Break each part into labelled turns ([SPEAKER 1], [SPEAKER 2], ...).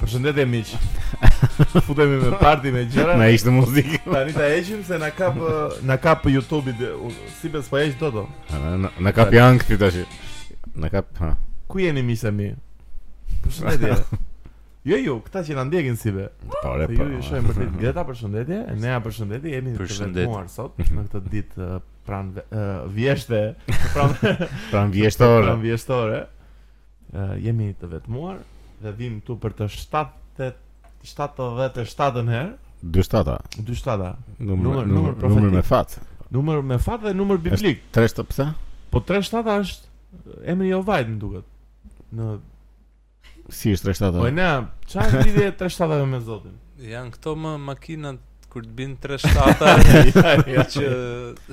[SPEAKER 1] Përshëndetje miq. Futemi me parti me gjëra.
[SPEAKER 2] Na ishte muzikë.
[SPEAKER 1] Tani ta heqim se na kap ë, na kap YouTube-i de- u- si bes po heq dot. o.
[SPEAKER 2] Na- na- Na kap janë këti tash. Na kap, ha.
[SPEAKER 1] Ku jeni miq se mi? Përshëndetje. Jo, jo, këta që na ndjekin si be.
[SPEAKER 2] Pare,
[SPEAKER 1] Se
[SPEAKER 2] po.
[SPEAKER 1] ju i shohim për ditë. Greta përshëndetje, Nea përshëndetje, jemi të
[SPEAKER 3] Përshëndet.
[SPEAKER 1] vetmuar sot në këtë ditë ë, pran ve- ë, vjeshte, pran
[SPEAKER 2] Pran vjeshtore.
[SPEAKER 1] Pran vjeshtore. Ë, jemi të vetmuar dhe vim këtu për të 7 77-ën herë,
[SPEAKER 2] 47-a.
[SPEAKER 1] 47-a.
[SPEAKER 2] Numër
[SPEAKER 1] Numër- numër
[SPEAKER 2] numër
[SPEAKER 1] profetik.
[SPEAKER 2] numër me fat.
[SPEAKER 1] Numër me fat dhe numër biblik.
[SPEAKER 2] 3 pse?
[SPEAKER 1] Po 37 është emri i Ovajt më duket. Në
[SPEAKER 2] Si është
[SPEAKER 1] po
[SPEAKER 2] 37-a?
[SPEAKER 1] ne çfarë lidhje 37 me Zotin?
[SPEAKER 3] Janë këto më makinat kur të bin 37 jo që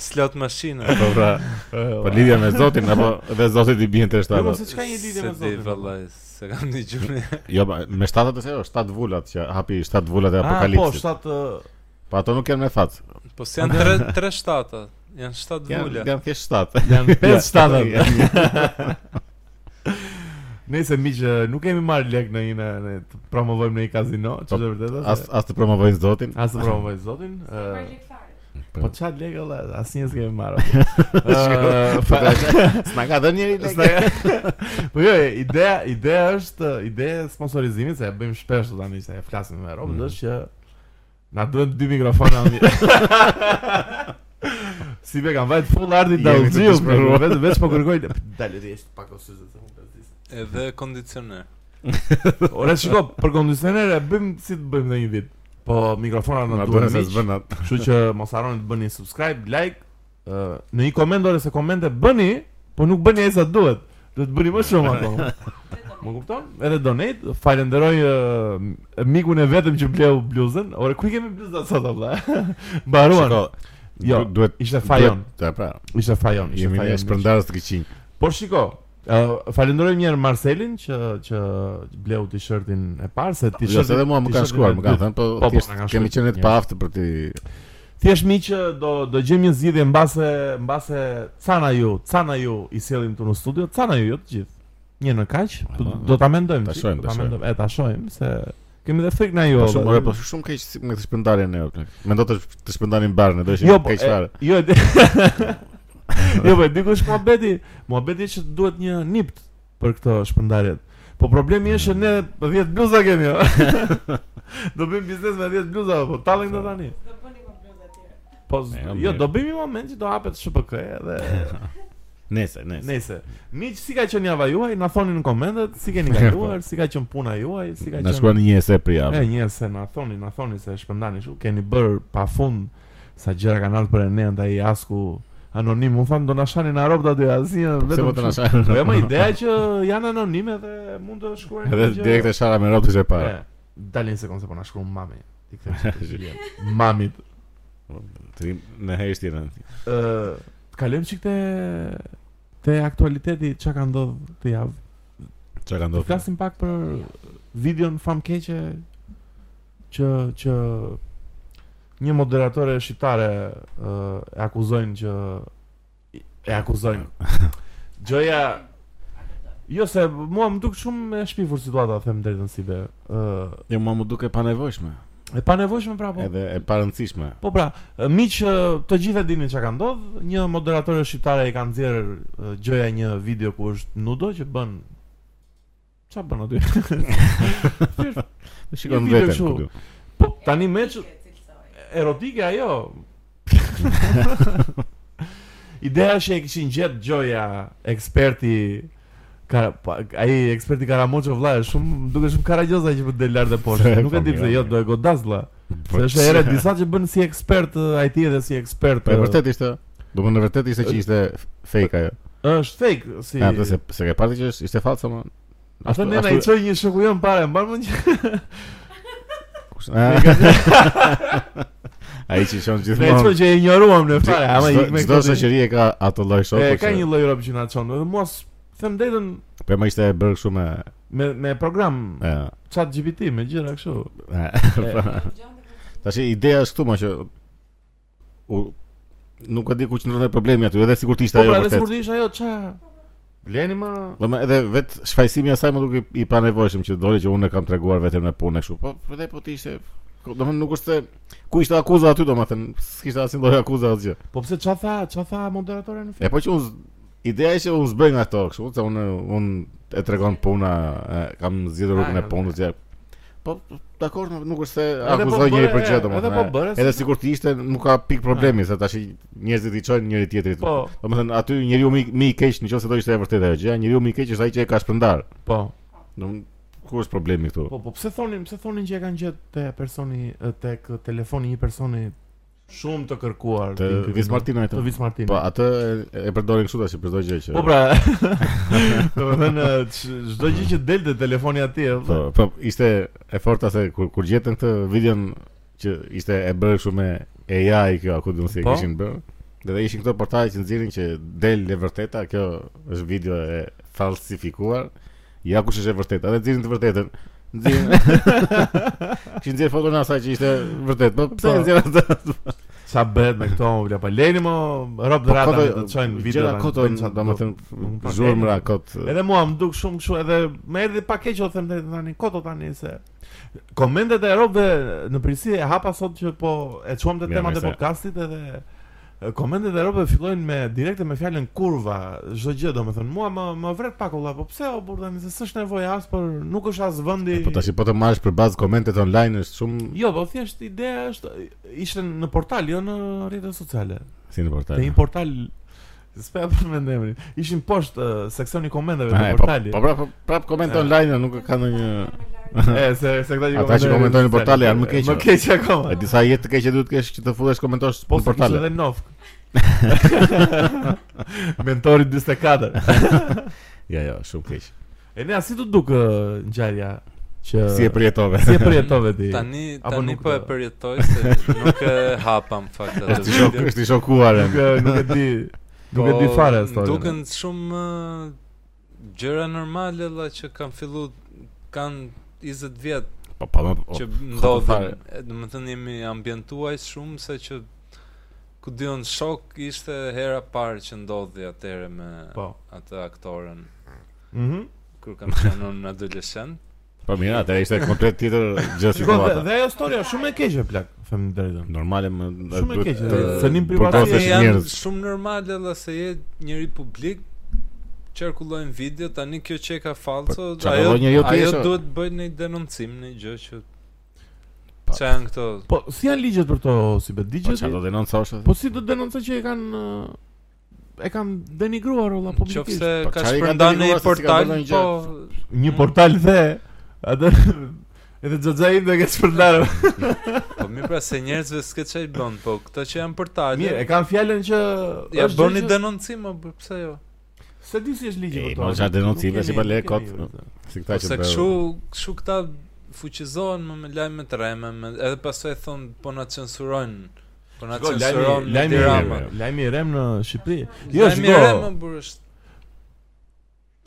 [SPEAKER 3] slot mashina.
[SPEAKER 2] Po pra, po lidhja me Zotin apo dhe Zoti i bien
[SPEAKER 1] Jo, po
[SPEAKER 2] 37-a.
[SPEAKER 1] se çka një lidhje me
[SPEAKER 3] Se di
[SPEAKER 1] Zotin?
[SPEAKER 3] vallaj, se kam një gjurë.
[SPEAKER 2] Jo, ba- me 7-at se jo, 7 vulat që hapi 7 vulat e
[SPEAKER 1] Ah, po
[SPEAKER 2] apokalipsit.
[SPEAKER 1] 7
[SPEAKER 2] Po ato nuk janë me fat.
[SPEAKER 3] Po se janë tre tre shtata, janë 7
[SPEAKER 2] Janë
[SPEAKER 3] vula.
[SPEAKER 2] janë thjesht 7.
[SPEAKER 1] janë 5 7
[SPEAKER 2] 7.
[SPEAKER 1] Nëse miq nuk kemi marrë lek në një në- në të promovojmë në një kazino, ç'është e vërteta?
[SPEAKER 2] As
[SPEAKER 1] se-
[SPEAKER 2] as të promovojnë Zotin.
[SPEAKER 1] as të promovojmë Zotin. ë,
[SPEAKER 2] Po.
[SPEAKER 1] Po çfarë lek olla, asnjë s'kemi marrë.
[SPEAKER 2] Shko,
[SPEAKER 1] Ë,
[SPEAKER 2] po,
[SPEAKER 1] fa-
[SPEAKER 2] S'na ka dhënë njëri lek.
[SPEAKER 1] S'na- Po jo, ideja, ideja është, ideja e sponsorizimit se e bëjmë shpesh tani se e flasim me Robin,
[SPEAKER 2] Mhm.
[SPEAKER 1] është që na duhen dy mikrofona. mi- si be kanë vajt full arti
[SPEAKER 2] Jemi
[SPEAKER 1] da
[SPEAKER 2] të
[SPEAKER 1] uziu,
[SPEAKER 2] dëshpëruar.
[SPEAKER 1] vetëm veç po kërkoj dalë rresht pak ose se unë pezis.
[SPEAKER 3] Edhe kondicioner.
[SPEAKER 1] Ora shiko, për kondicioner e bëjmë si të bëjmë në një vit. Po mikrofona
[SPEAKER 2] Na
[SPEAKER 1] na
[SPEAKER 2] duhet
[SPEAKER 1] duhen
[SPEAKER 2] se
[SPEAKER 1] miq.
[SPEAKER 2] s'bën atë.
[SPEAKER 1] Kështu që mos harroni të bëni subscribe, like, ë, në një koment ose se komente bëni, po nuk bëni ai sa duhet. Do të bëni më shumë ato. Më kupton? Edhe donate, falenderoj ë, mikun e vetëm që bleu bluzën. Ore ku i kemi bluzat sot valla? Mbaruan.
[SPEAKER 2] Shiko,
[SPEAKER 1] Jo,
[SPEAKER 2] du- duhet
[SPEAKER 1] ishte fajon.
[SPEAKER 2] duhet- Ta pra.
[SPEAKER 1] Ishte fajon, ishte
[SPEAKER 2] Jemi ne
[SPEAKER 1] fajon.
[SPEAKER 2] shpërndarës të këqinj.
[SPEAKER 1] Po shiko, ë, falenderoj një herë Marcelin që që bleu t-shirtin e parë se
[SPEAKER 2] Jo, se
[SPEAKER 1] t-shirti.
[SPEAKER 2] edhe mua më kanë
[SPEAKER 1] t-shirti
[SPEAKER 2] shkuar,
[SPEAKER 1] e
[SPEAKER 2] më kanë
[SPEAKER 1] dytë.
[SPEAKER 2] thënë, po
[SPEAKER 1] po,
[SPEAKER 2] thjesht
[SPEAKER 1] na kanë
[SPEAKER 2] kemi
[SPEAKER 1] shkruar.
[SPEAKER 2] qenë të
[SPEAKER 1] Ja.
[SPEAKER 2] paaftë për ti.
[SPEAKER 1] Thjesht mi që do do gjejmë një zgjidhje mbase mbase cana ju, cana ju i sjellim këtu në studio, cana ju jo të gjithë. Një në kaq, do, do ta mendojmë.
[SPEAKER 2] Ta
[SPEAKER 1] qik,
[SPEAKER 2] shohim,
[SPEAKER 1] do
[SPEAKER 2] ta
[SPEAKER 1] ta
[SPEAKER 2] shohim.
[SPEAKER 1] mendojmë, e ta shohim se kemi dhe frikë na ju.
[SPEAKER 2] Po shumë,
[SPEAKER 1] dhe-
[SPEAKER 2] ore, po shumë keq si- me këtë shpërndarjen e Oklak. Mendo të të shpërndanin barën, do ishte
[SPEAKER 1] Jo, po,
[SPEAKER 2] keq
[SPEAKER 1] e-
[SPEAKER 2] fare.
[SPEAKER 1] jo. e- jo, po dikush muhabeti, muhabeti që duhet një nipt për këto shpërndarjet. Po problemi është që ne 10 bluza kemi. jo. do bëjmë biznes me 10 bluza, po tallin do tani. Po, z-
[SPEAKER 2] Ja,
[SPEAKER 1] jo,
[SPEAKER 2] mirë.
[SPEAKER 1] do bëjmë një moment që do hapet SHPK edhe
[SPEAKER 2] Nese, nese.
[SPEAKER 1] Nëse, miq, si ka qenë java juaj? Na thoni në komentet, si keni kaluar, si ka qenë puna juaj, si ka
[SPEAKER 2] po. Na
[SPEAKER 1] qenë.
[SPEAKER 2] shkruani një ese për
[SPEAKER 1] E
[SPEAKER 2] javë.
[SPEAKER 1] njerëz se na thoni, na thoni se shpërndani kështu, keni bër pafund sa gjëra kanë ardhur për Enea ndaj Asku anonim. Unë tham do na shani në Europë aty asnjë
[SPEAKER 2] Se po të na
[SPEAKER 1] vetëm.
[SPEAKER 2] shajnë.
[SPEAKER 1] Po jam ideja që janë anonime dhe mund të shkruajnë.
[SPEAKER 2] Edhe
[SPEAKER 1] gjë.
[SPEAKER 2] direkt e shara me rrotush e para.
[SPEAKER 1] E, Dalin sekond se po na shkruan mami. Ti kthej. Mamit.
[SPEAKER 2] Ti në heshtje në.
[SPEAKER 1] Ë, të kalojmë çik te te aktualiteti çka ka ndodhur këtë javë.
[SPEAKER 2] Çka ka
[SPEAKER 1] Do
[SPEAKER 2] ndodhur?
[SPEAKER 1] flasim pak për videon famkeqe që që një moderatore shqiptare ë, e akuzojnë që e akuzojnë. Gjoja Jo se mua më duk shumë e shpifur situata, them drejtën si be. ë,
[SPEAKER 2] Jo, mua më duke e panevojshme,
[SPEAKER 1] e panevojshme pra po.
[SPEAKER 2] edhe e parëndësishme.
[SPEAKER 1] Po pra, miq, ë, të gjithë e dini çka ka ndodhur. Një moderatore shqiptare e ka nxjerr ë, gjëja një video ku është nudo që bën ç'a bën aty. Thjesht,
[SPEAKER 2] Shikon
[SPEAKER 1] video
[SPEAKER 2] veten
[SPEAKER 1] kështu.
[SPEAKER 2] ku du.
[SPEAKER 1] po, tani më që erotike ajo. Ideja është që e kishin gjetë gjoja eksperti Ka, pa, ai eksperti Karamoço vëlla është shumë duke shumë karagjoza që po del lart dhe poshtë.
[SPEAKER 2] Se,
[SPEAKER 1] Nuk e di
[SPEAKER 2] po,
[SPEAKER 1] pse
[SPEAKER 2] mirë,
[SPEAKER 1] jo
[SPEAKER 2] mirë.
[SPEAKER 1] do e godas vëlla.
[SPEAKER 2] Po,
[SPEAKER 1] Se është
[SPEAKER 2] që-
[SPEAKER 1] herë disa që bën si ekspert ë, IT dhe si ekspert.
[SPEAKER 2] Po e
[SPEAKER 1] ë,
[SPEAKER 2] vërtet ishte, do më në vërtet ishte që ishte fake ajo.
[SPEAKER 1] është fake si.
[SPEAKER 2] Ja, atë se se ke parë që është ishte falso më.
[SPEAKER 1] Atë ne na i çoj një shoku jon para, mban mend që
[SPEAKER 2] Ai që shon
[SPEAKER 1] ne i çoj
[SPEAKER 2] gjithmonë.
[SPEAKER 1] që e ignoruam në fare, ama i
[SPEAKER 2] Çdo-
[SPEAKER 1] me
[SPEAKER 2] Çdo
[SPEAKER 1] këtë-
[SPEAKER 2] shoqëri e ka ato lloj shoku.
[SPEAKER 1] E ka
[SPEAKER 2] që-
[SPEAKER 1] një lloj rob që na çon, edhe mua s- them drejtën
[SPEAKER 2] Po e më ishte e bërë kështu me
[SPEAKER 1] me me program
[SPEAKER 2] E,
[SPEAKER 1] chat GPT me gjëra kështu.
[SPEAKER 2] e, Tash ideja është këtu më që u nuk e di ku qëndron ai problemi aty, edhe sigurt ishte
[SPEAKER 1] Po
[SPEAKER 2] ajo
[SPEAKER 1] pra, edhe
[SPEAKER 2] vërtet.
[SPEAKER 1] sikur të ish ajo ça leni më
[SPEAKER 2] Do më edhe vet shfaqësimi i asaj më duke i panevojshëm që doli që unë e kam treguar vetëm në punë e kështu. Po edhe po të ishte domethënë nuk është se ku ishte akuza aty domethënë, s'kishte asnjë lloj akuza asgjë.
[SPEAKER 1] Po pse ça tha, ça tha moderatorja në
[SPEAKER 2] E
[SPEAKER 1] fund?
[SPEAKER 2] po që unë z- ideja ishte unë zbëj nga ato kështu, se unë unë e tregon puna, e, kam zgjedhur rrugën e
[SPEAKER 1] Ah,
[SPEAKER 2] punës ja. Po dakor, nuk- nuk është se
[SPEAKER 1] Edhe po
[SPEAKER 2] akuzoj njëri
[SPEAKER 1] bëre,
[SPEAKER 2] për gjë
[SPEAKER 1] e,
[SPEAKER 2] domethënë.
[SPEAKER 1] edhe po bëre,
[SPEAKER 2] Edhe
[SPEAKER 1] si-
[SPEAKER 2] sigurt ishte nuk ka pik problemi se tash i- njerëzit i çojnë njëri tjetrit.
[SPEAKER 1] Po,
[SPEAKER 2] Domethënë aty njeriu më i- më i keq nëse do ishte e vërtetë ajo gjë, njeriu më i keq është ai që e ka shpërndar.
[SPEAKER 1] po.
[SPEAKER 2] Domethënë ku është problemi këtu?
[SPEAKER 1] Po, po pse thonin, pse thonin që e kanë gjetë te personi tek telefoni i një personi shumë të kërkuar
[SPEAKER 2] Të
[SPEAKER 1] tim ky
[SPEAKER 2] Vis
[SPEAKER 1] vitin?
[SPEAKER 2] Martinaj
[SPEAKER 1] Të
[SPEAKER 2] të.
[SPEAKER 1] Vis Martin.
[SPEAKER 2] Po atë e, e përdorin kështu tash për çdo gjë që.
[SPEAKER 1] Po pra. Domethënë ç- çdo gjë që del te telefoni atje.
[SPEAKER 2] Po, po ishte e forta se kur kur gjetën këtë videon që ishte e bërë kështu me AI kjo, ku do si e
[SPEAKER 1] Po.
[SPEAKER 2] kishin bërë. Dhe ishin këto portale që nxirin që del e vërteta, kjo është video e falsifikuar. Ja kush është e vërteta, dhe nxirin të vërtetën. Nxirin. Kishin nxjerr foton e asaj që ishte vërtet. Po pse
[SPEAKER 1] Po.
[SPEAKER 2] e nxjerrën atë?
[SPEAKER 1] Sa bëhet me këto po më pa leni më rob
[SPEAKER 2] Po
[SPEAKER 1] drata
[SPEAKER 2] koto,
[SPEAKER 1] me të çojnë video.
[SPEAKER 2] gjëra
[SPEAKER 1] tani,
[SPEAKER 2] koto,
[SPEAKER 1] bëjnë çfarë do. Nuk
[SPEAKER 2] domethënë
[SPEAKER 1] pak
[SPEAKER 2] zhurmëra
[SPEAKER 1] lejnë.
[SPEAKER 2] kot.
[SPEAKER 1] Edhe mua më duk shumë kështu edhe më erdhi pa keq o them drejtën tani koto tani se komentet e robëve në përgjithësi e hapa sot që po e çuam te
[SPEAKER 2] Mirë,
[SPEAKER 1] temat e
[SPEAKER 2] mirë se-
[SPEAKER 1] podcastit edhe e, komentet e robëve fillojnë me direkte me fjalën kurva, çdo gjë domethënë mua më më vret pak olla, po pse o burr tani se s'është nevojë as për nuk është as vendi.
[SPEAKER 2] Po tash po të marrësh për bazë komentet online është shumë
[SPEAKER 1] Jo, po thjesht ideja është ishte në portal, jo në rrjetet sociale.
[SPEAKER 2] si në portal.
[SPEAKER 1] Te një portal s'po e përmend emrin. Ishin poshtë ë, seksioni komenteve
[SPEAKER 2] Ah,
[SPEAKER 1] të
[SPEAKER 2] e, po-
[SPEAKER 1] portalit.
[SPEAKER 2] Po prap prap koment
[SPEAKER 1] E.
[SPEAKER 2] online nuk ka ndonjë
[SPEAKER 1] E, se se këta që
[SPEAKER 2] Ata që komentojnë në portale janë më keq.
[SPEAKER 1] Më keq akoma.
[SPEAKER 2] e disa jetë të keqe duhet të kesh që të futesh komentosh
[SPEAKER 1] Po
[SPEAKER 2] në
[SPEAKER 1] se kishte
[SPEAKER 2] portale.
[SPEAKER 1] edhe Novk. Mentori 44.
[SPEAKER 2] Jo, jo, shumë keq.
[SPEAKER 1] E ne si të duk ë, ngjarja që
[SPEAKER 2] Si e përjetove?
[SPEAKER 1] si e përjetove ti?
[SPEAKER 3] Tani
[SPEAKER 1] Apo
[SPEAKER 3] tani
[SPEAKER 1] nuk
[SPEAKER 3] po e
[SPEAKER 1] do?
[SPEAKER 3] përjetoj se nuk e hapa në fakt atë.
[SPEAKER 2] Është i shok,
[SPEAKER 3] video.
[SPEAKER 2] është i shokuar.
[SPEAKER 1] Nuk e- nuk e di. Nuk e di
[SPEAKER 3] Po,
[SPEAKER 1] fare
[SPEAKER 3] më
[SPEAKER 1] story.
[SPEAKER 3] Duken shumë ë, gjëra normale valla që kanë fillu kanë 20 vjet
[SPEAKER 2] Po po. po, po.
[SPEAKER 3] që
[SPEAKER 2] fare.
[SPEAKER 3] ndodhin. E, Do të thënë jemi ambientuaj shumë se që ku dion shok ishte hera parë që ndodhi atëherë me
[SPEAKER 1] Po.
[SPEAKER 3] atë aktoren
[SPEAKER 1] Mhm.
[SPEAKER 3] kur kam qenë unë adoleshent.
[SPEAKER 2] Po mirë, atë ishte komplet tjetër gjë
[SPEAKER 1] Shiko, dhe,
[SPEAKER 2] situata.
[SPEAKER 1] dhe ajo storia shumë e keqe plak, them drejtën.
[SPEAKER 2] Normale më
[SPEAKER 1] Shumë e keqe,
[SPEAKER 2] të-
[SPEAKER 1] se një privatësi
[SPEAKER 2] burdosesh
[SPEAKER 1] Ose
[SPEAKER 3] Ose janë
[SPEAKER 2] njerëz.
[SPEAKER 3] shumë normale valla se je njëri publik qarkullojnë video tani kjo që e ka falso
[SPEAKER 2] Po,
[SPEAKER 3] ajo
[SPEAKER 2] qarkullon njeriu
[SPEAKER 3] ajo
[SPEAKER 2] thjesht, o.
[SPEAKER 3] duhet bëj një denoncim në gjë që
[SPEAKER 2] Pa.
[SPEAKER 3] që janë këto
[SPEAKER 1] Po si janë ligjet për to si be
[SPEAKER 2] Po
[SPEAKER 1] digjet?
[SPEAKER 2] çfarë do denoncosh?
[SPEAKER 1] Po si do denoncoj që e kanë ë, e kanë denigruar olla publikisht.
[SPEAKER 3] qofse
[SPEAKER 2] Po,
[SPEAKER 3] ka
[SPEAKER 2] çfarë i ka
[SPEAKER 3] shpërndarë në
[SPEAKER 2] deniguar se
[SPEAKER 3] një
[SPEAKER 2] si ka
[SPEAKER 3] portal
[SPEAKER 2] bërë ndonjë
[SPEAKER 3] po
[SPEAKER 1] Një portal the atë edhe xhaxha im dhe ke shpërndarë.
[SPEAKER 3] po mirë pra se njerëzve s'ke çaj bën po këto që janë portale
[SPEAKER 1] Mirë, e kanë fjalën që
[SPEAKER 3] ja
[SPEAKER 1] është gjë
[SPEAKER 3] bëni
[SPEAKER 1] që-
[SPEAKER 3] denoncim apo pse jo
[SPEAKER 1] Se di si është ligji
[SPEAKER 2] E,
[SPEAKER 1] për to.
[SPEAKER 2] ma, çfarë denoncime,
[SPEAKER 1] Nuk
[SPEAKER 2] si
[SPEAKER 1] kemi-
[SPEAKER 2] pa le
[SPEAKER 1] nuk kemi
[SPEAKER 2] kot.
[SPEAKER 1] vetë.
[SPEAKER 2] Si këta që
[SPEAKER 3] ose
[SPEAKER 2] bëu.
[SPEAKER 3] kshu kshu këta fuqizohen më me lajme të rreme me- edhe pastaj thon po na censurojnë po na
[SPEAKER 1] Shiko, lajmi
[SPEAKER 3] censurojnë në
[SPEAKER 1] lajmi i
[SPEAKER 3] Tiranë
[SPEAKER 1] rem, lajmi i rem në Shqipëri. Jo,
[SPEAKER 3] Jo, shiko. Lajmi më
[SPEAKER 1] shiko.
[SPEAKER 3] burësh.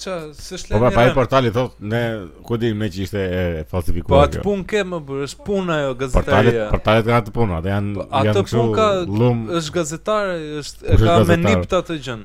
[SPEAKER 3] Ça, s'është
[SPEAKER 2] Po pra, pa i
[SPEAKER 3] lajmi. Po,
[SPEAKER 2] portali thot ne ku dim ne që ishte e
[SPEAKER 3] po
[SPEAKER 2] falsifikuar.
[SPEAKER 3] atë
[SPEAKER 2] kjo.
[SPEAKER 3] punë ke më burësh, puna ajo
[SPEAKER 2] Portalet,
[SPEAKER 3] gazetaria.
[SPEAKER 2] portalet kanë atë punë, atë janë
[SPEAKER 3] Po, atë
[SPEAKER 2] janë kështu
[SPEAKER 3] punë ka-
[SPEAKER 2] llum.
[SPEAKER 3] Është gazetare, është e
[SPEAKER 2] Kush është
[SPEAKER 3] ka me
[SPEAKER 2] gazetar?
[SPEAKER 3] nipt atë gjën.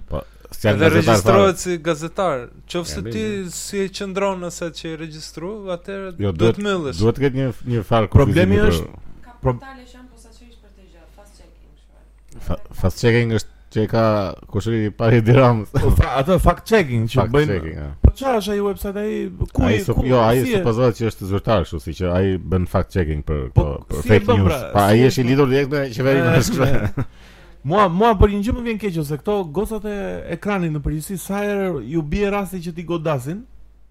[SPEAKER 2] s'janë
[SPEAKER 3] Edhe
[SPEAKER 2] gazetar
[SPEAKER 3] regjistrohet si gazetar. Qofse
[SPEAKER 2] Janë
[SPEAKER 3] ti
[SPEAKER 2] mirë.
[SPEAKER 3] si e qëndron nëse që i regjistru, atëherë
[SPEAKER 2] Jo,
[SPEAKER 3] do
[SPEAKER 2] duhet-
[SPEAKER 3] të myllesh.
[SPEAKER 2] Duhet të ketë një një farë
[SPEAKER 1] Problemi
[SPEAKER 2] konfuzimi
[SPEAKER 1] është-
[SPEAKER 4] Ka
[SPEAKER 1] Pro-
[SPEAKER 4] portale që janë posaçërisht për të gjë, fast checking
[SPEAKER 2] për-
[SPEAKER 4] kështu.
[SPEAKER 2] fa- fast checking është që e ka kushëri i parë i Diramës.
[SPEAKER 1] Po, fa- Atë fact checking që
[SPEAKER 2] Fact
[SPEAKER 1] bëjnë.
[SPEAKER 2] checking, a.
[SPEAKER 1] Po çfarë është ai website ai ku
[SPEAKER 2] Ai
[SPEAKER 1] i-
[SPEAKER 2] sup-
[SPEAKER 1] ku-
[SPEAKER 2] jo, ai
[SPEAKER 1] si e-
[SPEAKER 2] supozohet që është zyrtar kështu, si që ai bën fact checking për
[SPEAKER 1] Po,
[SPEAKER 2] po, për
[SPEAKER 1] si e
[SPEAKER 2] fake
[SPEAKER 1] bën,
[SPEAKER 2] news.
[SPEAKER 1] pra?
[SPEAKER 2] Pa
[SPEAKER 1] Si
[SPEAKER 2] ai
[SPEAKER 1] e
[SPEAKER 2] është i
[SPEAKER 1] bën?
[SPEAKER 2] lidhur direkt me qeverinë
[SPEAKER 1] E,
[SPEAKER 2] është kështu.
[SPEAKER 1] Mua, mua për një gjë më vjen keq ose këto gocat e ekranit në përgjithësi sa herë ju bie rasti që ti godasin,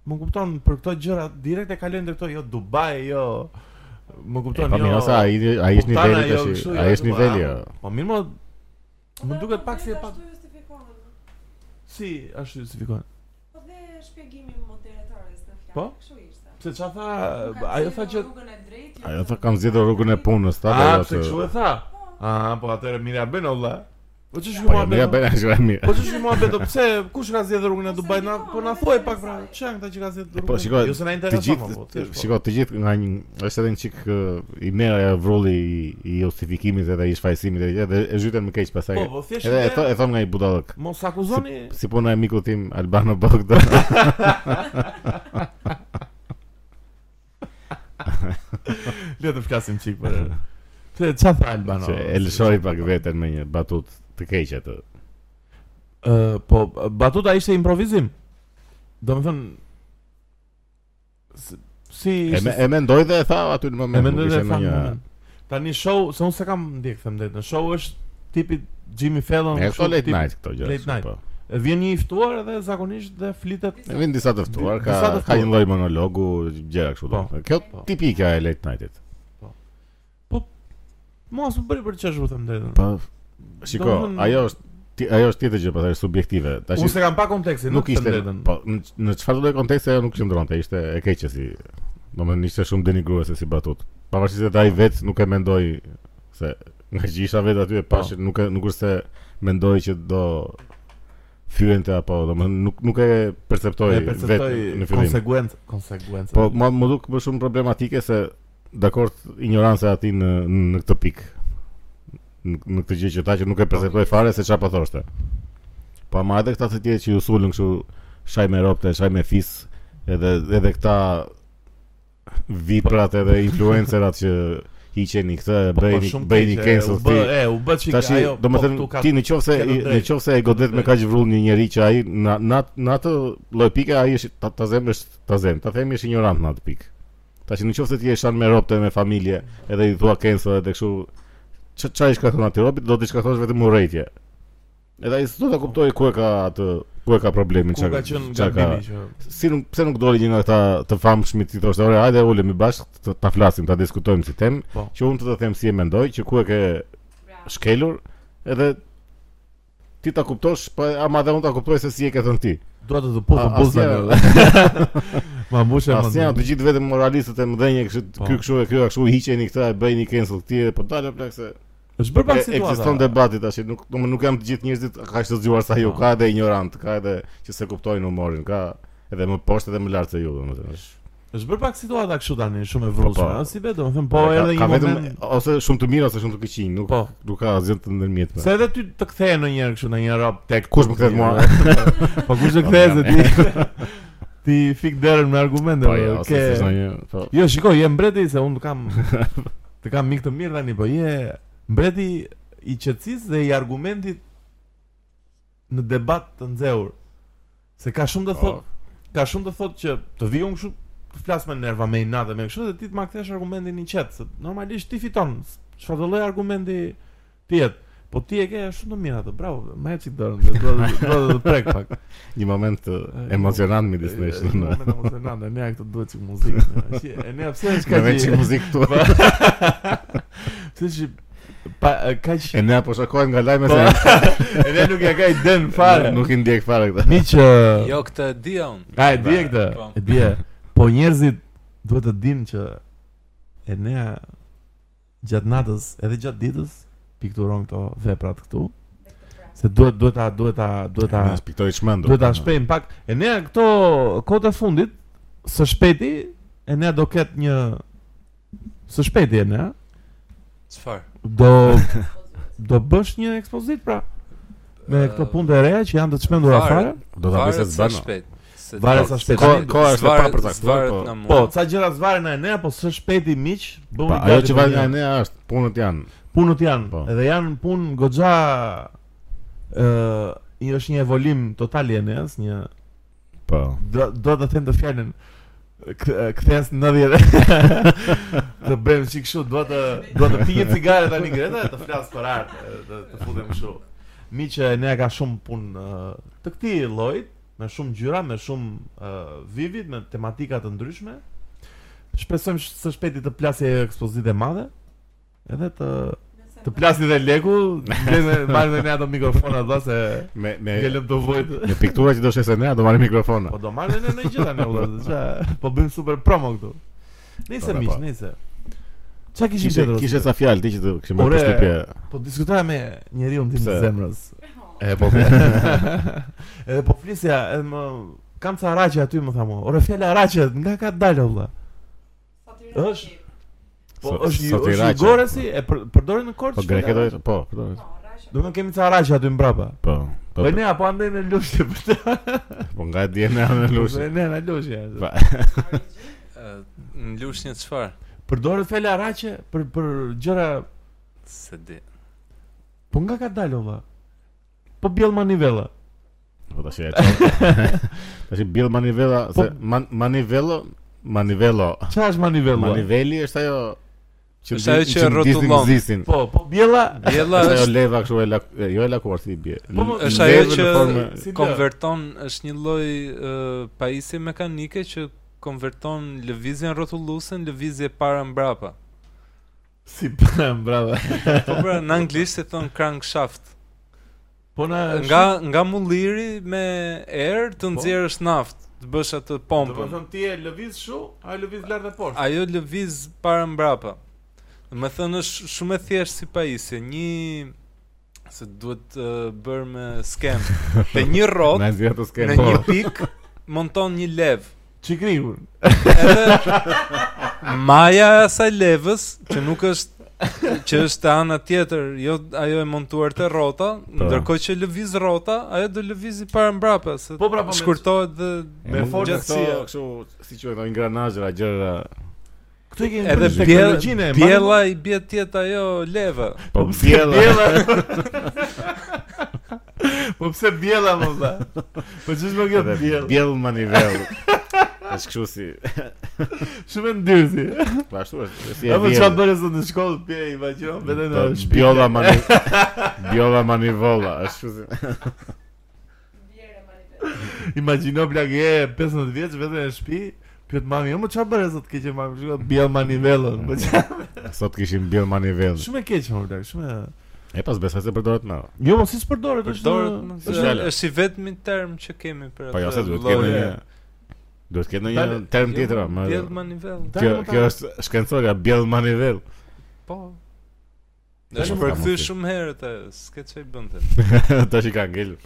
[SPEAKER 1] më kupton për këto gjëra direkt e kalojnë te këto jo Dubai, jo më
[SPEAKER 2] E,
[SPEAKER 1] kupton
[SPEAKER 2] Po
[SPEAKER 1] jo.
[SPEAKER 2] mirë, ose ai ai është
[SPEAKER 1] Montana,
[SPEAKER 2] niveli
[SPEAKER 1] jo,
[SPEAKER 2] tash.
[SPEAKER 1] kështu, jo,
[SPEAKER 2] Ai është
[SPEAKER 1] kështu, a?
[SPEAKER 2] niveli. jo.
[SPEAKER 1] Po mirë, më Më duket pak si e pak-
[SPEAKER 4] po Ashtu justifikohen.
[SPEAKER 1] si është justifikohet?
[SPEAKER 4] Po dhe shpjegimi i moderatores në fjalë,
[SPEAKER 1] Po?
[SPEAKER 4] kështu ishte.
[SPEAKER 1] Pse çfarë tha,
[SPEAKER 4] Nuk ka
[SPEAKER 1] ajo tha
[SPEAKER 4] zgjedhur
[SPEAKER 1] që
[SPEAKER 4] rrugën e drejtë. jo
[SPEAKER 2] Ajo
[SPEAKER 4] të
[SPEAKER 2] tha kam zgjedhur rrugën e punës, ta
[SPEAKER 1] A,
[SPEAKER 2] ajo
[SPEAKER 1] pse
[SPEAKER 2] se-
[SPEAKER 1] Ah, po, kështu e tha? A, po atëherë mirë ja bën olla. Po ç'është
[SPEAKER 2] Po
[SPEAKER 1] kjo
[SPEAKER 2] ja bëja
[SPEAKER 1] muhabet?
[SPEAKER 2] bëja është
[SPEAKER 1] Po
[SPEAKER 2] mirë.
[SPEAKER 1] ç'është kjo muhabet? o? Pse kush ka zgjedhur rrugën e
[SPEAKER 4] Ose
[SPEAKER 1] Dubajt? Na-
[SPEAKER 4] jo,
[SPEAKER 1] Po na
[SPEAKER 4] edhe
[SPEAKER 1] thuaj
[SPEAKER 4] e
[SPEAKER 1] pak pra,
[SPEAKER 4] saj.
[SPEAKER 1] ç'ka janë këta që ka zgjedhur
[SPEAKER 2] Po,
[SPEAKER 1] rrugën?
[SPEAKER 2] shiko,
[SPEAKER 1] jo se na
[SPEAKER 2] Të
[SPEAKER 1] intereson. po,
[SPEAKER 2] gjithë,
[SPEAKER 1] thjesht, po.
[SPEAKER 2] shiko, të gjithë nga një, është edhe një çik ë, i merr ajo vrolli i, i justifikimit edhe i shfaqësimit edhe gjë, dhe e zhytën më keq pastaj.
[SPEAKER 1] Po, po thjesht
[SPEAKER 2] Edhe e
[SPEAKER 1] ide-
[SPEAKER 2] thon e thon nga i budallëk.
[SPEAKER 1] mos akuzoni.
[SPEAKER 2] Si po puna e mikut tim Albano Bogdo.
[SPEAKER 1] Le të flasim çik për. Pse çfarë tha Albano?
[SPEAKER 2] që e lëshoi pak
[SPEAKER 1] po.
[SPEAKER 2] veten me një batut të keq atë.
[SPEAKER 1] Ë, po batuta ishte improvizim. Do të thënë s- si
[SPEAKER 2] E, me, e mendoj dhe e tha aty në moment.
[SPEAKER 1] e mendoj
[SPEAKER 2] nuk
[SPEAKER 1] dhe
[SPEAKER 2] ishte
[SPEAKER 1] tha.
[SPEAKER 2] ndonjë-
[SPEAKER 1] Një... Tani show, se unë se kam ndjek them drejtën. Show është tipi Jimmy Fallon,
[SPEAKER 2] E
[SPEAKER 1] kështu
[SPEAKER 2] këto late
[SPEAKER 1] Po, tip-
[SPEAKER 2] night këto gjë.
[SPEAKER 1] late night.
[SPEAKER 2] Po.
[SPEAKER 1] E Vjen një i ftuar dhe zakonisht dhe flitet
[SPEAKER 2] E vin disa të ftuar, ka
[SPEAKER 1] Disa të
[SPEAKER 2] ka një
[SPEAKER 1] ftuar.
[SPEAKER 2] lloj monologu gjëra kështu.
[SPEAKER 1] Po,
[SPEAKER 2] do. Kjo
[SPEAKER 1] po.
[SPEAKER 2] tipike e late night-it.
[SPEAKER 1] mos më bëri për çeshut them drejtën.
[SPEAKER 2] Po. Shiko,
[SPEAKER 1] Domethënë-
[SPEAKER 2] ajo është ti- ajo është tjetër gjë, pastaj subjektive. Tash
[SPEAKER 1] Unë se kam pa kontekstin,
[SPEAKER 2] nuk
[SPEAKER 1] them
[SPEAKER 2] ishte
[SPEAKER 1] drejtën.
[SPEAKER 2] po në në çfarë lloj konteksti ajo nuk qëndronte, ishte e keqe si. Domethënë ishte shumë denigruese si batut. Pavarësisht se ai vet nuk e mendoi se nga që isha vet aty e pashë nuk e nuk është se mendoi që do fyente apo domethënë nuk nuk e perceptoi
[SPEAKER 1] e
[SPEAKER 2] vet
[SPEAKER 1] perceptoj
[SPEAKER 2] po, në fillim.
[SPEAKER 1] konsekuent, konsekuencë.
[SPEAKER 2] Po ma më duk më shumë problematike se dakord ignoranca e atij në në këtë pikë. Në, në këtë gjë që ta që nuk e perceptoi fare se çfarë po thoshte. Po ama edhe këta të tjerë që ju sulën kështu shaj me ropte, shaj me fis, edhe edhe këta viprat edhe influencerat që hiqeni këtë,
[SPEAKER 1] Po, po,
[SPEAKER 2] bëjeni
[SPEAKER 1] shumë
[SPEAKER 2] bëjeni
[SPEAKER 1] keq, e,
[SPEAKER 2] cancel
[SPEAKER 1] u bë,
[SPEAKER 2] ti.
[SPEAKER 1] E, u bë çik
[SPEAKER 2] Tash,
[SPEAKER 1] ajo.
[SPEAKER 2] do
[SPEAKER 1] po,
[SPEAKER 2] më thënë,
[SPEAKER 1] tu ka-
[SPEAKER 2] ti në qofë se,
[SPEAKER 1] ke të
[SPEAKER 2] në
[SPEAKER 1] drejtë.
[SPEAKER 2] qofë se e godet me ka që vrull një njeri që aji, në atë loj pika, aji është, ta, ta zemë është, ta zemë, ta themi është ignorant në atë pikë. Ta që në qofë se ti e shanë me ropte, me familje, edhe i thua cancel edhe këshu, që qa i shkathon atë ropit, do t'i shkathosh vetëm u rejtje. Edhe aji së do të kuptoj ku e ka atë, ku e ka problemin,
[SPEAKER 1] ku
[SPEAKER 2] qa
[SPEAKER 1] ka qenë
[SPEAKER 2] qa
[SPEAKER 1] gabimi që
[SPEAKER 2] si nuk pse nuk doli një nga këta të famshmit si thoshte, "Ore, hajde ulemi bashkë, të- ta flasim, ta diskutojmë si temë,
[SPEAKER 1] Po.
[SPEAKER 2] që unë të të them si e mendoj, që ku e ke
[SPEAKER 4] Bravo.
[SPEAKER 2] shkelur edhe ti ta kuptosh, po ama edhe unë ta kuptoj se si e ke thënë ti.
[SPEAKER 1] dua të të puthë
[SPEAKER 2] A-
[SPEAKER 1] buzën.
[SPEAKER 2] asnjëherë-
[SPEAKER 1] Ma mbushë më.
[SPEAKER 2] Asnjë të gjithë vetëm moralistët e mëdhenjë kështu
[SPEAKER 1] Po.
[SPEAKER 2] ky kështu e ky kështu hiqeni këtë e bëjni cancel këtij, po dalë plak se
[SPEAKER 1] Është bërë pak
[SPEAKER 2] e-
[SPEAKER 1] situata.
[SPEAKER 2] ekziston debati tash, nuk do më nuk jam të gjithë njerëzit kaq të zgjuar sa ju,
[SPEAKER 1] Po.
[SPEAKER 2] ka edhe ignorant, ka edhe që se kuptojnë humorin, ka edhe më poshtë edhe më lart se ju, domethënë. është-
[SPEAKER 1] Është bërë pak situata kështu tani, shumë e
[SPEAKER 2] Po,
[SPEAKER 1] vrullshme.
[SPEAKER 2] po.
[SPEAKER 1] ëh, Si vetë, domethënë po
[SPEAKER 2] Ka-
[SPEAKER 1] edhe
[SPEAKER 2] ka
[SPEAKER 1] një
[SPEAKER 2] vetëm
[SPEAKER 1] moment.
[SPEAKER 2] ose shumë të mirë ose shumë të këqij, nuk
[SPEAKER 1] Po.
[SPEAKER 2] nuk ka asgjë të ndërmjetme.
[SPEAKER 1] Se edhe ty të kthehen në njëherë kështu në një rap tek
[SPEAKER 2] Po. Kush më kthehet mua?
[SPEAKER 1] Po kush të kthehet se ti? Ti fik derën me argumente.
[SPEAKER 2] Po
[SPEAKER 1] bro,
[SPEAKER 2] jo,
[SPEAKER 1] ke-
[SPEAKER 2] se s'është ndonjë, po.
[SPEAKER 1] Jo, shikoj, je mbreti se unë kam të kam mik të mirë tani, po je mbreti i qetësisë dhe i argumentit në debat të nxehur. Se ka shumë të thotë, ka shumë të thotë që të vi unë kështu të flas me nerva me inat dhe me kështu dhe ti të ma kthesh argumentin i qetë, se normalisht ti fiton. s- Çfarë do lloj argumenti ti jetë. Po ti e ke shumë të mirë atë, bravo, më e çik dorën, do do do të prek pak.
[SPEAKER 2] Një moment uh, emocionant midis nesh.
[SPEAKER 1] Në Eh,
[SPEAKER 2] në-
[SPEAKER 1] moment emocionant, ne këtë duhet çik muzikë. ne, si- E ne pse është
[SPEAKER 2] Në
[SPEAKER 1] kaq?
[SPEAKER 2] veç
[SPEAKER 1] i-
[SPEAKER 2] që muzikë
[SPEAKER 1] Po.
[SPEAKER 2] këtu.
[SPEAKER 1] Se që pa kaq
[SPEAKER 2] E ne po shokohem nga lajme se
[SPEAKER 1] edhe nuk ja ka i den fare.
[SPEAKER 2] nuk i ndjek fare këtë.
[SPEAKER 1] Miq, ë,
[SPEAKER 3] Jo, këtë e dia unë.
[SPEAKER 1] a e di e këtë?
[SPEAKER 3] Po.
[SPEAKER 1] E di. e. Po njerëzit duhet të dinë që Enea gjatë natës edhe gjatë ditës pikturon këto veprat këtu,
[SPEAKER 4] Dhe këtë prapë.
[SPEAKER 1] se duhet duhet ta duhet ta duhet ta
[SPEAKER 2] Ne spiktoj çmendur.
[SPEAKER 1] duhet ta shpejm pak. Enea këto kohët e fundit së shpejti Enea do ketë një së shpejti Enea
[SPEAKER 3] Çfarë?
[SPEAKER 1] do do bësh një ekspozit pra me këto punë të reja që janë të çmendura fare.
[SPEAKER 2] Do ta bëj se zbano.
[SPEAKER 3] Shpejt. Se
[SPEAKER 1] Varet
[SPEAKER 3] do-
[SPEAKER 1] sa shpejt.
[SPEAKER 3] Tani
[SPEAKER 2] Koha është e
[SPEAKER 3] zvaret-
[SPEAKER 2] papërcaktuar,
[SPEAKER 3] zvaret
[SPEAKER 2] po-
[SPEAKER 3] nga mua.
[SPEAKER 1] Po, ca gjëra zvaren nga ne, po së shpejti miq, bëu
[SPEAKER 2] Pa, ajo që vjen nga ne është punët janë.
[SPEAKER 1] punët janë,
[SPEAKER 2] Po.
[SPEAKER 1] edhe janë punë goxha ë i është një evolim total i Enes, një
[SPEAKER 2] Po.
[SPEAKER 1] do do të them të fjalën k- kthens në 90. të bëjmë çik kështu, do të do të pi një cigare tani Greta e të flas për art, e, të, të futem kështu. Miqë ne ka shumë punë ë, të këtij lloji, me shumë gjyra, me shumë uh, vivid, me tematika të ndryshme. Shpresojmë sh- së shpejti të plasë e ekspozitë e madhe. Edhe të
[SPEAKER 4] Nëse
[SPEAKER 1] të
[SPEAKER 4] do-
[SPEAKER 1] plasë dhe leku, dhe me marrim ne ato mikrofona do se
[SPEAKER 2] Me me
[SPEAKER 1] ngelëm të vojtë.
[SPEAKER 2] me piktura që do shesë ne, do marrim mikrofona.
[SPEAKER 1] Po do marrë ne në gjitha ne vëllazë, ç'a? Po bëjmë super promo këtu. Nice
[SPEAKER 2] Po, po,
[SPEAKER 1] miq,
[SPEAKER 2] po.
[SPEAKER 1] nice. Çka kishin
[SPEAKER 2] Kishe
[SPEAKER 1] tjetër?
[SPEAKER 2] kishe
[SPEAKER 1] ose?
[SPEAKER 2] sa fjalë ti që të kishe marrë
[SPEAKER 1] Ore.
[SPEAKER 2] përshtypje.
[SPEAKER 1] Po diskutoja me njeriu tim të
[SPEAKER 2] Pse?
[SPEAKER 1] zemrës.
[SPEAKER 4] Oh,
[SPEAKER 1] E po. edhe po flisja, edhe më kam ca araqe aty më tha mua. Ore fjala araqe, nga ka dalë valla?
[SPEAKER 4] sa të
[SPEAKER 1] Është-
[SPEAKER 4] rrëqi.
[SPEAKER 1] Po
[SPEAKER 2] Sa-
[SPEAKER 1] është
[SPEAKER 2] sa
[SPEAKER 1] ju,
[SPEAKER 2] të
[SPEAKER 1] është
[SPEAKER 2] iraqe.
[SPEAKER 1] jugore si e për, përdorin në Korçë.
[SPEAKER 2] Po greke do
[SPEAKER 1] do.
[SPEAKER 2] po, përdoret.
[SPEAKER 4] Po, rraqe.
[SPEAKER 1] Do të kemi ca araqe aty mbrapa.
[SPEAKER 2] po. Po,
[SPEAKER 1] Po ne apo andej në lushje për të.
[SPEAKER 2] po nga diena në
[SPEAKER 1] Po
[SPEAKER 2] lushë.
[SPEAKER 1] Ne në lushje.
[SPEAKER 2] Po.
[SPEAKER 4] Origji.
[SPEAKER 3] Në lush një çfarë?
[SPEAKER 1] Përdoret fjala araqe për për gjëra,
[SPEAKER 3] Se di.
[SPEAKER 1] po nga ka dalë valla? Po bjell manivella.
[SPEAKER 2] Po tash e çon. Tash Bill Manivella,
[SPEAKER 1] Po-
[SPEAKER 2] se man, Manivello, Manivello.
[SPEAKER 1] Çfarë është manivella?
[SPEAKER 2] Maniveli është ajo që
[SPEAKER 3] Është ajo
[SPEAKER 2] ndi-
[SPEAKER 3] që
[SPEAKER 2] ndizin
[SPEAKER 3] rrotullon.
[SPEAKER 2] gzizin.
[SPEAKER 1] Po, po bjella
[SPEAKER 3] Bjella
[SPEAKER 2] Është ajo
[SPEAKER 3] është
[SPEAKER 2] leva kështu e lak, e, jo e lakuar si bie.
[SPEAKER 1] Po, mo-
[SPEAKER 3] është ajo
[SPEAKER 2] Leve në
[SPEAKER 3] që-
[SPEAKER 2] formë-
[SPEAKER 1] si lë.
[SPEAKER 3] konverton është një lloj uh, pajisje mekanike që konverton lëvizjen rrotulluese në lëvizje para mbrapa.
[SPEAKER 1] si bravo.
[SPEAKER 3] Po pra në anglisht se thon crankshaft.
[SPEAKER 1] Po na
[SPEAKER 3] Nga nga mulliri me erë
[SPEAKER 1] Po.
[SPEAKER 3] të nxjerrësh naftë, të bësh atë
[SPEAKER 1] Do të
[SPEAKER 3] pompën.
[SPEAKER 1] thonë ti e lëviz shu, a e lëviz lart e poshtë.
[SPEAKER 3] Ajo lëviz para mbrapa. Do të thënë është shumë e thjeshtë si pajisje, një se duhet të bërë me skem. Te një rrot,
[SPEAKER 2] Na zgjat të po. skenë.
[SPEAKER 3] në një pik monton një lev.
[SPEAKER 1] Çikriun.
[SPEAKER 3] Edhe maja e asaj levës që nuk është që është ana tjetër, jo ajo e montuar te rrota,
[SPEAKER 1] Po.
[SPEAKER 3] ndërkohë që lëviz rrota, ajo do lëvizi para mbrapa, se
[SPEAKER 1] Po, pra, po, me-
[SPEAKER 3] shkurtohet dhe
[SPEAKER 1] me forcë
[SPEAKER 3] gjithë
[SPEAKER 2] këto
[SPEAKER 1] kësia.
[SPEAKER 2] kështu Po, si quhen ato ingranazhra gjëra.
[SPEAKER 1] Këtu i kemi
[SPEAKER 3] Edhe
[SPEAKER 1] bërë
[SPEAKER 3] bjell,
[SPEAKER 1] teknologjinë e
[SPEAKER 3] bjella i bie tjetë ajo leva.
[SPEAKER 2] Po
[SPEAKER 1] Po pse
[SPEAKER 2] bjella.
[SPEAKER 1] bjella? po pse bjella më vlla? Po ç'është më kjo
[SPEAKER 2] Edhe
[SPEAKER 1] bjella?
[SPEAKER 2] Bjell Manivel. Është kështu si,
[SPEAKER 1] Shumë e ndyrsi.
[SPEAKER 2] po ashtu është. Si e
[SPEAKER 1] Apo
[SPEAKER 2] vjen.
[SPEAKER 1] çfarë bëre sot në shkollë bie i vaqjo vetëm në
[SPEAKER 2] Po,
[SPEAKER 1] shtëpi.
[SPEAKER 2] Bjolla mani Bjolla manivolla, është kështu si.
[SPEAKER 4] Vjere, Maribel.
[SPEAKER 1] Imagjino plak je 15 vjeç vetëm në shtëpi. Pyet mami, "Jo, më çfarë bëre sot keq e mami?" Shiko, bjell manivellën. Po çfarë?
[SPEAKER 2] Sot kishim bjell manivell.
[SPEAKER 1] Shumë e keq më plak, shumë e
[SPEAKER 2] E pas besoj se përdoret më.
[SPEAKER 1] Jo, mos si s'përdoret, është
[SPEAKER 3] Përdoret
[SPEAKER 1] në-
[SPEAKER 3] se
[SPEAKER 2] fjala.
[SPEAKER 3] është i vetmi term që kemi për
[SPEAKER 2] Po jo se duhet të
[SPEAKER 1] lloje.
[SPEAKER 2] ketë një duhet të ketë një
[SPEAKER 1] Tani-
[SPEAKER 2] term tjetër, më.
[SPEAKER 3] Bjell Jo, manivel.
[SPEAKER 1] Tani
[SPEAKER 2] Kjo
[SPEAKER 1] mund ta-
[SPEAKER 2] kjo është shkencore ka bjell manivell.
[SPEAKER 3] Po.
[SPEAKER 2] Tani
[SPEAKER 3] Është
[SPEAKER 2] mund ta
[SPEAKER 3] përkthy
[SPEAKER 2] mos-
[SPEAKER 3] shumë herë të, s'ke çaj bënte.
[SPEAKER 2] Tash i ka ngel.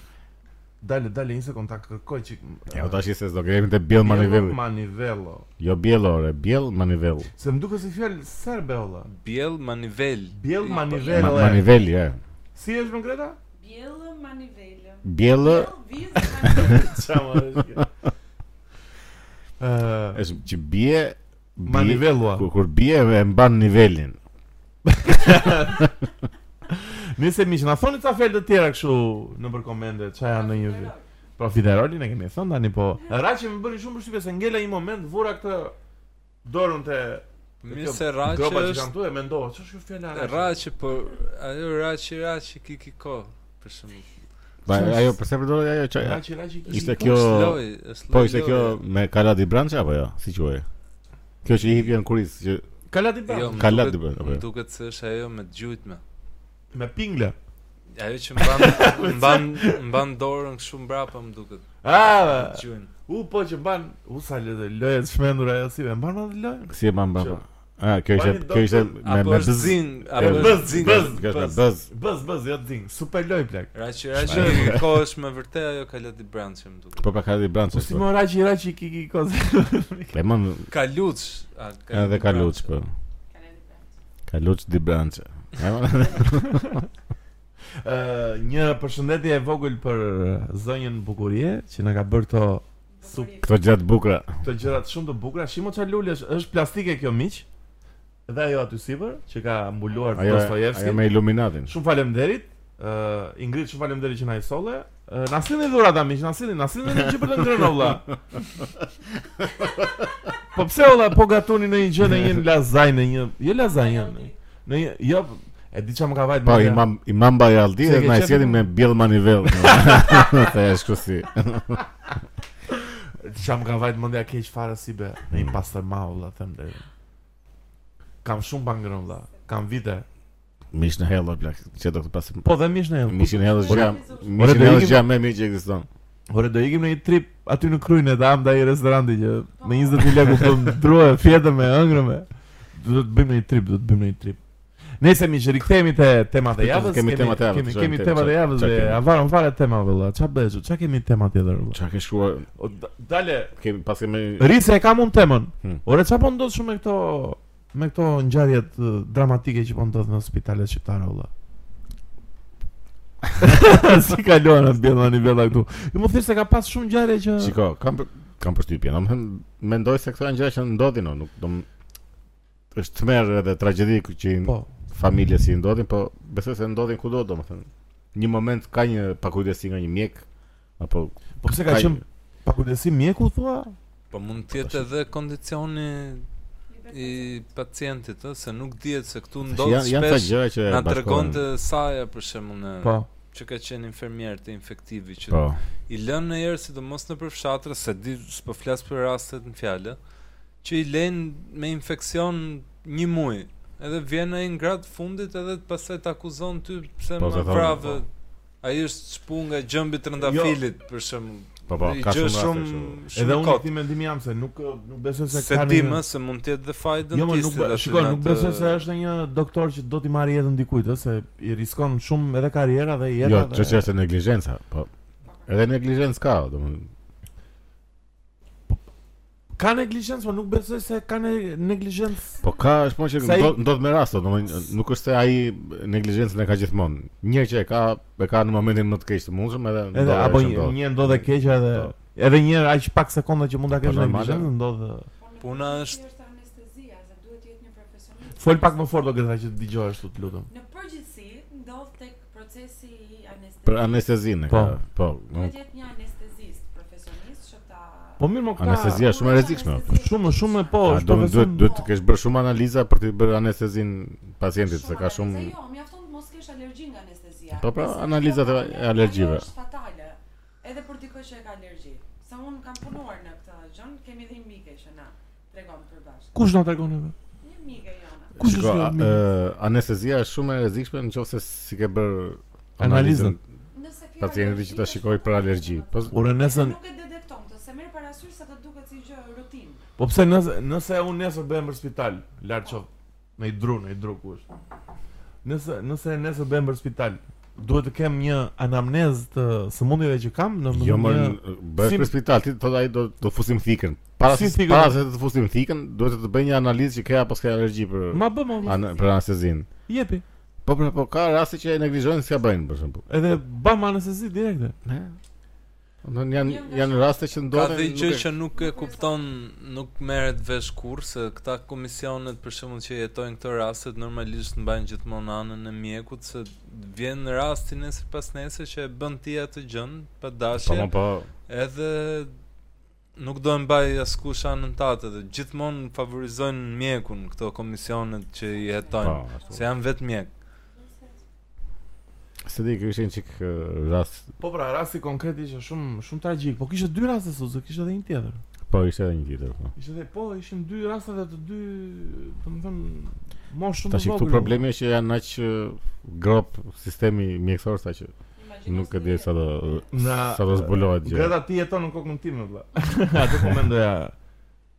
[SPEAKER 1] Dale, dale, një sekond ta kërkoj çik.
[SPEAKER 2] Jo tash i se do kemi te bjell manivell.
[SPEAKER 1] Manivello.
[SPEAKER 2] Jo bjellore, bjell manivell.
[SPEAKER 1] Se më duket si fjalë serbe olla.
[SPEAKER 3] Bjell manivel.
[SPEAKER 1] Bjell
[SPEAKER 3] I-
[SPEAKER 1] manivel.
[SPEAKER 2] Ma-
[SPEAKER 1] Bjellore.
[SPEAKER 2] Manivell, ja.
[SPEAKER 1] Si është më Greta?
[SPEAKER 4] Bjellë manivele.
[SPEAKER 2] Bjellë
[SPEAKER 4] Bjellë, vizë manivele.
[SPEAKER 1] Çama është kjo? Ë,
[SPEAKER 2] është që bie bie-
[SPEAKER 1] manivellua.
[SPEAKER 2] Kur, kur bie e mban nivelin.
[SPEAKER 1] Nëse miq, na thoni ca fjalë të tjera kështu nëpër komente, çka janë në një vi. Profiterolin e kemi thënë tani po. Raqi më bëri shumë përshtypje se ngela një moment vura këtë dorën te
[SPEAKER 3] Mirë se raqë
[SPEAKER 1] gropa që
[SPEAKER 3] është
[SPEAKER 1] kanë këtu e mendova, ç'është kjo fjala raqe?
[SPEAKER 3] Raqe, po ajo raqe raqe kiki ko për shembull.
[SPEAKER 2] Pa, ajo pse përdor ajo çaj?
[SPEAKER 1] Raqi, raqi. ki-
[SPEAKER 2] Ishte
[SPEAKER 1] ki-
[SPEAKER 2] kjo
[SPEAKER 3] Është loj, është
[SPEAKER 2] Po
[SPEAKER 3] loj
[SPEAKER 2] ishte
[SPEAKER 3] loje.
[SPEAKER 2] kjo me Kaladi Branch apo jo? Si quhej? Kjo që i hipjen kuris që
[SPEAKER 1] Kalati
[SPEAKER 3] Jo,
[SPEAKER 1] bra.
[SPEAKER 3] më
[SPEAKER 2] Kalat
[SPEAKER 3] duket-
[SPEAKER 2] di bën, apo
[SPEAKER 3] Më
[SPEAKER 2] jo?
[SPEAKER 3] duket se është ajo me të gjujtme.
[SPEAKER 1] Me pingle.
[SPEAKER 3] Ajo që mban mban mban dorën kështu mbrapa më duket.
[SPEAKER 1] Ah,
[SPEAKER 3] Gjujnë.
[SPEAKER 1] u po që ban, u sa le- loje të shmendur ajo si, e mban atë loje.
[SPEAKER 2] si e mban
[SPEAKER 1] Që-
[SPEAKER 2] brapa. Ah, kjo ishte
[SPEAKER 1] Bani
[SPEAKER 2] kjo ishte
[SPEAKER 1] doktor,
[SPEAKER 2] me
[SPEAKER 3] Apo
[SPEAKER 2] me
[SPEAKER 3] është
[SPEAKER 2] bz.
[SPEAKER 3] zin, apo
[SPEAKER 2] Kjo-
[SPEAKER 1] Bëz,
[SPEAKER 3] është zin.
[SPEAKER 1] bëz,
[SPEAKER 2] Kjo është me
[SPEAKER 1] bëz.
[SPEAKER 2] bz.
[SPEAKER 1] Bës, bës, jo ding, super loj plak.
[SPEAKER 3] Raqe raqe kiki ko është me vërtet ajo kalati branche më duket.
[SPEAKER 2] Po pra Kaladi Branch.
[SPEAKER 1] Po si më raqi, raqi, kiki, koz.
[SPEAKER 2] E mban
[SPEAKER 3] Kaluç. a,
[SPEAKER 2] edhe
[SPEAKER 3] Branche.
[SPEAKER 2] Kaluç po. Kaluç di Branch. E mban-
[SPEAKER 1] Ë, një përshëndetje e vogël për zonjën Bukurie që na ka bërë këto
[SPEAKER 2] Këto gjatë bukura.
[SPEAKER 1] këto gjërat shumë të bukura. Shimo ça lulesh, është plastike kjo miq. Dhe ajo aty sipër që ka mbuluar
[SPEAKER 2] Ajo ajo me
[SPEAKER 1] Dostojevskin.
[SPEAKER 2] Illuminatin.
[SPEAKER 1] Shumë faleminderit. Ë, Ingrid, shumë faleminderit që na i solle. Ë, na sillni dhurata miq, na sillni, na sillni një gjë për të ngrënë olla. Po pse olla po gatuni në një gjë në një lazanjë, në një, jo lazanjë, në- në një, jo, e di çka më ka vajt.
[SPEAKER 2] Po
[SPEAKER 1] mendja.
[SPEAKER 2] imam imam Bajaldi
[SPEAKER 1] Se
[SPEAKER 2] dhe
[SPEAKER 1] ke
[SPEAKER 2] na i
[SPEAKER 1] qef-
[SPEAKER 2] sjellim me Bill Manivel. Sa është kështu si.
[SPEAKER 1] Qa më ka vajtë mëndja keq fare si be Në i pastër ma vëlla, them dhe Kam shumë pangërën vëlla, Kam vite
[SPEAKER 2] Mish në hellë plak. Çe do të pas.
[SPEAKER 1] Po dhe mish në jelë
[SPEAKER 2] Mishin hellë është gjam.
[SPEAKER 1] Ore,
[SPEAKER 2] Mishin
[SPEAKER 1] do
[SPEAKER 2] hellë
[SPEAKER 1] ikim-
[SPEAKER 2] është gjam më mirë që ekziston.
[SPEAKER 1] Ore do ikim në një trip aty në krujnë Edhe am da i restoranti që Me 20 mila ku po ndruhe fjete me ëngrë me do të bëjmë një trip, do të bëjmë një trip. Nëse mi që rikthehemi te temat e javës,
[SPEAKER 2] Kemi temat e javës,
[SPEAKER 1] kemi
[SPEAKER 2] çfarë
[SPEAKER 1] kemi
[SPEAKER 2] kemi,
[SPEAKER 1] temat e
[SPEAKER 2] çfarë-
[SPEAKER 1] javës
[SPEAKER 2] çfarë
[SPEAKER 1] dhe
[SPEAKER 2] kemi?
[SPEAKER 1] avaron fare tema vëlla. Ç'a bëhesh? Ç'a kemi tema tjetër vëlla?
[SPEAKER 2] Çka ke shkruar?
[SPEAKER 1] O, da- Dale,
[SPEAKER 2] Kemi pas kemi
[SPEAKER 1] Rice e kam unë temën.
[SPEAKER 2] Hmm.
[SPEAKER 1] Ore çfarë po ndodh shumë me këto me këto ngjarjet eh, dramatike që po ndodhin në spitalet shqiptare valla. si kalon atë bjella një bjella këtu Ju më thjesht se ka pas shumë ngjarje që
[SPEAKER 2] Shiko, kam për, kam përshtypjen. Domethënë mendoj se këto janë gjëra që ndodhin, o, nuk dom është tmerr edhe tragjedi ku që
[SPEAKER 1] Po,
[SPEAKER 2] familje si i ndodhin, po besoj se ndodhin kudo domethënë. Një moment ka një pakujdesi nga një mjek apo
[SPEAKER 1] po pse ka
[SPEAKER 2] Ka-
[SPEAKER 1] qenë pa kujdesi mjeku thua?
[SPEAKER 3] Po mund të jetë edhe kondicioni i pacientit, ë, se nuk dihet se këtu ndodh
[SPEAKER 2] janë janë ca
[SPEAKER 3] shpesh.
[SPEAKER 2] gjëra që
[SPEAKER 3] Na
[SPEAKER 2] bashkohen.
[SPEAKER 3] tregon të saja për shembull në
[SPEAKER 1] Po,
[SPEAKER 3] që ka qenë infermier të infektivi që
[SPEAKER 2] Po.
[SPEAKER 3] i lën në herë sidomos në përfshatrë se di s'po flas për rastet në fjalë që i lënë me infeksion një muaj edhe vjen ai në grad fundit edhe pastaj të akuzon ty pse
[SPEAKER 2] Po,
[SPEAKER 3] më
[SPEAKER 2] se thonë,
[SPEAKER 3] vrave
[SPEAKER 2] po.
[SPEAKER 3] ai është shpu nga gjëmbi
[SPEAKER 1] Jo.
[SPEAKER 3] trëndafilit për shembull
[SPEAKER 2] Po po,
[SPEAKER 3] I
[SPEAKER 2] ka
[SPEAKER 3] gjë
[SPEAKER 2] shumë
[SPEAKER 3] shumë
[SPEAKER 2] raste.
[SPEAKER 3] shumë
[SPEAKER 1] edhe unë
[SPEAKER 3] kot.
[SPEAKER 1] ti mendim jam se nuk nuk besoj se
[SPEAKER 3] se
[SPEAKER 1] ka
[SPEAKER 3] di
[SPEAKER 1] një-
[SPEAKER 3] më se mund të jetë dhe faj
[SPEAKER 1] Jo, më nuk
[SPEAKER 3] dentistit.
[SPEAKER 1] be- shiko, nuk besoj se është një doktor që do t'i marrë jetën dikujt, ëh, se i riskon shumë edhe karriera dhe
[SPEAKER 2] kështu.
[SPEAKER 1] jeta.
[SPEAKER 2] Jo,
[SPEAKER 1] dhe-
[SPEAKER 2] ç'është është neglizhenca, po. Edhe neglizhencë ka, domethënë.
[SPEAKER 1] Ka neglizhencë, po nuk besoj se ka ne- neglizhencë.
[SPEAKER 2] Po ka, është punë që
[SPEAKER 1] Sa i-
[SPEAKER 2] ndodh ndodh me raste, domethënë nuk është se ai neglizhencën e ka gjithmonë. Një që e ka, e ka në momentin më të keq të mundshëm edhe
[SPEAKER 1] Edhe
[SPEAKER 2] ndodh,
[SPEAKER 1] apo
[SPEAKER 2] është
[SPEAKER 1] një
[SPEAKER 2] ndodh.
[SPEAKER 1] një ndodhe keq edhe edhe një aq pak sekonda që mund ta kesh
[SPEAKER 2] Po, normale.
[SPEAKER 1] neglizhencë ndodh.
[SPEAKER 3] Puna është-
[SPEAKER 4] po, është anestezia, se duhet të jetë një profesionist.
[SPEAKER 1] Fol pak më fort do gjeta që dëgjohesh tu, lutem.
[SPEAKER 4] Në përgjithësi ndodh tek procesi i anestezisë.
[SPEAKER 2] për anestezinë.
[SPEAKER 1] Po.
[SPEAKER 2] Po, po.
[SPEAKER 4] Duhet të jetë një anestezist profesionist që ta
[SPEAKER 1] Po mirë, më ka
[SPEAKER 2] Anestezia. është shumë e rrezikshme.
[SPEAKER 1] shumë shumë e po,
[SPEAKER 2] Po,
[SPEAKER 1] është
[SPEAKER 2] domethënë duhet
[SPEAKER 1] profesion-
[SPEAKER 2] duhet të kesh bërë shumë analiza për të bërë anestezinë pacientit, se ka
[SPEAKER 4] anestezi,
[SPEAKER 2] shumë
[SPEAKER 4] Jo, mjafton të mos kesh alergji nga anestezia.
[SPEAKER 2] Po, pra,
[SPEAKER 4] Nëse
[SPEAKER 2] analizat
[SPEAKER 4] kjo
[SPEAKER 2] e
[SPEAKER 4] alergji,
[SPEAKER 2] alergjive.
[SPEAKER 4] ajo Është fatale. Edhe për dikë që e ka alergji. Sa unë kam punuar në këtë gjën, kemi dhe një mike që na tregon përbashkët.
[SPEAKER 1] Kush na tregon neve?
[SPEAKER 4] Një mike jona.
[SPEAKER 1] Kush
[SPEAKER 2] Shiko,
[SPEAKER 1] është
[SPEAKER 2] a-
[SPEAKER 1] kjo?
[SPEAKER 2] ë, anestezia është shumë e rrezikshme nëse si ke bërë
[SPEAKER 1] Analizën.
[SPEAKER 4] Nëse ke
[SPEAKER 2] Pacientit
[SPEAKER 4] alergji,
[SPEAKER 2] që ta
[SPEAKER 4] është
[SPEAKER 2] shikoj për alergji. Po
[SPEAKER 1] Ure
[SPEAKER 4] Se
[SPEAKER 1] nesër,
[SPEAKER 4] nuk e detekton këtë, se merr parasysh se të duket si gjë rutinë.
[SPEAKER 1] po pse nëse nëse unë nesër bëhem për spital, lart qof, në i dru, në i dru ku është. Nëse nëse nesër bëhem për spital, duhet të kem një anamnezë të sëmundjeve që kam, në
[SPEAKER 2] Jo më
[SPEAKER 1] një-
[SPEAKER 2] bëhet
[SPEAKER 1] si-
[SPEAKER 2] për spital, ti thot ai do do fusim thikën. Para
[SPEAKER 1] Si
[SPEAKER 2] se
[SPEAKER 1] thikën?
[SPEAKER 2] para se të fusim thikën, duhet të bëj një analizë që ke apo s'ka alergji për
[SPEAKER 1] Ma bë më
[SPEAKER 2] ana, për anestezinë.
[SPEAKER 1] jepi.
[SPEAKER 2] Po po po ka raste që e neglizhojnë s'ka bëjnë për shembull.
[SPEAKER 1] Edhe bam anestezi direkte.
[SPEAKER 2] Ne. Do janë
[SPEAKER 4] Janë
[SPEAKER 2] janë raste që
[SPEAKER 3] Ka
[SPEAKER 2] ndodhen.
[SPEAKER 3] dhe
[SPEAKER 2] nuk
[SPEAKER 3] gjë
[SPEAKER 2] e-
[SPEAKER 3] që nuk e kupton, nuk merret vesh kur se këta komisionet për shembull që jetojnë këto raste normalisht mbajnë gjithmonë anën e mjekut se vjen rasti nesër pas nesër që e bën ti atë gjën pa
[SPEAKER 2] Po
[SPEAKER 3] dashje.
[SPEAKER 2] mo, po.
[SPEAKER 3] Edhe nuk do e mbaj askush anën tatë dhe gjithmonë favorizojnë mjekun këto komisionet që i
[SPEAKER 2] Po.
[SPEAKER 3] jetojnë
[SPEAKER 2] ashtu.
[SPEAKER 3] se janë vetë mjek.
[SPEAKER 2] Se di kishin çik ë, rast,
[SPEAKER 1] Po pra, rasti konkret ishte shumë shumë tragjik, po kishte dy raste Suzu, kishte edhe një tjetër.
[SPEAKER 2] po ishte edhe një tjetër. Po.
[SPEAKER 1] Ishte edhe po, ishin dy raste dhe të dy, domethënë, moshë shumë
[SPEAKER 2] Tash këtu problemi është që janë aq ë, grop sistemi mjekësor sa që
[SPEAKER 4] Imagjino
[SPEAKER 2] nuk e
[SPEAKER 4] se
[SPEAKER 2] di sa do
[SPEAKER 1] Na-
[SPEAKER 2] sa do zbulohet gjë.
[SPEAKER 1] Greta ti jeton në kokën time vëlla. Atë po mendoja.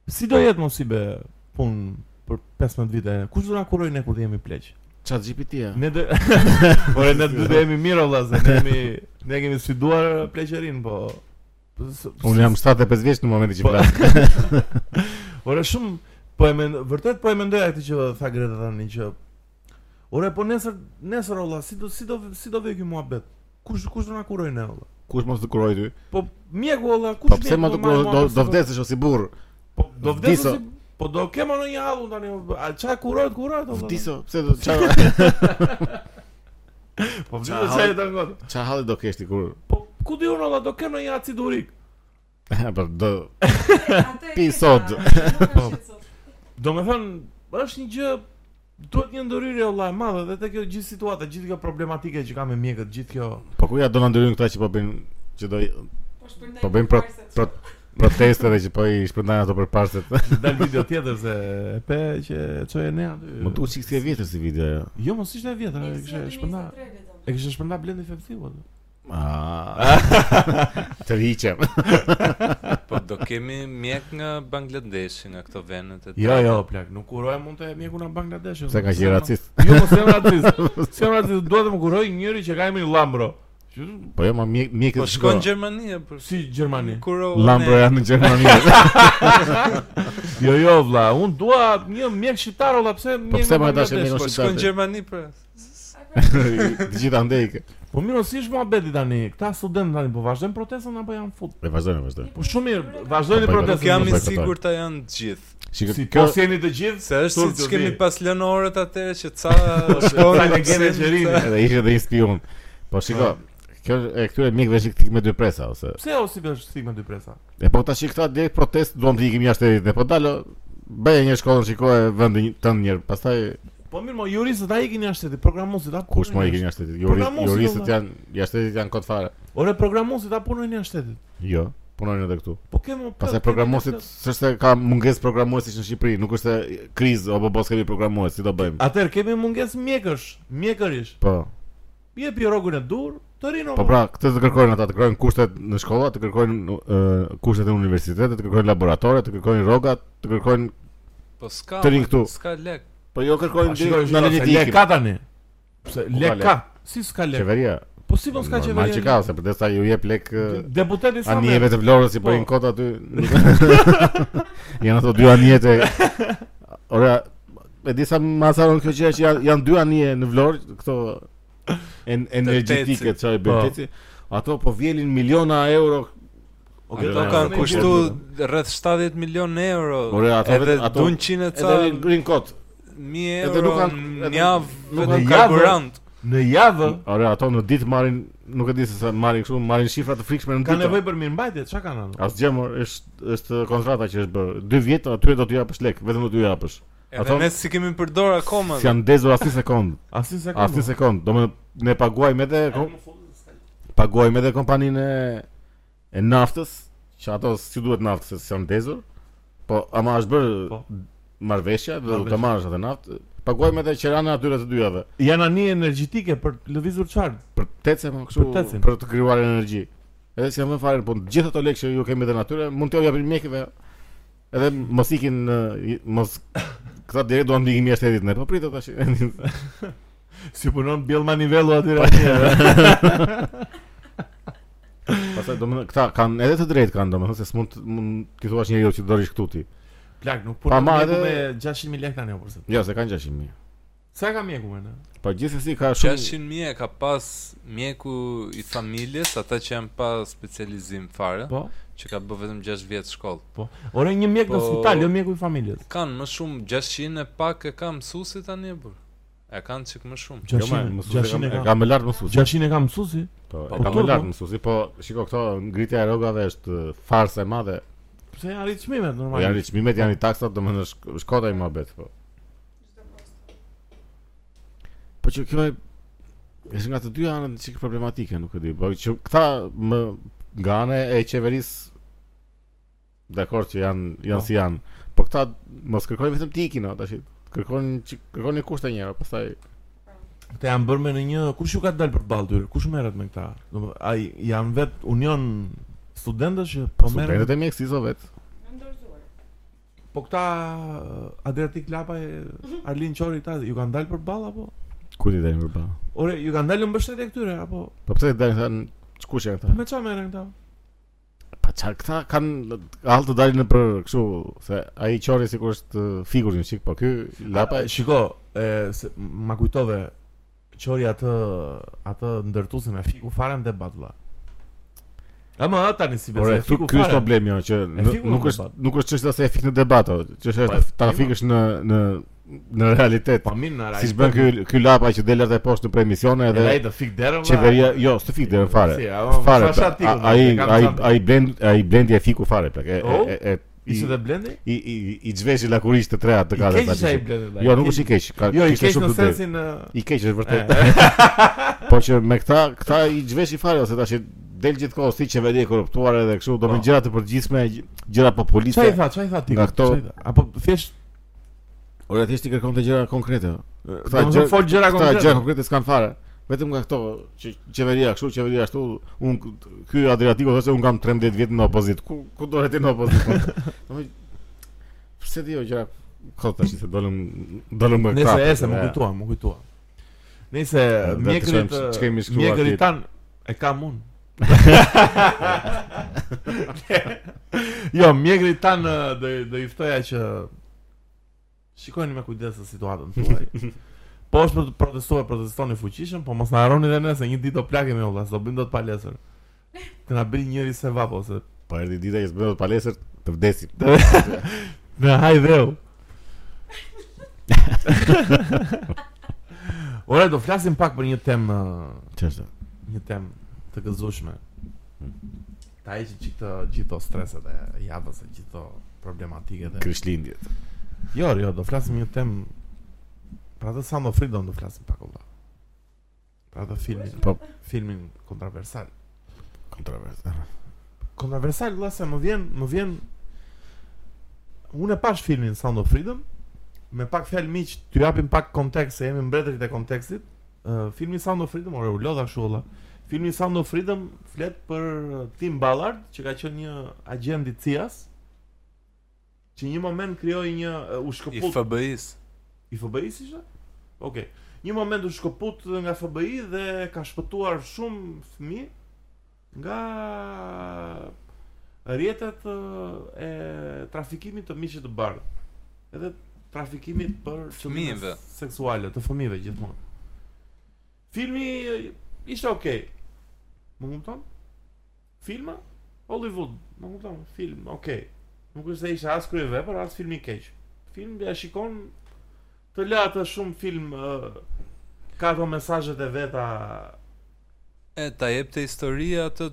[SPEAKER 1] Si do jetë mos i be punë për 15 vite? Kush do na kuroj ne kur të jemi pleq?
[SPEAKER 2] Chat GPT-ja.
[SPEAKER 1] Ne do Por ne do të jemi mirë vëlla, se ne jemi ne kemi studiuar pleqërinë, po s-
[SPEAKER 2] Unë jam 75 vjeç në momentin që
[SPEAKER 1] Po.
[SPEAKER 2] flas.
[SPEAKER 1] Ora shumë po e mend vërtet po e mendoja këtë që tha Greta tani që Ora po nesër nesër olla si do si do si do vë ky muhabet. Kush kush do na kuroj ne olla?
[SPEAKER 2] Kush mos të kuroj ty?
[SPEAKER 1] Po mjeku olla kush
[SPEAKER 2] Po pse
[SPEAKER 1] mjeku
[SPEAKER 2] më
[SPEAKER 1] do
[SPEAKER 2] të
[SPEAKER 1] marrë
[SPEAKER 2] kuroj? Do,
[SPEAKER 1] muhabet
[SPEAKER 2] do
[SPEAKER 1] se
[SPEAKER 2] vdesësh ose burr.
[SPEAKER 1] Po do vdes
[SPEAKER 2] Vdiso.
[SPEAKER 1] si po do kemo në një hallun tani. A ça kurohet kurohet olla?
[SPEAKER 2] Vdiso, pse do çfarë
[SPEAKER 1] Po
[SPEAKER 2] Ça
[SPEAKER 1] vdiso
[SPEAKER 2] hall-
[SPEAKER 1] çaj të ngot.
[SPEAKER 2] çfarë halli do kesh ti kur?
[SPEAKER 1] Po ku di unë olla do kem në një acid urik.
[SPEAKER 2] Po do
[SPEAKER 4] Atë e
[SPEAKER 2] Pi
[SPEAKER 4] ke
[SPEAKER 2] sod.
[SPEAKER 4] ka, nuk është që sot.
[SPEAKER 1] Do me thënë është një gjë duhet një ndëryrje olla e madhe dhe te kjo gjithë situata, gjithë kjo problematike që ka me mjekët, gjithë kjo
[SPEAKER 2] po ku ja do na ndryjnë këta që po bëjnë që do
[SPEAKER 4] Po shpërndaj
[SPEAKER 2] Po bëjmë pro-
[SPEAKER 4] përparset.
[SPEAKER 2] pro- proteste dhe që po i shpërndajnë ato për parset.
[SPEAKER 1] dal video tjetër se e pe që çoje ne aty.
[SPEAKER 2] Më duhet çik si e vjetër si video ajo.
[SPEAKER 1] Jo, mos ishte e vjetër, e
[SPEAKER 4] Mirësia
[SPEAKER 1] kishe
[SPEAKER 4] dhe
[SPEAKER 1] shpërndar.
[SPEAKER 4] 23 vetëm.
[SPEAKER 1] E kishe po. shpërndar Blendi Fevsiu atë.
[SPEAKER 2] Ah. Të hiqem.
[SPEAKER 3] Po do kemi mjek nga Bangladeshi nga këto vendet e
[SPEAKER 1] Jo, jo, plak, nuk kuroj mund të mjeku në Bangladesh.
[SPEAKER 2] Se ka qenë racist.
[SPEAKER 1] Jo, mos jam racist. Si jam racist, dua të më kuroj njëri që ka emrin Lambro. Që-
[SPEAKER 2] Po jo, ma mjek mjekët.
[SPEAKER 3] Po shkon në Gjermani apo
[SPEAKER 1] Si Gjermani.
[SPEAKER 3] Kuro.
[SPEAKER 2] Lambro janë në Gjermani.
[SPEAKER 1] Jo, jo, vlla, unë dua një mjek shqiptar, vlla, pse mjek.
[SPEAKER 2] pse
[SPEAKER 1] nga
[SPEAKER 2] ma tash e
[SPEAKER 1] Bangladesh?
[SPEAKER 2] mjeku
[SPEAKER 3] Po shkon në Gjermani pra.
[SPEAKER 2] Po, Të gjitha ndej. kë.
[SPEAKER 1] Po mirë, si është muhabeti tani? Këta studentë tani po vazhdojnë protestën apo janë fut?
[SPEAKER 2] E vazhdojnë, vazhdojnë.
[SPEAKER 1] Po shumë mirë,
[SPEAKER 2] Po,
[SPEAKER 1] vazhdojnë
[SPEAKER 2] po,
[SPEAKER 1] protestën.
[SPEAKER 3] Nuk jam i
[SPEAKER 2] nuk e kuptoj.
[SPEAKER 3] sigurt ta janë të gjithë.
[SPEAKER 2] Shikoj,
[SPEAKER 1] Si
[SPEAKER 2] kjo
[SPEAKER 1] po sjeni të gjithë?
[SPEAKER 3] Se është
[SPEAKER 1] Turp
[SPEAKER 3] si që
[SPEAKER 1] të
[SPEAKER 3] kemi
[SPEAKER 1] vi.
[SPEAKER 3] pas lënorët atëre që ca shkonë
[SPEAKER 1] Sa legjende që rinë.
[SPEAKER 2] edhe ishte dhe një spion. Po shiko, kjo e këtyre mjekëve është tik me dy presa ose.
[SPEAKER 1] Pse o si vesh stigma dy presa?
[SPEAKER 2] E po tash këta direkt protest duam të ikim jashtë edhe po dalo. Bëje një shkollë shikoje vendin tënd njerë, pastaj
[SPEAKER 1] Po mirë, mo juristët ai ikin jashtë, shtetit, programuesit apo
[SPEAKER 2] kush më ikin jashtë shtetit? Jurist,
[SPEAKER 1] Programuesi,
[SPEAKER 2] juristët
[SPEAKER 1] valla.
[SPEAKER 2] janë jashtë shtetit janë kot fare.
[SPEAKER 1] Ore programuesit apo punojnë jashtë shtetit.
[SPEAKER 2] Jo, punojnë edhe këtu.
[SPEAKER 1] Po kemë
[SPEAKER 2] Pastaj programuesit s'është se ka mungesë programuesish në Shqipëri, nuk është se krizë apo po s'kemi programues, si do bëjmë?
[SPEAKER 1] Atëherë kemi mungesë mjekësh, mjekërish.
[SPEAKER 2] Po.
[SPEAKER 1] Jepi rrogun e dur, të rinë.
[SPEAKER 2] Po pra, këtë të kërkojnë ata, të kërkojnë kushtet në shkolla, të kërkojnë ë, kushtet në universitete, të kërkojnë laboratore, të kërkojnë rrogat, të kërkojnë
[SPEAKER 3] Po s'ka.
[SPEAKER 2] Të rinë
[SPEAKER 3] ma,
[SPEAKER 2] këtu.
[SPEAKER 3] S'ka lek.
[SPEAKER 2] Po jo kërkojnë direkt në
[SPEAKER 1] në
[SPEAKER 2] analitikë.
[SPEAKER 1] le ka tani. Pse
[SPEAKER 2] Po
[SPEAKER 1] le
[SPEAKER 2] ka lek.
[SPEAKER 1] ka? Si s'ka lek?
[SPEAKER 2] Qeveria.
[SPEAKER 1] Po si mos ka
[SPEAKER 2] Normal që ka,
[SPEAKER 1] qeveria?
[SPEAKER 2] se për desa ju jep lek uh, ë,
[SPEAKER 1] Deputeti sa
[SPEAKER 2] anijeve të Vlorës i
[SPEAKER 1] Po.
[SPEAKER 2] bëjnë kota aty. Janë ato dy anije të Ora, e di sa më asaron kjo gjë që janë, janë dy anije në Vlorë, këto en, energjetike çaj
[SPEAKER 1] Po.
[SPEAKER 2] bëteci. Ato po vjelin miliona euro.
[SPEAKER 3] Ato
[SPEAKER 2] Ora,
[SPEAKER 3] kanë
[SPEAKER 2] po,
[SPEAKER 3] kushtu
[SPEAKER 2] po,
[SPEAKER 3] rreth 70 milion euro.
[SPEAKER 2] Ore, ato
[SPEAKER 3] edhe
[SPEAKER 2] vetë- ato-
[SPEAKER 3] dun 100 e ca
[SPEAKER 2] Edhe rinë- rinë kot.
[SPEAKER 3] 1000
[SPEAKER 2] edhe
[SPEAKER 3] euro
[SPEAKER 2] nuk kanë-
[SPEAKER 3] në
[SPEAKER 2] edhe
[SPEAKER 3] javë
[SPEAKER 2] nuk
[SPEAKER 3] vetëm
[SPEAKER 1] kanë-
[SPEAKER 3] karburant.
[SPEAKER 1] në javë
[SPEAKER 2] Ore, ato në ditë marrin, nuk e di se sa marrin kështu, marrin shifra të frikshme në ditë.
[SPEAKER 1] ka nevojë për mirëmbajtje, çka kanë ato?
[SPEAKER 2] Asgjë më është është kontrata që është bërë. 2 vjet aty do t'ju japësh lek, vetëm do t'ju japësh.
[SPEAKER 3] Edhe
[SPEAKER 2] Ato-
[SPEAKER 3] ne si kemi përdor akoma.
[SPEAKER 2] Si janë ndezur asnjë sekond,
[SPEAKER 1] Asnjë sekondë.
[SPEAKER 2] asnjë sekond. Do më ne paguajmë edhe kom- paguajmë edhe kompaninë e- e naftës, që ato si duhet naftës se si janë ndezur. Po ama është bërë
[SPEAKER 1] Po.
[SPEAKER 2] marrveshja, do të
[SPEAKER 1] Marrveshja.
[SPEAKER 2] marrësh atë naftë. Paguajmë edhe qiranë atyre të dyjave.
[SPEAKER 1] Janë anije energjetike për të lëvizur çfarë?
[SPEAKER 2] Për tecë më
[SPEAKER 1] Për tecën.
[SPEAKER 2] kështu për të krijuar energji. Edhe si më fare, po gjithë ato lekë që ju kemi dhënë atyre, mund t'ju japim mjekëve. Edhe mos ikin ë, mos këta direkt duan të ikim jashtë shtetit ne. Po pritet tash.
[SPEAKER 1] Si punon Bill Manivello aty atje.
[SPEAKER 2] Pastaj domethënë këta kanë edhe të drejtë kanë domethënë se s'mund të- mund ti thuash njeriu që dorish këtu ti.
[SPEAKER 1] Plak, nuk
[SPEAKER 2] Pa,
[SPEAKER 1] punon
[SPEAKER 2] ma,
[SPEAKER 1] mjeku
[SPEAKER 2] edhe-
[SPEAKER 1] me 600.000 lekë tani ose.
[SPEAKER 2] Jo, se kanë 600.000.
[SPEAKER 1] Sa ka mjeku më ne?
[SPEAKER 2] Po gjithsesi ka shumë
[SPEAKER 3] 600.000 e ka pas mjeku i familjes, ata që janë pa specializim fare,
[SPEAKER 1] Po.
[SPEAKER 3] që ka bë vetëm 6 vjet shkollë.
[SPEAKER 1] Ore një mjek në
[SPEAKER 3] Po-
[SPEAKER 1] spital, jo mjeku i familjes.
[SPEAKER 3] Kanë më shumë 600 e pak e ka mësuesi tani bur. E kanë çik më shumë.
[SPEAKER 2] Jo,
[SPEAKER 1] 600 600 e
[SPEAKER 2] e
[SPEAKER 1] ka.
[SPEAKER 2] ka më lart mësuesi.
[SPEAKER 1] 600 e ka mësuesi.
[SPEAKER 2] Po, e
[SPEAKER 1] po,
[SPEAKER 2] ka më
[SPEAKER 1] po.
[SPEAKER 2] lart mësuesi, po shiko këto ngritja e rrogave është farsa e madhe.
[SPEAKER 1] Pse janë arrit çmimet
[SPEAKER 2] Po
[SPEAKER 1] normal.
[SPEAKER 2] janë çmimet, janë i taksat, domethënë shk- shkota i mohabet, po. Po që kjo e është nga të dy anët një çik problematike, nuk e di. Po që këta më nga ana e qeverisë dakor që janë
[SPEAKER 1] Po.
[SPEAKER 2] janë si janë. Po këta mos kërkojnë vetëm ti ikin, o, tash kërkojnë çik- kërkojnë kushte njëra, pastaj
[SPEAKER 1] Këta janë bërë me në një kush ju ka dalë përballë tyre? Kush merret me këta? Domethënë ai janë vet union studentësh që po merren.
[SPEAKER 2] studentët e mjekësisë o vet.
[SPEAKER 1] Po këta Adriatik Lapa e Arlin Qori ta ju kanë dalë përballë apo?
[SPEAKER 2] Ku ti dalin përba?
[SPEAKER 1] Ore, ju kanë dalë në mbështetje këtyre apo
[SPEAKER 2] Po pse dalin thanë çkush janë këta?
[SPEAKER 1] me çfarë merren këta?
[SPEAKER 2] Pa çka këta kanë hall të dalin në për kështu se ai qori sikur është figur një çik, po ky lapa
[SPEAKER 1] A, shiko, e, se, ma kujtove Qori atë atë ndërtuesin e fiku fare në debat vlla. Ama tani si
[SPEAKER 2] Ore,
[SPEAKER 1] besoj
[SPEAKER 2] ky
[SPEAKER 1] fiku
[SPEAKER 2] ky është
[SPEAKER 1] fare.
[SPEAKER 2] problemi jo që
[SPEAKER 1] E
[SPEAKER 2] n-
[SPEAKER 1] fiku
[SPEAKER 2] nuk
[SPEAKER 1] në
[SPEAKER 2] është
[SPEAKER 1] debat.
[SPEAKER 2] nuk është çështja se e fik në debat, o, çështja
[SPEAKER 1] Po,
[SPEAKER 2] është
[SPEAKER 1] e
[SPEAKER 2] ta fikësh në në në realitet.
[SPEAKER 1] Po mirë na
[SPEAKER 2] Siç bën ky ky lapa që del atë poshtë në premisione
[SPEAKER 1] edhe
[SPEAKER 2] edhe
[SPEAKER 1] ai do fik derën. vlla.
[SPEAKER 2] qeveria jo, s'të fik derën fare.
[SPEAKER 1] pra. Si, po, ama s'ka
[SPEAKER 2] Fare.
[SPEAKER 1] shatiku,
[SPEAKER 2] a- Ai
[SPEAKER 1] kam
[SPEAKER 2] ai
[SPEAKER 1] shatiku.
[SPEAKER 2] ai blend ai blendi e fiku fare plak. E
[SPEAKER 1] Oh,
[SPEAKER 2] e e i
[SPEAKER 1] ishte dhe blendi?
[SPEAKER 2] i i i zhveshi lakurisht të treja të
[SPEAKER 1] I
[SPEAKER 2] katërt.
[SPEAKER 1] keq ishte
[SPEAKER 2] aty.
[SPEAKER 1] ai blendi. vlla,
[SPEAKER 2] Jo, nuk është i keq. Ka
[SPEAKER 1] Jo, i
[SPEAKER 2] kishte
[SPEAKER 1] keq
[SPEAKER 2] shumë
[SPEAKER 1] në
[SPEAKER 2] të drejtë.
[SPEAKER 1] sensin e,
[SPEAKER 2] I keq është vërtet. po që me këta, këta i zhveshi fare ose tash i del gjithkohë si qeveri e korruptuar edhe kështu, do me
[SPEAKER 1] Po.
[SPEAKER 2] gjëra të përgjithshme, gj- gjëra populiste.
[SPEAKER 1] Çfarë i tha, çfarë i tha ti?
[SPEAKER 2] Nga këto-
[SPEAKER 1] Çfarë i tha? apo thjesht
[SPEAKER 2] Ora thjesht i kërkon të gjëra konkrete.
[SPEAKER 1] Këta gjë fol gjëra
[SPEAKER 2] Këta gjëra
[SPEAKER 1] konkrete.
[SPEAKER 2] konkrete s'kan fare. vetëm nga këto që qeveria kështu, qeveria ashtu, un ky Adriatiku thosë un kam 13 vjet në opozit. Ku ku do të jetë në opozit? Domethënë pse dio gjëra kot tash se dolëm dolëm me
[SPEAKER 1] Nëse
[SPEAKER 2] krapë,
[SPEAKER 1] ese më
[SPEAKER 2] e,
[SPEAKER 1] kujtuam, më kujtuam. Nëse
[SPEAKER 2] do të
[SPEAKER 1] mjekërit
[SPEAKER 2] shojmë që- që kemi shkruar
[SPEAKER 1] mjekërit
[SPEAKER 2] tjetër.
[SPEAKER 1] tan e kam unë. jo, mjekërit tan eh, do i- do i ftoja që shikojnë me kujdes të situatën tuaj. Po është për të protestuar, protestoni fuqishëm, po mos na harroni dhe ne se një ditë do plakemi olla, s'do bëjmë dot palesër. Të na bëj njëri se vap ose
[SPEAKER 2] Po erdhi dita që bëhet palesër të vdesim.
[SPEAKER 1] Në haj dheu Ora do flasim pak për një temë ë,
[SPEAKER 2] Ç'është?
[SPEAKER 1] Një temë të gëzushme Ta e që gjithë gjithë streset e javës e gjithë problematike dhe
[SPEAKER 2] Krishtlindjet.
[SPEAKER 1] Jo, jo, do flasim një temë Pra të Sound of Freedom do flasim pak olla Pra të filmin
[SPEAKER 2] Po.
[SPEAKER 1] Filmin kontroversal
[SPEAKER 2] Kontroverse.
[SPEAKER 1] kontroversal vëlla se më vjen, më vjen unë e pash filmin Sound of Freedom me pak fjalë miq, t'ju japim pak kontekst se jemi mbretërit e kontekstit. Ë, filmi Sound of Freedom ore u lodha kështu vëlla. Filmi Sound of Freedom flet për ë, Tim Ballard, që ka qenë një agent i CIA-s, që një moment krijoi një ë, u
[SPEAKER 3] I
[SPEAKER 1] shkëput
[SPEAKER 3] FBI-s.
[SPEAKER 1] I FBI-s ishte? Okej. Një moment u shkëput nga FBI dhe ka shpëtuar shumë fëmijë nga rrjetet ë, e trafikimit të miqit të bardhë. Edhe trafikimit për qëllime
[SPEAKER 3] Fëmijëve.
[SPEAKER 1] seksuale të fëmijëve gjithmonë. Filmi ë, ishte okay. Më kupton? Filma Hollywood, më kupton? Film, okay. Nuk është se ishte as kryevepër, as film i keq. Film ja shikon të la të shumë film ë, ka ato mesazhet e veta
[SPEAKER 3] E ta jep të historia atë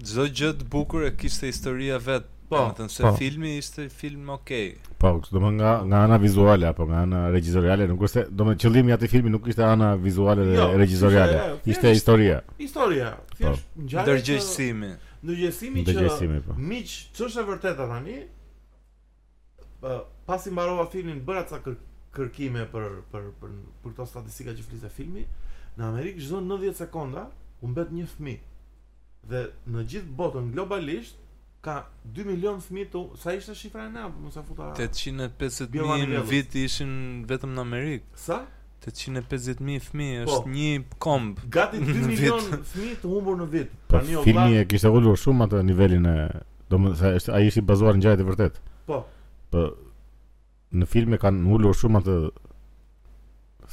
[SPEAKER 3] çdo gjë të bukur e kishte historia vet.
[SPEAKER 1] Po,
[SPEAKER 3] Po, thënë se
[SPEAKER 1] po.
[SPEAKER 3] filmi ishte film okay.
[SPEAKER 2] Po, kështu do më nga nga ana vizuale apo nga ana regjizoriale, nuk është, se- do më qëllimi i atij filmi nuk ishte ana vizuale dhe
[SPEAKER 1] Jo,
[SPEAKER 2] regjizoriale.
[SPEAKER 1] ishte-
[SPEAKER 2] Ishte historia.
[SPEAKER 1] historia, thjesht ngjarje
[SPEAKER 3] Ndërgjegjësimi.
[SPEAKER 1] që- ndërgjegjësimi që
[SPEAKER 2] Po, Ndërgjegjësimi po.
[SPEAKER 1] miq ç'është e vërteta tani ë, pasi mbarova filmin bëra ca kër, kërkime për për për për këto statistika që fliste filmi në Amerikë çdo 90 sekonda u mbet një fëmijë dhe në gjithë botën globalisht ka 2 milion fëmijë të sa ishte shifra e na mos e futa
[SPEAKER 3] 850.000
[SPEAKER 1] Bjorn
[SPEAKER 3] në
[SPEAKER 1] Levels.
[SPEAKER 3] vit ishin vetëm në Amerikë.
[SPEAKER 1] sa
[SPEAKER 3] 850.000 fëmijë
[SPEAKER 1] Po.
[SPEAKER 3] është një komb.
[SPEAKER 1] gati 2
[SPEAKER 3] Në
[SPEAKER 1] milion
[SPEAKER 3] vit.
[SPEAKER 1] fëmijë të humbur në vit.
[SPEAKER 2] Po
[SPEAKER 1] o
[SPEAKER 2] filmi
[SPEAKER 1] vlla,
[SPEAKER 2] e kishte ulur shumë atë nivelin e domethënë se është- ai ishte bazuar në ngjarje të vërtet.
[SPEAKER 1] Po.
[SPEAKER 2] Po në filme kanë ulur shumë atë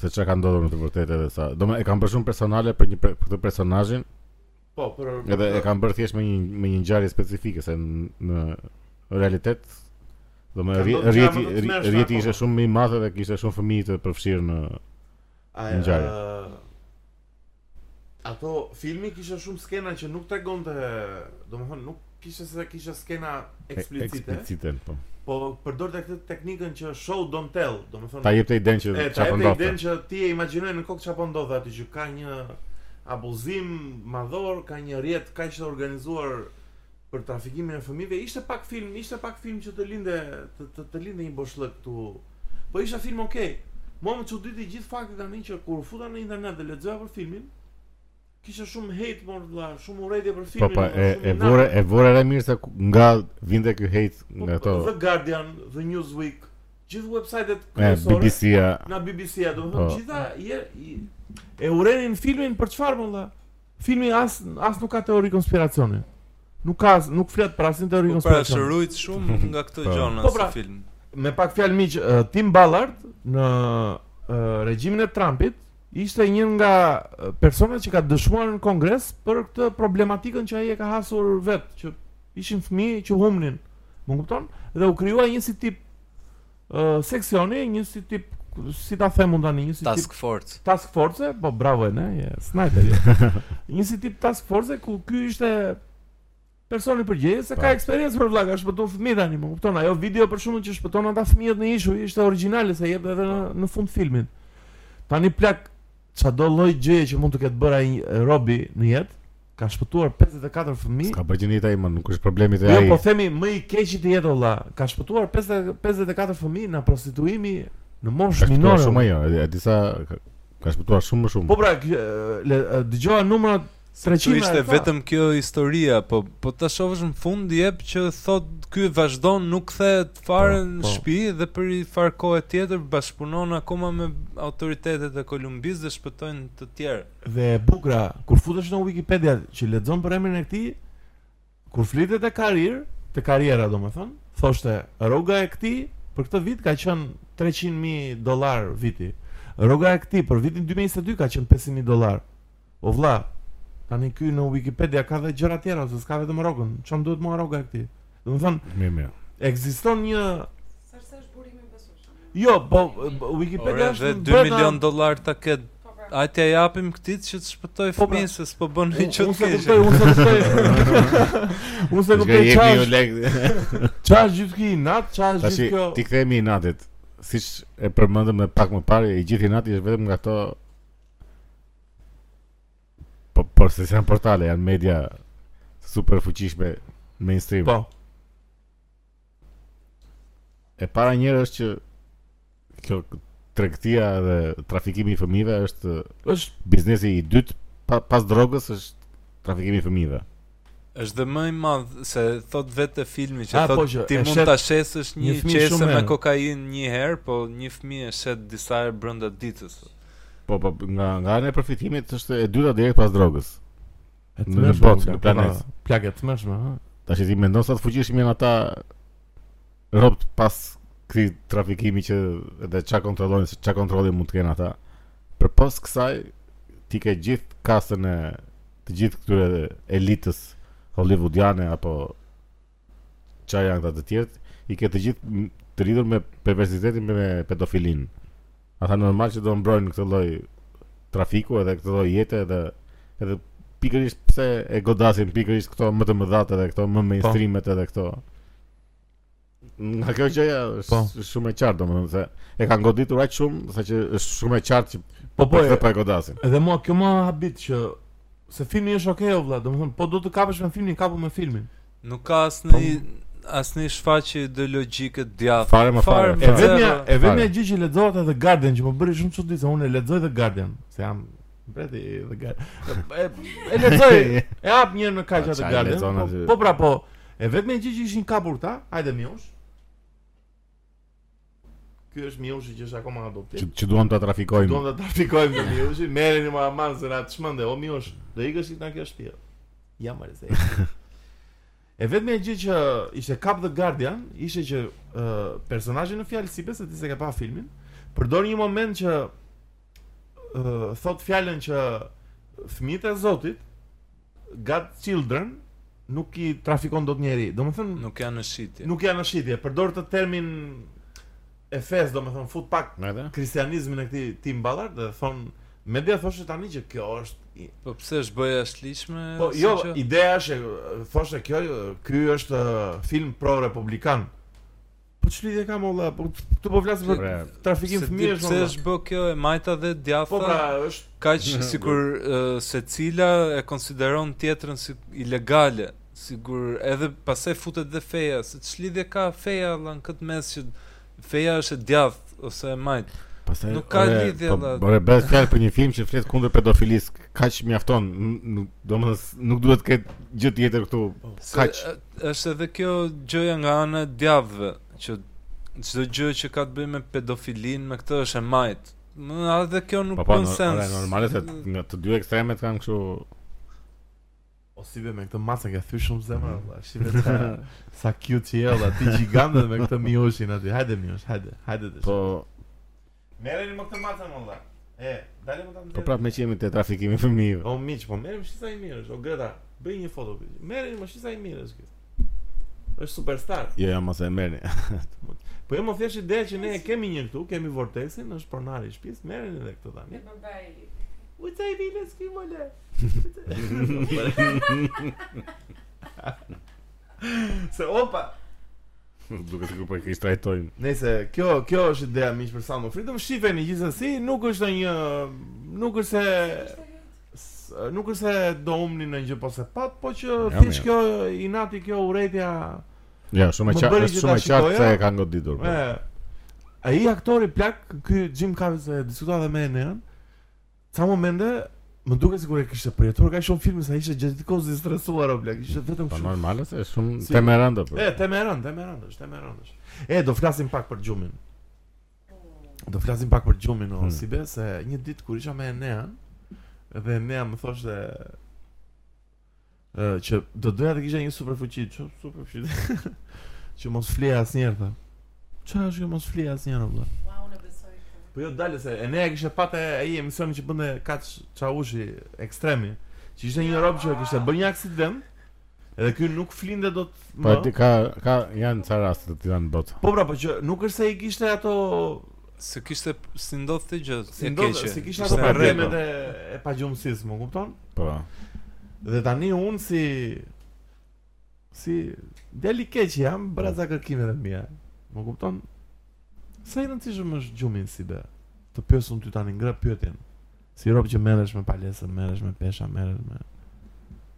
[SPEAKER 2] se çka ka ndodhur në të vërtetë edhe sa. Domethënë e kanë bërë shumë personale për një për këtë personazhin
[SPEAKER 1] po për
[SPEAKER 2] edhe e kanë bërë thjesht me një me një ngjarje specifike se në, në realitet
[SPEAKER 1] Ka
[SPEAKER 2] domethënë
[SPEAKER 1] ndodhur
[SPEAKER 2] rri-
[SPEAKER 1] gjëra
[SPEAKER 2] rrjeti
[SPEAKER 1] më të po. tmerrshme
[SPEAKER 2] rrjeti
[SPEAKER 1] akoma.
[SPEAKER 2] ishte shumë i madh edhe kishte shumë fëmijë të përfshirë në
[SPEAKER 1] a-
[SPEAKER 2] një ngjarje.
[SPEAKER 1] ë, eh, Ato filmi kishte shumë skena që nuk tregonte, domethënë nuk kishte se kishte skena eksplicite,
[SPEAKER 2] eksplicite po.
[SPEAKER 1] po përdorte këtë teknikën që show don't tell, domethënë
[SPEAKER 2] Ta jepte idenë që
[SPEAKER 1] E, ta
[SPEAKER 2] çfarë
[SPEAKER 1] jep
[SPEAKER 2] ndodhte.
[SPEAKER 1] idenë që ti e imagjinoj në kokë çfarë po ndodh aty që ka një abuzim madhor, ka një rjet kaq të organizuar për trafikimin e fëmijëve. Ishte pak film, ishte pak film që të linde të të, të linde një boshllëk këtu. Po ishte film okay. Mua më çuditi gjithë fakti tani që kur futa në internet dhe lexoja për filmin, kishte shumë hate mor vëlla, shumë urrëti për
[SPEAKER 2] Po
[SPEAKER 1] filmin.
[SPEAKER 2] po,
[SPEAKER 1] mor,
[SPEAKER 2] e
[SPEAKER 1] shumë
[SPEAKER 2] e
[SPEAKER 1] inat.
[SPEAKER 2] vore e vore re mirë se ku- nga vinte ky hate
[SPEAKER 1] Po,
[SPEAKER 2] nga ato
[SPEAKER 1] The Guardian, The Newsweek, gjithë websajtet
[SPEAKER 2] e BBC-a.
[SPEAKER 1] Nga BBC-a, do të
[SPEAKER 2] Po.
[SPEAKER 1] thonë gjitha je, i- e urenin filmin për çfarë më valla? Filmi as as nuk ka teori konspiracioni. Nuk ka as- nuk flet për asnjë teori
[SPEAKER 3] Po pra
[SPEAKER 1] konspiracioni.
[SPEAKER 3] shërujt shumë nga këto
[SPEAKER 2] Po.
[SPEAKER 3] gjona
[SPEAKER 1] Po,
[SPEAKER 3] po
[SPEAKER 1] pra.
[SPEAKER 3] si film.
[SPEAKER 1] Me pak fjalë miq, ë, Tim Ballard në ë, regjimin e Trumpit ishte një nga ë, personat që ka dëshmuar në Kongres për këtë problematikën që ai e ka hasur vet, që ishin fëmijë që humnin. Më kupton? Dhe u krijuar një si tip ë seksioni, një si tip si ta them unë tani, një si tip
[SPEAKER 3] Task Force.
[SPEAKER 1] task force, po bravo e ne, je sniper je. Një si tip task force ku ky ishte personi përgjegjës se ka
[SPEAKER 2] Pa.
[SPEAKER 1] eksperiencë për vlla, ka shpëtuar fëmijë tani, më kupton? Ajo video për shkakun që shpëton ata fëmijët në ishuj ishte origjinale se jep edhe në, në fund filmin. Tani plak çado lloj gjëje që mund të ketë bërë ai e, Robi në jetë, ka shpëtuar 54 fëmijë.
[SPEAKER 2] Ka bëgjinita ima, nuk është problemi te
[SPEAKER 1] Jo,
[SPEAKER 2] ai.
[SPEAKER 1] po themi më i keqi të jetë valla, ka shpëtuar 50 54 fëmijë nga prostituimi në moshë
[SPEAKER 2] Është
[SPEAKER 1] minore.
[SPEAKER 2] shumë
[SPEAKER 1] vëlla.
[SPEAKER 2] ajo, e- e disa ka- ka Ka shpëtuar shumë më shumë.
[SPEAKER 1] Po pra, kë- le- e, dëgjoa numrat 300
[SPEAKER 3] Që ishte
[SPEAKER 1] e tha.
[SPEAKER 3] vetëm kjo historia, po po ta shohësh në fund jep që thot ky vazhdon nuk kthehet fare
[SPEAKER 1] Po,
[SPEAKER 3] në
[SPEAKER 1] po.
[SPEAKER 3] shtëpi dhe për i far kohë tjetër bashkëpunon akoma me autoritetet e Kolumbisë dhe shpëtojnë të tjerë.
[SPEAKER 1] Dhe e bukra, kur futesh në Wikipedia që lexon për emrin e këtij, kur flitet e karir, të karriera domethënë, thoshte rroga e këtij për këtë vit ka qenë 300.000 dollar viti. Rroga e këtij për vitin 2022 ka qenë 500.000 dollar. O vlla, tani ky në Wikipedia ka dhe gjëra tjera, se s'ka vetëm rrogën. Çfarë duhet mua rroga e këtij? Domethënë,
[SPEAKER 2] Mirë, mirë.
[SPEAKER 1] ekziston një
[SPEAKER 4] Sërse është burimi i besueshëm.
[SPEAKER 1] Jo, po po, Wikipedia
[SPEAKER 3] Ore,
[SPEAKER 1] është
[SPEAKER 3] dhe
[SPEAKER 1] në
[SPEAKER 3] 2
[SPEAKER 1] brenda-
[SPEAKER 3] milion dollar ta ket
[SPEAKER 4] Po pra.
[SPEAKER 3] A t'ja japim këtit që të shpëtoj
[SPEAKER 1] Po, pra.
[SPEAKER 3] fëmijë se s'po bën
[SPEAKER 1] Unë
[SPEAKER 3] një
[SPEAKER 1] unë
[SPEAKER 3] çu
[SPEAKER 1] se
[SPEAKER 3] të
[SPEAKER 1] kuptoj, unë se kuptoj. Unë se kuptoj
[SPEAKER 2] Shka
[SPEAKER 1] çfarë
[SPEAKER 2] jepni ju
[SPEAKER 1] është-
[SPEAKER 2] lek.
[SPEAKER 1] Qa është gjithë ki nat, qa është
[SPEAKER 2] Tashi
[SPEAKER 1] gjithë kjo
[SPEAKER 2] ti kthehemi i natit. Siç e përmendëm edhe pak më parë, i gjithë i nati është vetëm nga ato po por se janë portale, janë media super fuqishme mainstream.
[SPEAKER 1] Po,
[SPEAKER 2] E para njërë është që kjo tregtia dhe trafikimi i fëmijëve është
[SPEAKER 1] është
[SPEAKER 2] biznesi i dytë pa, pas drogës është trafikimi i fëmijëve.
[SPEAKER 3] Është dhe më i madh se thot vetë e filmi që
[SPEAKER 1] A,
[SPEAKER 3] thot
[SPEAKER 1] po që
[SPEAKER 3] ti
[SPEAKER 1] e
[SPEAKER 3] mund
[SPEAKER 1] shet
[SPEAKER 3] ta shesësh
[SPEAKER 1] një
[SPEAKER 3] një
[SPEAKER 1] fëmijë
[SPEAKER 3] qese
[SPEAKER 1] shumë
[SPEAKER 3] me
[SPEAKER 1] herë."
[SPEAKER 3] kokainë një herë, po një fëmijë e shet disa herë brenda ditës.
[SPEAKER 2] Po po nga nga ana e përfitimit është e dyta direkt pas drogës.
[SPEAKER 1] e
[SPEAKER 2] Në
[SPEAKER 1] tmerrshme,
[SPEAKER 2] botë,
[SPEAKER 1] plak,
[SPEAKER 2] në planet.
[SPEAKER 1] pra, Plak e të mërshme, ha?
[SPEAKER 2] Tash ti mendon sa të fuqishëm janë ata robt pas këtij trafikimi që edhe çka kontrollojnë, se çka kontrolli mund të kenë ata. Përpos kësaj ti ke gjithë kasën e të gjithë këtyre elitës hollywoodiane apo çka janë ata të tjerë, i ke të gjithë m- të lidhur me perversitetin dhe me pedofilinë. Ata normal që do mbrojnë këtë lloj trafiku edhe këtë lloj jete edhe edhe pikërisht pse e godasin pikërisht këto më të mëdhat edhe këto më mainstreamet edhe këto. Nga kjo gjëja është
[SPEAKER 1] Po.
[SPEAKER 2] shumë e qartë domethënë se e kanë goditur aq shumë sa që është shumë e qartë që
[SPEAKER 1] Po po,
[SPEAKER 2] këtë
[SPEAKER 1] e-
[SPEAKER 2] pa e godasin.
[SPEAKER 1] edhe mua kjo më habit që Se filmi është okej o vlla, domethënë po do të kapesh me filmin, kapu me filmin.
[SPEAKER 3] Nuk
[SPEAKER 1] Po
[SPEAKER 3] ka asnjë asnjë shfaqje ideologjike të djathtë.
[SPEAKER 2] Fare më fare,
[SPEAKER 1] E
[SPEAKER 2] fare.
[SPEAKER 3] më
[SPEAKER 1] vetmja,
[SPEAKER 3] zero.
[SPEAKER 1] e vetmja
[SPEAKER 2] Fare.
[SPEAKER 1] gjë që lexohet edhe Guardian që më bëri shumë çudi se unë e lexoj The Guardian, se jam mbreti The Guardian. E, e lexoj, e hap një herë në kaq
[SPEAKER 2] Pa,
[SPEAKER 1] atë
[SPEAKER 2] qa e
[SPEAKER 1] Guardian.
[SPEAKER 2] lexon
[SPEAKER 1] Po,
[SPEAKER 2] aty?
[SPEAKER 1] po pra po, e vetmja gjë që ishin kapur ta, hajde Miush. Ky është Miushi që është akoma adoptiv.
[SPEAKER 2] Që, që duam ta trafikojmë.
[SPEAKER 1] Duam ta trafikojmë me Miushin, merreni më aman se na çmende, o Miush, do ikësh nga kjo shtëpi. Ja më se. E vetmja gjë që ishte Cap the Guardian, ishte që uh, personazhi në fjalë sipe se ti s'e ke pa filmin, përdor një moment që uh, thot fjalën që fëmijët e Zotit, God Children, nuk i trafikon dot njeri. Domethënë
[SPEAKER 3] Nuk janë në shitje.
[SPEAKER 1] nuk janë në shitje, përdor të termin e fes, domethënë fut pak
[SPEAKER 2] Edhe?
[SPEAKER 1] kristianizmin e këtij tim ballart dhe thon media thoshte tani që kjo është i-
[SPEAKER 3] Po pse është bëja e shlishme?
[SPEAKER 1] po
[SPEAKER 3] si
[SPEAKER 1] jo
[SPEAKER 3] që?
[SPEAKER 1] ideja është e, thoshte kjo e, ky është e, film pro republikan po çlidhje kam olla po këtu po flasim për
[SPEAKER 2] Bre,
[SPEAKER 1] trafikim
[SPEAKER 3] Se di
[SPEAKER 1] fëmijësh
[SPEAKER 3] pse
[SPEAKER 1] olla.
[SPEAKER 3] është bë kjo e majta dhe djatha?
[SPEAKER 1] po pra është
[SPEAKER 3] Kaq sikur uh, secila e konsideron tjetrën si ilegale, sigur edhe pastaj futet dhe feja, se ç'lidhje ka feja valla në këtë mes që feja është e djathtë ose e majt.
[SPEAKER 2] Pastaj
[SPEAKER 3] Nuk ka
[SPEAKER 2] ore,
[SPEAKER 3] lidhje,
[SPEAKER 2] Po
[SPEAKER 3] valla.
[SPEAKER 2] bëre bëhet fjalë për një film që flet kundër pedofilisë. Kaç mjafton? N- nuk- Domethënë nuk duhet të ketë gjë tjetër këtu.
[SPEAKER 3] Se,
[SPEAKER 2] Kaç?
[SPEAKER 3] ë, Është edhe kjo gjëja nga ana e djavëve, që çdo gjë që ka të bëjë me pedofilinë, me këtë është e majt. Më edhe kjo nuk
[SPEAKER 2] Po po,
[SPEAKER 3] bën
[SPEAKER 2] nor-
[SPEAKER 3] sens.
[SPEAKER 2] ore, normale se nga të dy ekstremet kanë kështu
[SPEAKER 1] O si be me këtë masën ka thyr shumë zemra valla. Shive sa sa cute që je valla, ti gjigande me këtë mioshin aty. Hajde miosh, hajde, hajde të.
[SPEAKER 2] Po,
[SPEAKER 1] merreni me këtë masën valla. E, dali më ta
[SPEAKER 3] pra,
[SPEAKER 2] po prapë me që jemi te trafikimi i fëmijëve.
[SPEAKER 1] O miq, po merrem shi sa i mirë është. O Greta, bëj një foto. Merrem më shi sa i mirë është ky. Është superstar.
[SPEAKER 2] Jo, jo, mos e merrni.
[SPEAKER 1] Po jo më thjesht ideja që ne e kemi një këtu, kemi Vortexin, është pronari i shtëpisë, merreni edhe këtë tani.
[SPEAKER 4] Një babai.
[SPEAKER 1] U ca i vilës ky mole. Se opa.
[SPEAKER 2] Duket sikur po e kish trajtojnë.
[SPEAKER 1] Nëse kjo kjo është ideja miq për Sound of Freedom, shifeni gjithsesi, nuk është një nuk është se s- nuk është se do umni në gjë pas e pat, po që
[SPEAKER 2] Ja,
[SPEAKER 1] thjesht
[SPEAKER 2] mirë.
[SPEAKER 1] kjo inati kjo urrëtia
[SPEAKER 2] Ja, shumë e
[SPEAKER 1] Më
[SPEAKER 2] qartë,
[SPEAKER 1] bëri
[SPEAKER 2] është
[SPEAKER 1] që
[SPEAKER 2] shumë
[SPEAKER 1] ta
[SPEAKER 2] e qartë
[SPEAKER 1] shikoja.
[SPEAKER 2] se e kanë goditur. po.
[SPEAKER 1] E, ai aktori plak, ky Jim Carrey se diskutova edhe me Enën, ca momente më duket sikur e kishte përjetuar ka shumë filme sa ishte gjatë kohës i stresuar o blek, ishte vetëm
[SPEAKER 2] Po
[SPEAKER 1] shumë.
[SPEAKER 2] normal se është shumë
[SPEAKER 1] Si-
[SPEAKER 2] temeranda po.
[SPEAKER 1] E, temeran, temeran është, temeran është. E, do flasim pak për gjumin. Do flasim pak për gjumin o
[SPEAKER 2] Hmm.
[SPEAKER 1] Sibe, se një ditë kur isha me Enean, dhe Enea më thoshte ë që do doja të kisha një super fuqi, që super fuqi. që mos flie asnjëherë tha. Çfarë është që mos flie asnjëherë vëlla?
[SPEAKER 4] Ua, unë e besoj këtë.
[SPEAKER 1] Po jo dalë se Enea kishte patë ai emisionin që bënte kaç çaushi ekstremi, që ishte një rob që kishte bërë një aksident, edhe ky nuk flinte dot
[SPEAKER 2] Po ti ka ka janë ca raste të tilla në botë.
[SPEAKER 1] Po pra, po që nuk është se i kishte ato
[SPEAKER 3] Se kishte si ndodhte gjë
[SPEAKER 1] si
[SPEAKER 3] e
[SPEAKER 1] ndodhë,
[SPEAKER 3] keqe.
[SPEAKER 1] se kishte
[SPEAKER 3] Ishte
[SPEAKER 1] ato
[SPEAKER 2] pa
[SPEAKER 3] rregull.
[SPEAKER 1] problemet e, e pagjumësisë, më kupton?
[SPEAKER 2] Po.
[SPEAKER 1] Dhe tani unë si si deli keq jam braza kërkimeve mia. Më kupton? Sa i rëndësishëm është gjumin si be. Të pyesun ty tani ngre pyetjen. Si rob që merresh me palesën, merresh me pesha, merresh me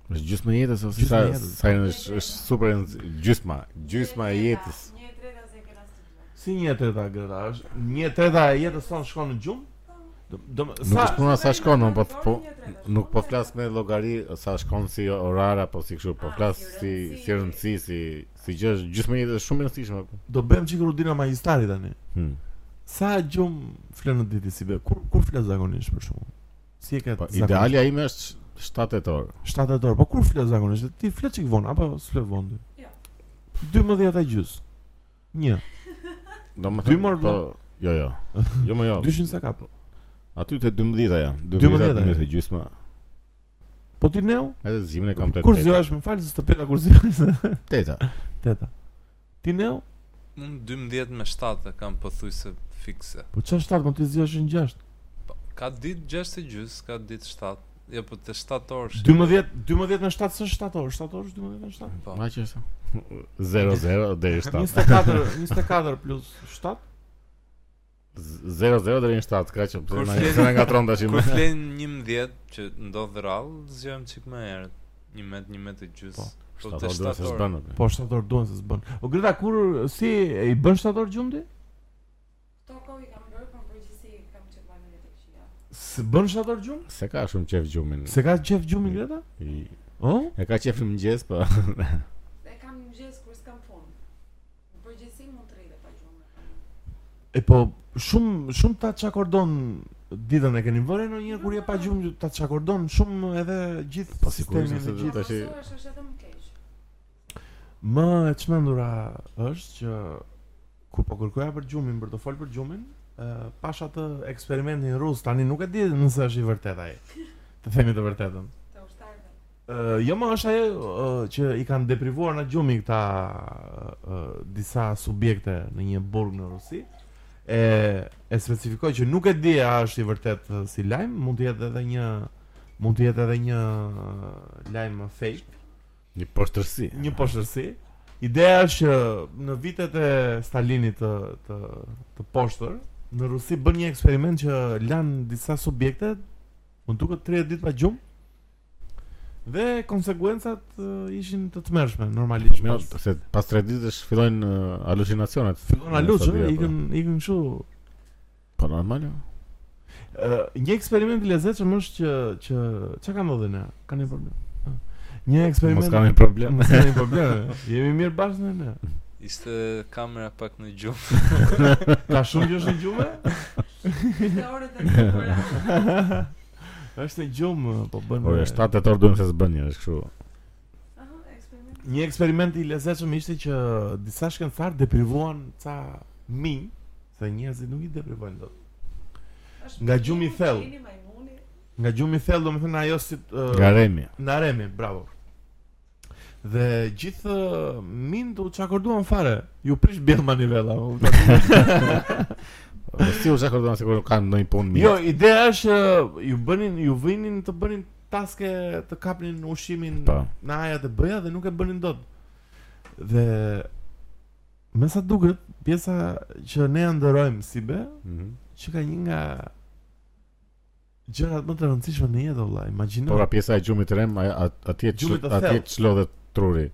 [SPEAKER 2] Është gjysma e jetës ose
[SPEAKER 1] Gjysma
[SPEAKER 2] sa
[SPEAKER 1] e jetës.
[SPEAKER 2] sa është është super rëndë- gjysma, gjysma e jetës.
[SPEAKER 4] Një e treta se e kena studiuar.
[SPEAKER 1] Si një e treta greta, është një e treta e jetës sonë shkon në gjumë? Do, do,
[SPEAKER 2] Nuk
[SPEAKER 1] sa,
[SPEAKER 2] është puna sa shkon, unë po po nuk po flas me llogari sa shkon si orar apo si kështu, po
[SPEAKER 4] Ah,
[SPEAKER 2] flas
[SPEAKER 4] si
[SPEAKER 2] si
[SPEAKER 4] rëndësi.
[SPEAKER 2] si rëndësi, si si gjë është gjysma e jetës është shumë e rëndësishme. po.
[SPEAKER 1] do bëjmë çikur udina magjistari tani.
[SPEAKER 2] Hm.
[SPEAKER 1] Sa gjum flen në ditë si be? Kur kur flet zakonisht për shkakun? Si e ke?
[SPEAKER 2] Po
[SPEAKER 1] zakonisht?
[SPEAKER 2] idealja ime është 7 orë.
[SPEAKER 1] 7 orë. Po kur flet zakonisht? Ti flet çik vonë apo s'flet vonë? ti?
[SPEAKER 4] Jo.
[SPEAKER 1] 12 e gjys. 1.
[SPEAKER 2] Do më
[SPEAKER 1] Dy mor
[SPEAKER 2] po, jo jo. Jo më jo.
[SPEAKER 1] 200 sa kap.
[SPEAKER 2] Aty të 12 janë,
[SPEAKER 1] 12-a,
[SPEAKER 2] 12 të gjysma.
[SPEAKER 1] Po ti neu?
[SPEAKER 2] Edhe zimën e kam të
[SPEAKER 1] Kur zgjohesh, më fal se të peta kur zgjohesh.
[SPEAKER 2] Teta.
[SPEAKER 1] Teta. Ti neu?
[SPEAKER 3] Po. Unë 12 me 7 e kam pothuajse fikse.
[SPEAKER 1] Po çfarë 7 mund ti zgjohesh në 6?
[SPEAKER 3] Po, ka ditë 6 e gjys, ka ditë 7. Jo, po të 7 orë.
[SPEAKER 1] 12 12 në 7 s'është 7 orë, 7 orë është 12 në 7.
[SPEAKER 3] Po.
[SPEAKER 2] Ma që është 00 deri 7.
[SPEAKER 1] 24 24 plus 7
[SPEAKER 2] 00 deri në 7, kaq që
[SPEAKER 3] Kur
[SPEAKER 2] na
[SPEAKER 3] flen-
[SPEAKER 2] se na ngatron tash.
[SPEAKER 3] Kur flen 11 që ndodh rrallë, zgjohem çik më herët. 11 11 e gjys.
[SPEAKER 1] Po,
[SPEAKER 3] Po të 7 orë.
[SPEAKER 2] bën.
[SPEAKER 1] Po 7 orë duhen se s'bën. O Greta kur si e i bën 7 orë gjumë ti?
[SPEAKER 4] Këto kohë i kam bërë, po në përgjithësi kam qenë më mirë tek shija.
[SPEAKER 1] Se bën 7 orë gjumë?
[SPEAKER 2] Se ka shumë qef gjumin.
[SPEAKER 1] Se ka qef gjumin Greta?
[SPEAKER 2] I-
[SPEAKER 1] O?
[SPEAKER 2] E ka qef në mëngjes, po.
[SPEAKER 4] Dhe kam në mëngjes kur s'kam punë. Në përgjithësi mund të rri dhe pa gjumë.
[SPEAKER 1] E po shumë shumë ta çakordon ditën e keni vënë ndonjëherë kur je pa gjumë ta çakordon shumë edhe gjithë
[SPEAKER 2] Po,
[SPEAKER 1] sistemin
[SPEAKER 2] sigurisht,
[SPEAKER 1] e
[SPEAKER 2] se-
[SPEAKER 1] gjithë.
[SPEAKER 4] Po
[SPEAKER 2] Tash i-
[SPEAKER 4] mësuesh është edhe më keq.
[SPEAKER 1] Më e çmendura është që kur po kërkoja për gjumin, për të fol për gjumin, ë pash atë eksperimentin rus, tani nuk e di nëse është i vërtet ai. Të themi të vërtetën.
[SPEAKER 4] Të ushtarëve.
[SPEAKER 1] Uh, jo më është ajo ë, që i kanë deprivuar në gjumi këta ë, disa subjekte në një burg në Rusi e, e specifikoj që nuk e di a është i vërtet ë, si lajm, mund të jetë edhe një mund të jetë edhe një ë, lajm fake,
[SPEAKER 2] Një poshtërsi.
[SPEAKER 1] një poshtërsi. Ideja është që në vitet e Stalinit të të, të poshtër në Rusi bën një eksperiment që lanë disa subjekte, mund duket 30 ditë pa gjumë Dhe konsekuencat ë, ishin të tmerrshme normalisht.
[SPEAKER 2] Mirë,
[SPEAKER 1] Pas-
[SPEAKER 2] se pas 3 ditësh fillojnë uh, ë, halucinacionet.
[SPEAKER 1] Fillon a
[SPEAKER 2] Sa
[SPEAKER 1] luçë,
[SPEAKER 2] dia, po.
[SPEAKER 1] ikën ikën kështu.
[SPEAKER 2] Po normal. jo.
[SPEAKER 1] Ë, një eksperiment i lezetshëm është që që çka ka ndodhur ne? Ka një problem. Ha. Një eksperiment.
[SPEAKER 2] Mos kemi problem.
[SPEAKER 1] Mos kemi problem. Jemi mirë bashkë ne, ne.
[SPEAKER 3] Ishte kamera pak në gjumë.
[SPEAKER 1] Ka shumë që është në gjumë?
[SPEAKER 4] Dhe orët e tjera.
[SPEAKER 1] është në gjumë, po bën.
[SPEAKER 2] Ora 7 tetor duhem se s'bën një, është kështu.
[SPEAKER 4] Aha, eksperiment.
[SPEAKER 1] Një eksperiment i lezetshëm ishte që disa shkencëtar deprivuan ca minj, se njerëzit nuk i deprivojnë dot.
[SPEAKER 4] Është
[SPEAKER 1] Nga gjumi i thellë.
[SPEAKER 4] qeni, majmuni.
[SPEAKER 1] Nga gjumi i thellë, domethënë ajo si ë,
[SPEAKER 2] Garemi.
[SPEAKER 1] Në Aremi, bravo. Dhe gjithë ë, mindu që akorduan fare. Ju prish bjell manivela. u kupton?
[SPEAKER 2] Po, Si u zakordon se kur kanë ndonjë punë mirë.
[SPEAKER 1] jo, ideja është ë, ju bënin, ju vinin të bënin taske të kapnin ushimin
[SPEAKER 2] Po.
[SPEAKER 1] në ajat e bëja dhe nuk e bënin dot. Dhe me sa duket, pjesa që ne e ndërojmë si be,
[SPEAKER 2] Mhm.
[SPEAKER 1] që ka një nga gjërat më të rëndësishme në jetë, valla. Imagjino.
[SPEAKER 2] Po pra pjesa e gjumit të rem, a- a- atje çl-
[SPEAKER 1] Gjumit të
[SPEAKER 2] atje
[SPEAKER 1] thellë.
[SPEAKER 2] çlodhet truri.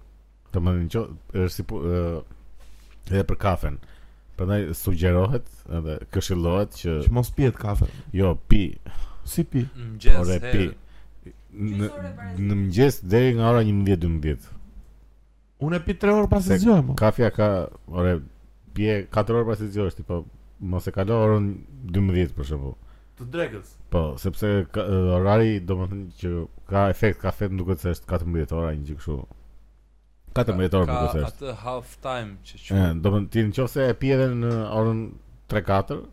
[SPEAKER 2] Të më në qo- është si pu- ë, edhe për kafen. Prandaj sugjerohet edhe këshillohet që
[SPEAKER 1] që mos pihet kafe.
[SPEAKER 2] jo pi
[SPEAKER 1] Si pi?
[SPEAKER 3] Mëngjes.
[SPEAKER 2] Ore
[SPEAKER 3] herë.
[SPEAKER 2] pi. Në, në mëngjes deri nga ora 11-12.
[SPEAKER 1] Unë e pi 3 orë pas
[SPEAKER 2] Se-
[SPEAKER 1] zgjoj më.
[SPEAKER 2] Kafja ka, ore, pje 4 orë pas të zgjohesh, tipo, mos e kalo orën 12 për shembull.
[SPEAKER 1] Të drekës.
[SPEAKER 2] Po, sepse ka, e, orari domethënë që ka efekt kafet më duket se është 14 ora një gjë kështu. 14 orë më duket se
[SPEAKER 3] Ka
[SPEAKER 2] është.
[SPEAKER 3] atë half time që
[SPEAKER 2] Ë,
[SPEAKER 3] quhet.
[SPEAKER 2] do të ti nëse e pije edhe në orën 3-4,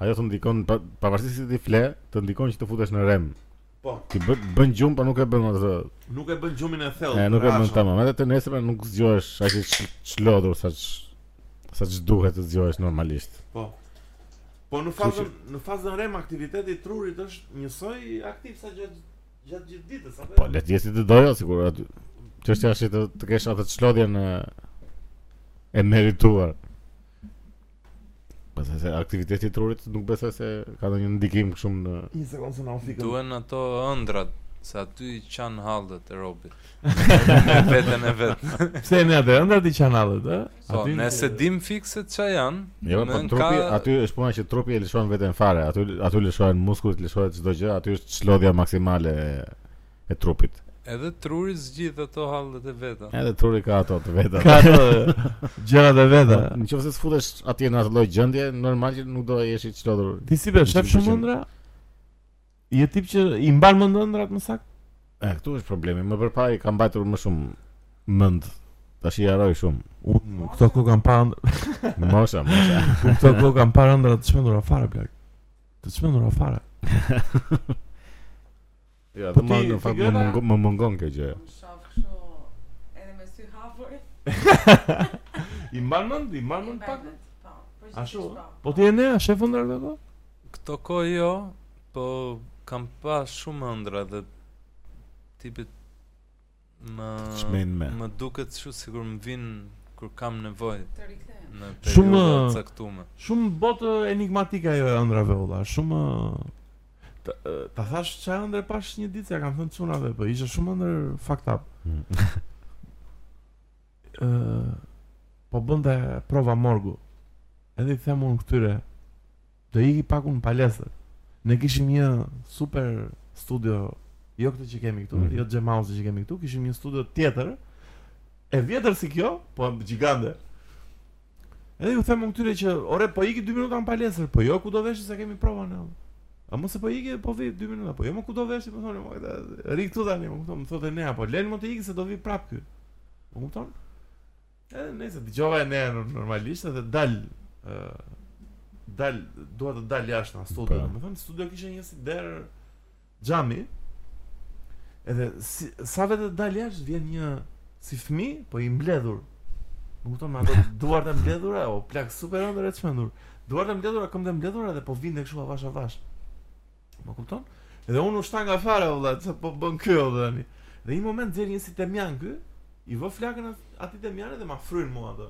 [SPEAKER 2] ajo të ndikon pa- pavarësisht se ti fle, të ndikon që të futesh në REM.
[SPEAKER 1] Po.
[SPEAKER 2] Ti bë, bën gjumë, pa nuk e bën atë.
[SPEAKER 1] Nuk e bën gjumin e thellë.
[SPEAKER 2] E nuk e bën
[SPEAKER 1] rasha.
[SPEAKER 2] tamam. Edhe të nesër nuk zgjohesh aq i ç- çlodhur sa ç- sa ç'duhet të zgjohesh normalisht.
[SPEAKER 1] Po. Po në
[SPEAKER 2] Kështu
[SPEAKER 1] fazën në fazën REM aktiviteti i trurit është njësoj aktiv sa gjatë gjatë gjithë ditës apo? jo?
[SPEAKER 2] Po le të jetë si të doja sigur aty. Çështja është që të, të kesh atë çlodhjen e e merituar. Pastaj se aktiviteti i trurit nuk besoj se ka ndonjë ndikim shumë në
[SPEAKER 1] Një sekondë se na u fikën.
[SPEAKER 3] Duhen ato ëndrat se aty i qanë haldet e robit Me vetën e vetë
[SPEAKER 1] Pse e ne atë ëndrat i kanallit, ë?
[SPEAKER 3] Po,
[SPEAKER 1] Aty-
[SPEAKER 3] nëse dim fikse që janë
[SPEAKER 2] Jo, po
[SPEAKER 3] nën
[SPEAKER 2] trupi,
[SPEAKER 3] ka-
[SPEAKER 2] aty është puna që trupi e lëshon veten fare, aty aty lëshohen muskujt, lëshohet çdo gjë, aty është çlodhja maksimale e, e trupit.
[SPEAKER 3] Edhe truri zgjidh ato haldet e veta
[SPEAKER 2] Edhe truri ka ato të veta.
[SPEAKER 1] Ka ato gjërat e veta.
[SPEAKER 2] Në qoftë se sfutesh atje në atë lloj gjendje, normal që nuk do jesh i çlodhur.
[SPEAKER 1] Ti si be shef shumë ëndra? Je tip që i mban mend ëndrat më saktë?
[SPEAKER 2] E, këtu është problemi. Më përpara i kam mbajtur më shumë mend. Tash i haroj shumë.
[SPEAKER 1] Unë këto kohë kam parë ëndra,
[SPEAKER 2] Mosha, mosha.
[SPEAKER 1] këto kohë kam parë ëndra të çmendura fare plak. Të çmendura fare.
[SPEAKER 2] Jo,
[SPEAKER 1] Po
[SPEAKER 2] edhe më
[SPEAKER 1] ti-
[SPEAKER 2] në fakt
[SPEAKER 1] ti
[SPEAKER 2] më
[SPEAKER 1] gjëra-
[SPEAKER 2] mungon, më mungon kjo gjë.
[SPEAKER 4] Unë shoh kështu edhe me sy hapur.
[SPEAKER 1] I mban mend, i mban
[SPEAKER 4] i
[SPEAKER 1] mend pak.
[SPEAKER 4] mbanet, Po,
[SPEAKER 1] Ashtu,
[SPEAKER 4] përgjithsisht po.
[SPEAKER 1] Po ti e ne shef ëndrat ato?
[SPEAKER 3] Këto ko jo Po kam pa shumë ëndra dhe Tipit Më
[SPEAKER 2] Çmejnë me.
[SPEAKER 3] Më duket shu sigur më vinë Kur kam nevojë
[SPEAKER 4] Të rikthem.
[SPEAKER 3] Në
[SPEAKER 1] Shumë-
[SPEAKER 3] periudha të caktume
[SPEAKER 1] Shumë botë enigmatike ajo e ëndrave valla, shumë ta- e, ta thash çfarë ëndre pash një ditë se ja kam thënë çunave, po ishte shumë ëndër fucked up.
[SPEAKER 2] Mm.
[SPEAKER 1] Ë po bënte prova morgu. Edhe i them unë këtyre do iki pak unë në palestër. Ne kishim një super studio, jo këtë që kemi këtu,
[SPEAKER 2] Mhm.
[SPEAKER 1] jo Jam House që kemi këtu, kishim një studio tjetër. E vjetër si kjo, po gjigande. Edhe ju them unë këtyre që, ore, po iki 2 minuta në palestër, po jo ku do veshë se kemi prova në. A mos e po iki, po vi 2 minuta, po jo më ku do veshë, po thonë, "Mo, këta, ri këtu tani, më kupton, më thotë ne, apo lën më të iki se do vi prap ky. Më kupton? Edhe nëse dëgjova e ne normalisht edhe dal ë dal dua të dal jashtë nga studio.
[SPEAKER 2] Po.
[SPEAKER 1] Domethënë studio kishte një si der xhami. Edhe si, sa vetë të dal jashtë vjen një si fëmijë, po i mbledhur. Më kupton me ato duart e mbledhura, o plak super ëndër e çmendur. Duart e mbledhura, këmbët e mbledhura dhe po vinte kështu avash avash. Më kupton? Edhe unë u shta nga fare valla, çfarë po bën ky o tani. Dhe një moment djer një si temjan ky, i vë flakën at- atij temjanit dhe ma fryn mua atë.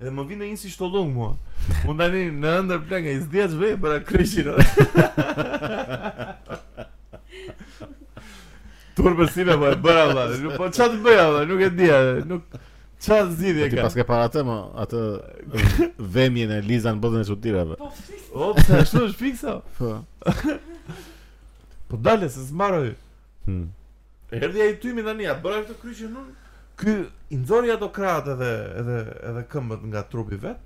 [SPEAKER 1] Edhe më vjen një si shtollung mua. Unë tani në ëndër plan nga i zdjeç vej për kryqin. Turpë si me po e bëra valla. Nuk- Po çfarë të bëja valla, nuk e di, e, nuk çfarë zgjidhje
[SPEAKER 2] Po Ti
[SPEAKER 1] ka.
[SPEAKER 2] paske para atë, më, atë vemjen e Liza në botën e çutirave.
[SPEAKER 4] Po, flis.
[SPEAKER 1] O, pse ashtu është fiksa?
[SPEAKER 2] Po.
[SPEAKER 1] Po dale se zmaroj.
[SPEAKER 2] Hmm.
[SPEAKER 1] Erdhi ai tymi tani, a bëra këtë kryqin unë? Ky i nxori ato krahat edhe edhe edhe këmbët nga trupi vet.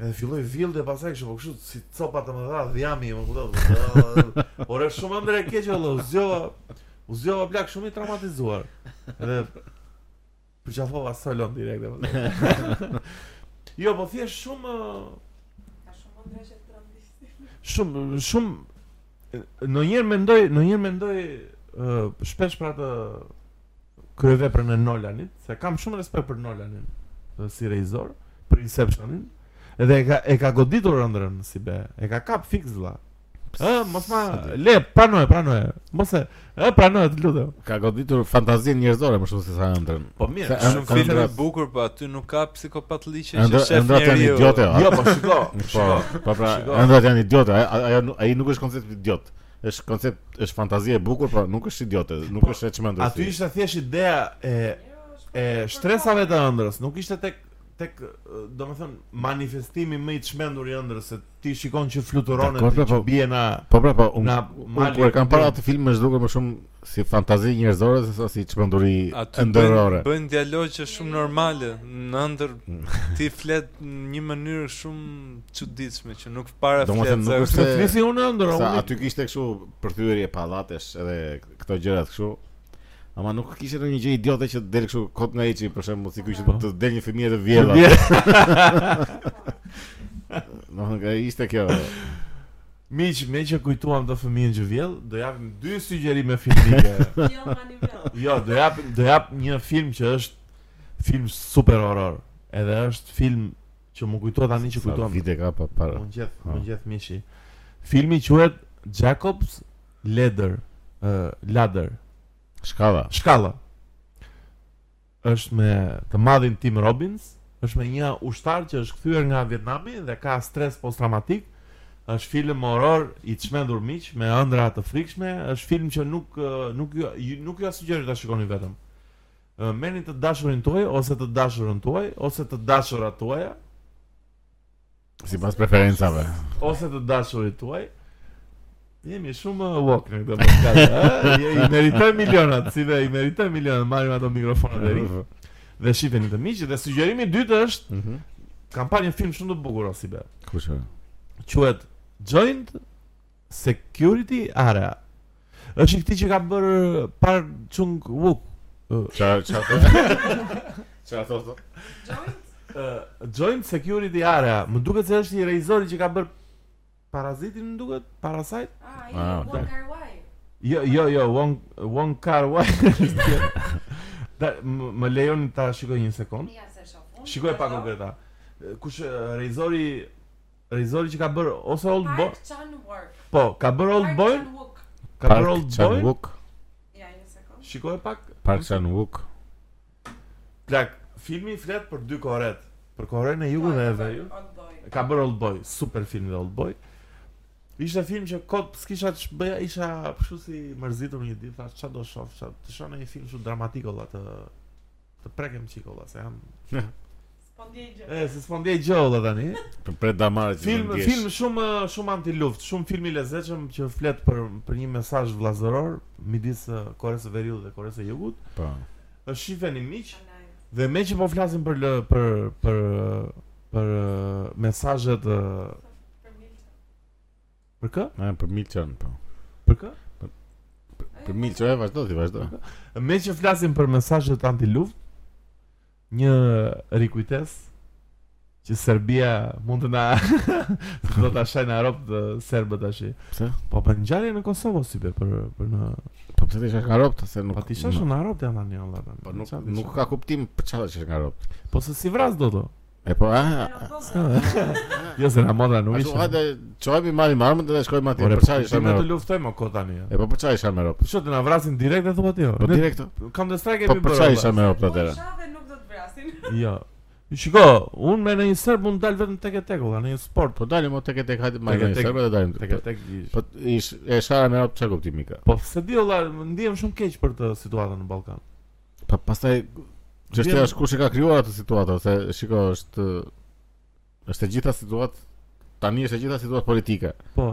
[SPEAKER 1] Edhe filloi villë pasaj kështu, po kështu si copa të mëdha dhjami, më kupton. Ore shumë ndër e keq valla, u zgjova. U zgjova plak shumë i traumatizuar. Edhe përqafova solon direkt. e valla. jo, po thjesht shumë ë,
[SPEAKER 4] Ka shumë ndryshe të trambisë.
[SPEAKER 1] shumë shumë ndonjëherë mendoj ndonjëherë mendoj uh, shpesh për atë kryeveprën e Nolanit, se kam shumë respekt për Nolanin ë, si regjisor, për Inceptionin, edhe e ka e ka goditur ëndrrën si be, e ka kap fix vlla. Ë, mos ma le, pranoje, pranoje. Mos e, ë, pranoje, të lutem.
[SPEAKER 2] Ka goditur fantazinë njerëzore më shumë se sa ëndrën.
[SPEAKER 1] Po
[SPEAKER 2] Se
[SPEAKER 1] mirë.
[SPEAKER 2] ëndra-
[SPEAKER 3] Shumë film i
[SPEAKER 2] ëndra-
[SPEAKER 3] bukur, po aty nuk ka psikopat liqe që
[SPEAKER 2] Ëndra
[SPEAKER 3] shef
[SPEAKER 2] ëndrat janë
[SPEAKER 3] njeriu.
[SPEAKER 2] idiote. o.
[SPEAKER 1] Jo, po shiko.
[SPEAKER 2] Po, po pra,
[SPEAKER 1] Shiko.
[SPEAKER 2] ëndrat janë idiote. Ai- ai- Ajo nu- ai nuk është koncept idiot. Është koncept, është fantazi e bukur, po nuk është idiote, nuk
[SPEAKER 1] Po,
[SPEAKER 2] është e çmendur.
[SPEAKER 4] jo,
[SPEAKER 1] Aty ishte thjesht ideja e e shtresave të ëndrës, nuk ishte tek tek ë, do me thënë manifestimi më i të shmendur i ëndrës se ti shikon që fluturon e
[SPEAKER 2] Dakor,
[SPEAKER 1] ti
[SPEAKER 2] po,
[SPEAKER 1] që
[SPEAKER 2] po.
[SPEAKER 1] bie na
[SPEAKER 2] Po pra, po, unë
[SPEAKER 1] na
[SPEAKER 2] unë kur e kam parë atë film më zhduket më shumë si fantazi njerëzore se sa si çmenduri
[SPEAKER 3] Aty
[SPEAKER 2] ndërrore.
[SPEAKER 3] bëjnë, bëjnë dialogje shumë normale, në ndër ti flet në një mënyrë shumë çuditshme që nuk para
[SPEAKER 2] Do më
[SPEAKER 3] flet.
[SPEAKER 2] thënë,
[SPEAKER 3] se-
[SPEAKER 2] nuk është-
[SPEAKER 1] Se flisi unë ëndër,
[SPEAKER 2] Sa
[SPEAKER 1] unë
[SPEAKER 2] aty kishte kështu përthyrje pallatesh edhe këto gjërat kështu. Ama nuk kishte ndonjë gjë idiote që del kështu kot nga hiçi për shembull si kishte
[SPEAKER 1] Po.
[SPEAKER 2] të del një fëmijë të vjedhur. Domethënë ka ishte kjo.
[SPEAKER 1] miq, me që kujtuam të fëmijën që vjell, do japim dy sugjerime filmike.
[SPEAKER 4] Jo, ma një vëllë.
[SPEAKER 1] Jo, do jap do jap një film që është film super horror. Edhe është film që më kujtohet tani që
[SPEAKER 2] Sa
[SPEAKER 1] kujtohem.
[SPEAKER 2] Vite ka pa para.
[SPEAKER 1] Më ngjet,
[SPEAKER 2] Ha.
[SPEAKER 1] më ngjet mishi. Filmi quhet Jacob's Ladder, uh, Ladder,
[SPEAKER 2] Shkalla.
[SPEAKER 1] shkalla. Është me të madhin Tim Robbins, është me një ushtar që është kthyer nga Vietnami dhe ka stres posttraumatik. Është film horror i çmendur miq me ëndra të frikshme, është film që nuk ë, nuk ju- ju nuk ju sugjeroj ta shikoni vetëm. Ë, Merrni të dashurin tuaj ose të dashurën tuaj ose të dashurat tuaja
[SPEAKER 2] Sipas preferencave.
[SPEAKER 1] ose të dashurit tuaj jemi shumë uh, woke në këtë podcast ha? I- i meritoj milionat si dhe i meritoj milionat marrim ato mikrofonat e ri dhe shifeni të miqë dhe sugjerimi i dytë është
[SPEAKER 2] Mhm.
[SPEAKER 1] kam parë një film shumë të bukur o si be
[SPEAKER 2] Kush është?
[SPEAKER 1] quhet Joint Security Area është i këti që ka bërë par Chung Wook
[SPEAKER 2] Ça ça. Ça thotë?
[SPEAKER 1] uh, Joint Security Area më duket se është i regjizori që ka bërë Parazitin më duket, Parasite
[SPEAKER 4] Ah,
[SPEAKER 2] Ah,
[SPEAKER 4] jo,
[SPEAKER 2] okay.
[SPEAKER 4] Wong Kar-wai.
[SPEAKER 1] Jo, jo, jo, Wong Wong Kar-wai. da, më më lejoni ta shikoj një sekond.
[SPEAKER 4] Ja se shoh unë.
[SPEAKER 1] Shikoj pak o Greta. Kush e, regjizori regjizori që ka bërë ose Old Boy,
[SPEAKER 4] Park Chan-wook.
[SPEAKER 1] po, ka bërë Old
[SPEAKER 4] Park
[SPEAKER 1] Boy,
[SPEAKER 4] Chan-wook.
[SPEAKER 1] ka bërë Old Boy.
[SPEAKER 2] Chan-wook.
[SPEAKER 4] Ja, një sekond.
[SPEAKER 1] Shikoj pak.
[SPEAKER 2] Park Chan-wook.
[SPEAKER 1] Plak, filmi flet për dy koret, për Korenë e Jugut dhe e Veriut.
[SPEAKER 4] Old boy.
[SPEAKER 1] Ka bërë Old Boy, super film dhe Old Boy. Ishte film që kot s'kisha të shbëja, isha kështu si mërzitur një ditë, thash çfarë do shoh, çfarë të shoh në një film shumë dramatik olla të të prekem çik olla, se jam
[SPEAKER 4] Po ndjej.
[SPEAKER 1] e se s'po ndjej gjë olla tani.
[SPEAKER 2] Për pret damare që
[SPEAKER 1] Film
[SPEAKER 2] ndjesh.
[SPEAKER 1] film shumë shumë anti-luft, shumë film i lezetshëm që flet për për një mesazh vëllazëror midis eh, Koreas së Veriut dhe Koreas së Jugut.
[SPEAKER 2] Po.
[SPEAKER 1] Është shifeni miq, Dhe me që po flasim për lë, për për për eh, mesazhet eh, për kë?
[SPEAKER 2] Na për Milçan po.
[SPEAKER 1] Për kë?
[SPEAKER 2] Për Milçan e vazhdo ti vazhdo.
[SPEAKER 1] Me që flasim për mesazhet anti-luft, një rikujtes që Serbia mund të na do ta shajë në Europë të serbët tash.
[SPEAKER 2] Pse?
[SPEAKER 1] Po për ngjarje në Kosovë si be për për në
[SPEAKER 2] Po pse ti shash nga ropt se nuk.
[SPEAKER 1] pa ti shash në Europë janë tani valla.
[SPEAKER 2] Po nuk nuk ka kuptim për çfarë shash nga ropt.
[SPEAKER 1] po se si vras do to.
[SPEAKER 2] E po a.
[SPEAKER 1] Ah,
[SPEAKER 2] a-
[SPEAKER 1] Jo se na modra nuk
[SPEAKER 2] Ashtu
[SPEAKER 1] ishte.
[SPEAKER 2] hajde çohemi marrim armët dhe shkojmë atje.
[SPEAKER 1] Ore,
[SPEAKER 2] Për çfarë
[SPEAKER 1] po
[SPEAKER 2] shash me
[SPEAKER 1] ne të
[SPEAKER 2] ropt?
[SPEAKER 1] luftojmë o kot tani.
[SPEAKER 2] E po për çfarë shash me ropt?
[SPEAKER 1] Ço të na vrasin direkt e thua ti. jo.
[SPEAKER 2] Po direkt.
[SPEAKER 1] Kam të strajk e
[SPEAKER 2] Po për çfarë isha me ropt atëra?
[SPEAKER 4] Po, Shave nuk do të vrasin.
[SPEAKER 1] Jo. Shiko, unë me në një serb mund dal vetëm tek e tek, valla, në një sport.
[SPEAKER 2] Po dalim o tek e tek hajde
[SPEAKER 1] Tek e
[SPEAKER 2] marrim
[SPEAKER 1] tek.
[SPEAKER 2] server dhe dalim.
[SPEAKER 1] Tek e tek. i-
[SPEAKER 2] Po ish e shara me ropt çfarë kuptimi ka?
[SPEAKER 1] Po se di valla, më ndihem shumë keq për të situatën në Ballkan.
[SPEAKER 2] Po pastaj çështja
[SPEAKER 1] Vjen-
[SPEAKER 2] është kush e ka krijuar atë situatë ose shiko është është e gjitha situatë tani është e gjitha situatë politike.
[SPEAKER 1] Po,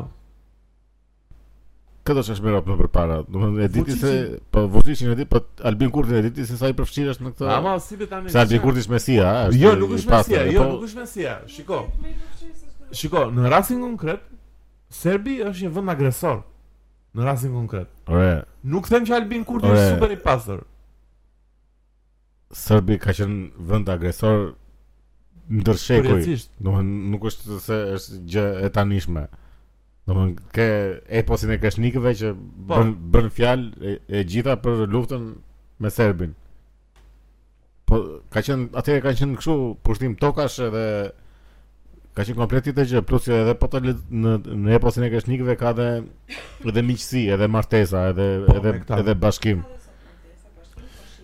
[SPEAKER 2] Këtë është shmerop më përpara. Domethënë e diti se
[SPEAKER 1] Vučićin.
[SPEAKER 2] po Vučićin e di, po Albin Kurti e diti se sa i përfshirë është në këtë.
[SPEAKER 1] ama si be tani.
[SPEAKER 2] Po, se Albin Kurti është mesia, a, është.
[SPEAKER 1] Jo, nuk
[SPEAKER 2] i
[SPEAKER 1] është
[SPEAKER 2] pastër,
[SPEAKER 1] mesia,
[SPEAKER 2] e
[SPEAKER 1] jo,
[SPEAKER 2] po,
[SPEAKER 1] nuk është mesia. Shiko, shiko, në rastin konkret, Serbi është një vend agresor. Në rastin konkret.
[SPEAKER 2] Ore,
[SPEAKER 1] Nuk them që Albin Kurti
[SPEAKER 2] Ore.
[SPEAKER 1] është super i pastër.
[SPEAKER 2] Serbi ka qenë vend agresor ndër shekuj.
[SPEAKER 1] Përjetësisht.
[SPEAKER 2] Domethënë nuk është se është gjë e tanishme. Domethënë ke eposin e kreshnikëve që
[SPEAKER 1] Po.
[SPEAKER 2] bën bën fjalë e, e gjitha për luftën me Serbin. Po ka qenë atëherë ka qenë kështu pushtim tokash edhe ka qenë komplet tjetër gjë, plus që edhe po të le- në në eposin e kreshnikëve ka edhe edhe miqësi, edhe martesa, edhe
[SPEAKER 1] Po,
[SPEAKER 2] edhe
[SPEAKER 1] me këta.
[SPEAKER 2] edhe bashkim.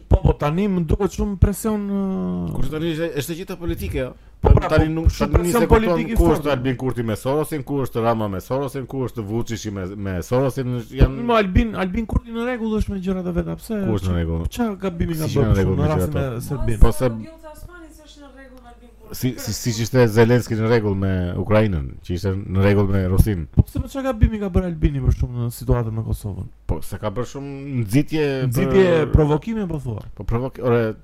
[SPEAKER 1] Po, po tani më duket shumë presion. ë,
[SPEAKER 2] Kurse tani është është e gjitha politike. jo?
[SPEAKER 1] Po, pra,
[SPEAKER 2] tani
[SPEAKER 1] po,
[SPEAKER 2] nuk
[SPEAKER 1] shumë
[SPEAKER 2] tani
[SPEAKER 1] presion
[SPEAKER 2] se kupton
[SPEAKER 1] politik i
[SPEAKER 2] ku
[SPEAKER 1] fortë.
[SPEAKER 2] është Albin Kurti me Sorosin, ku është Rama me Sorosin, ku është Vučići me me Sorosin, janë
[SPEAKER 1] Më Albin, Albin Kurti në rregull është me gjërat e veta, pse?
[SPEAKER 2] ku është në rregull.
[SPEAKER 1] Çfarë gabimi ka
[SPEAKER 2] Si që
[SPEAKER 1] bërë
[SPEAKER 2] janë
[SPEAKER 1] shumë
[SPEAKER 2] rregull
[SPEAKER 1] në
[SPEAKER 2] me
[SPEAKER 1] rastin e
[SPEAKER 2] gjërat
[SPEAKER 1] Serbinë?
[SPEAKER 2] Po, se-
[SPEAKER 4] Gjulta Osmani s'është në rregull Albin
[SPEAKER 2] si si siç ishte Zelenski në rregull me Ukrainën, që ishte në rregull me Rusin.
[SPEAKER 1] Po pse më çka gabimi ka bërë Albini për shumë në situatën me Kosovën?
[SPEAKER 2] Po se ka bërë shumë nxitje për-
[SPEAKER 1] Nxitje provokime po thua.
[SPEAKER 2] po provok ore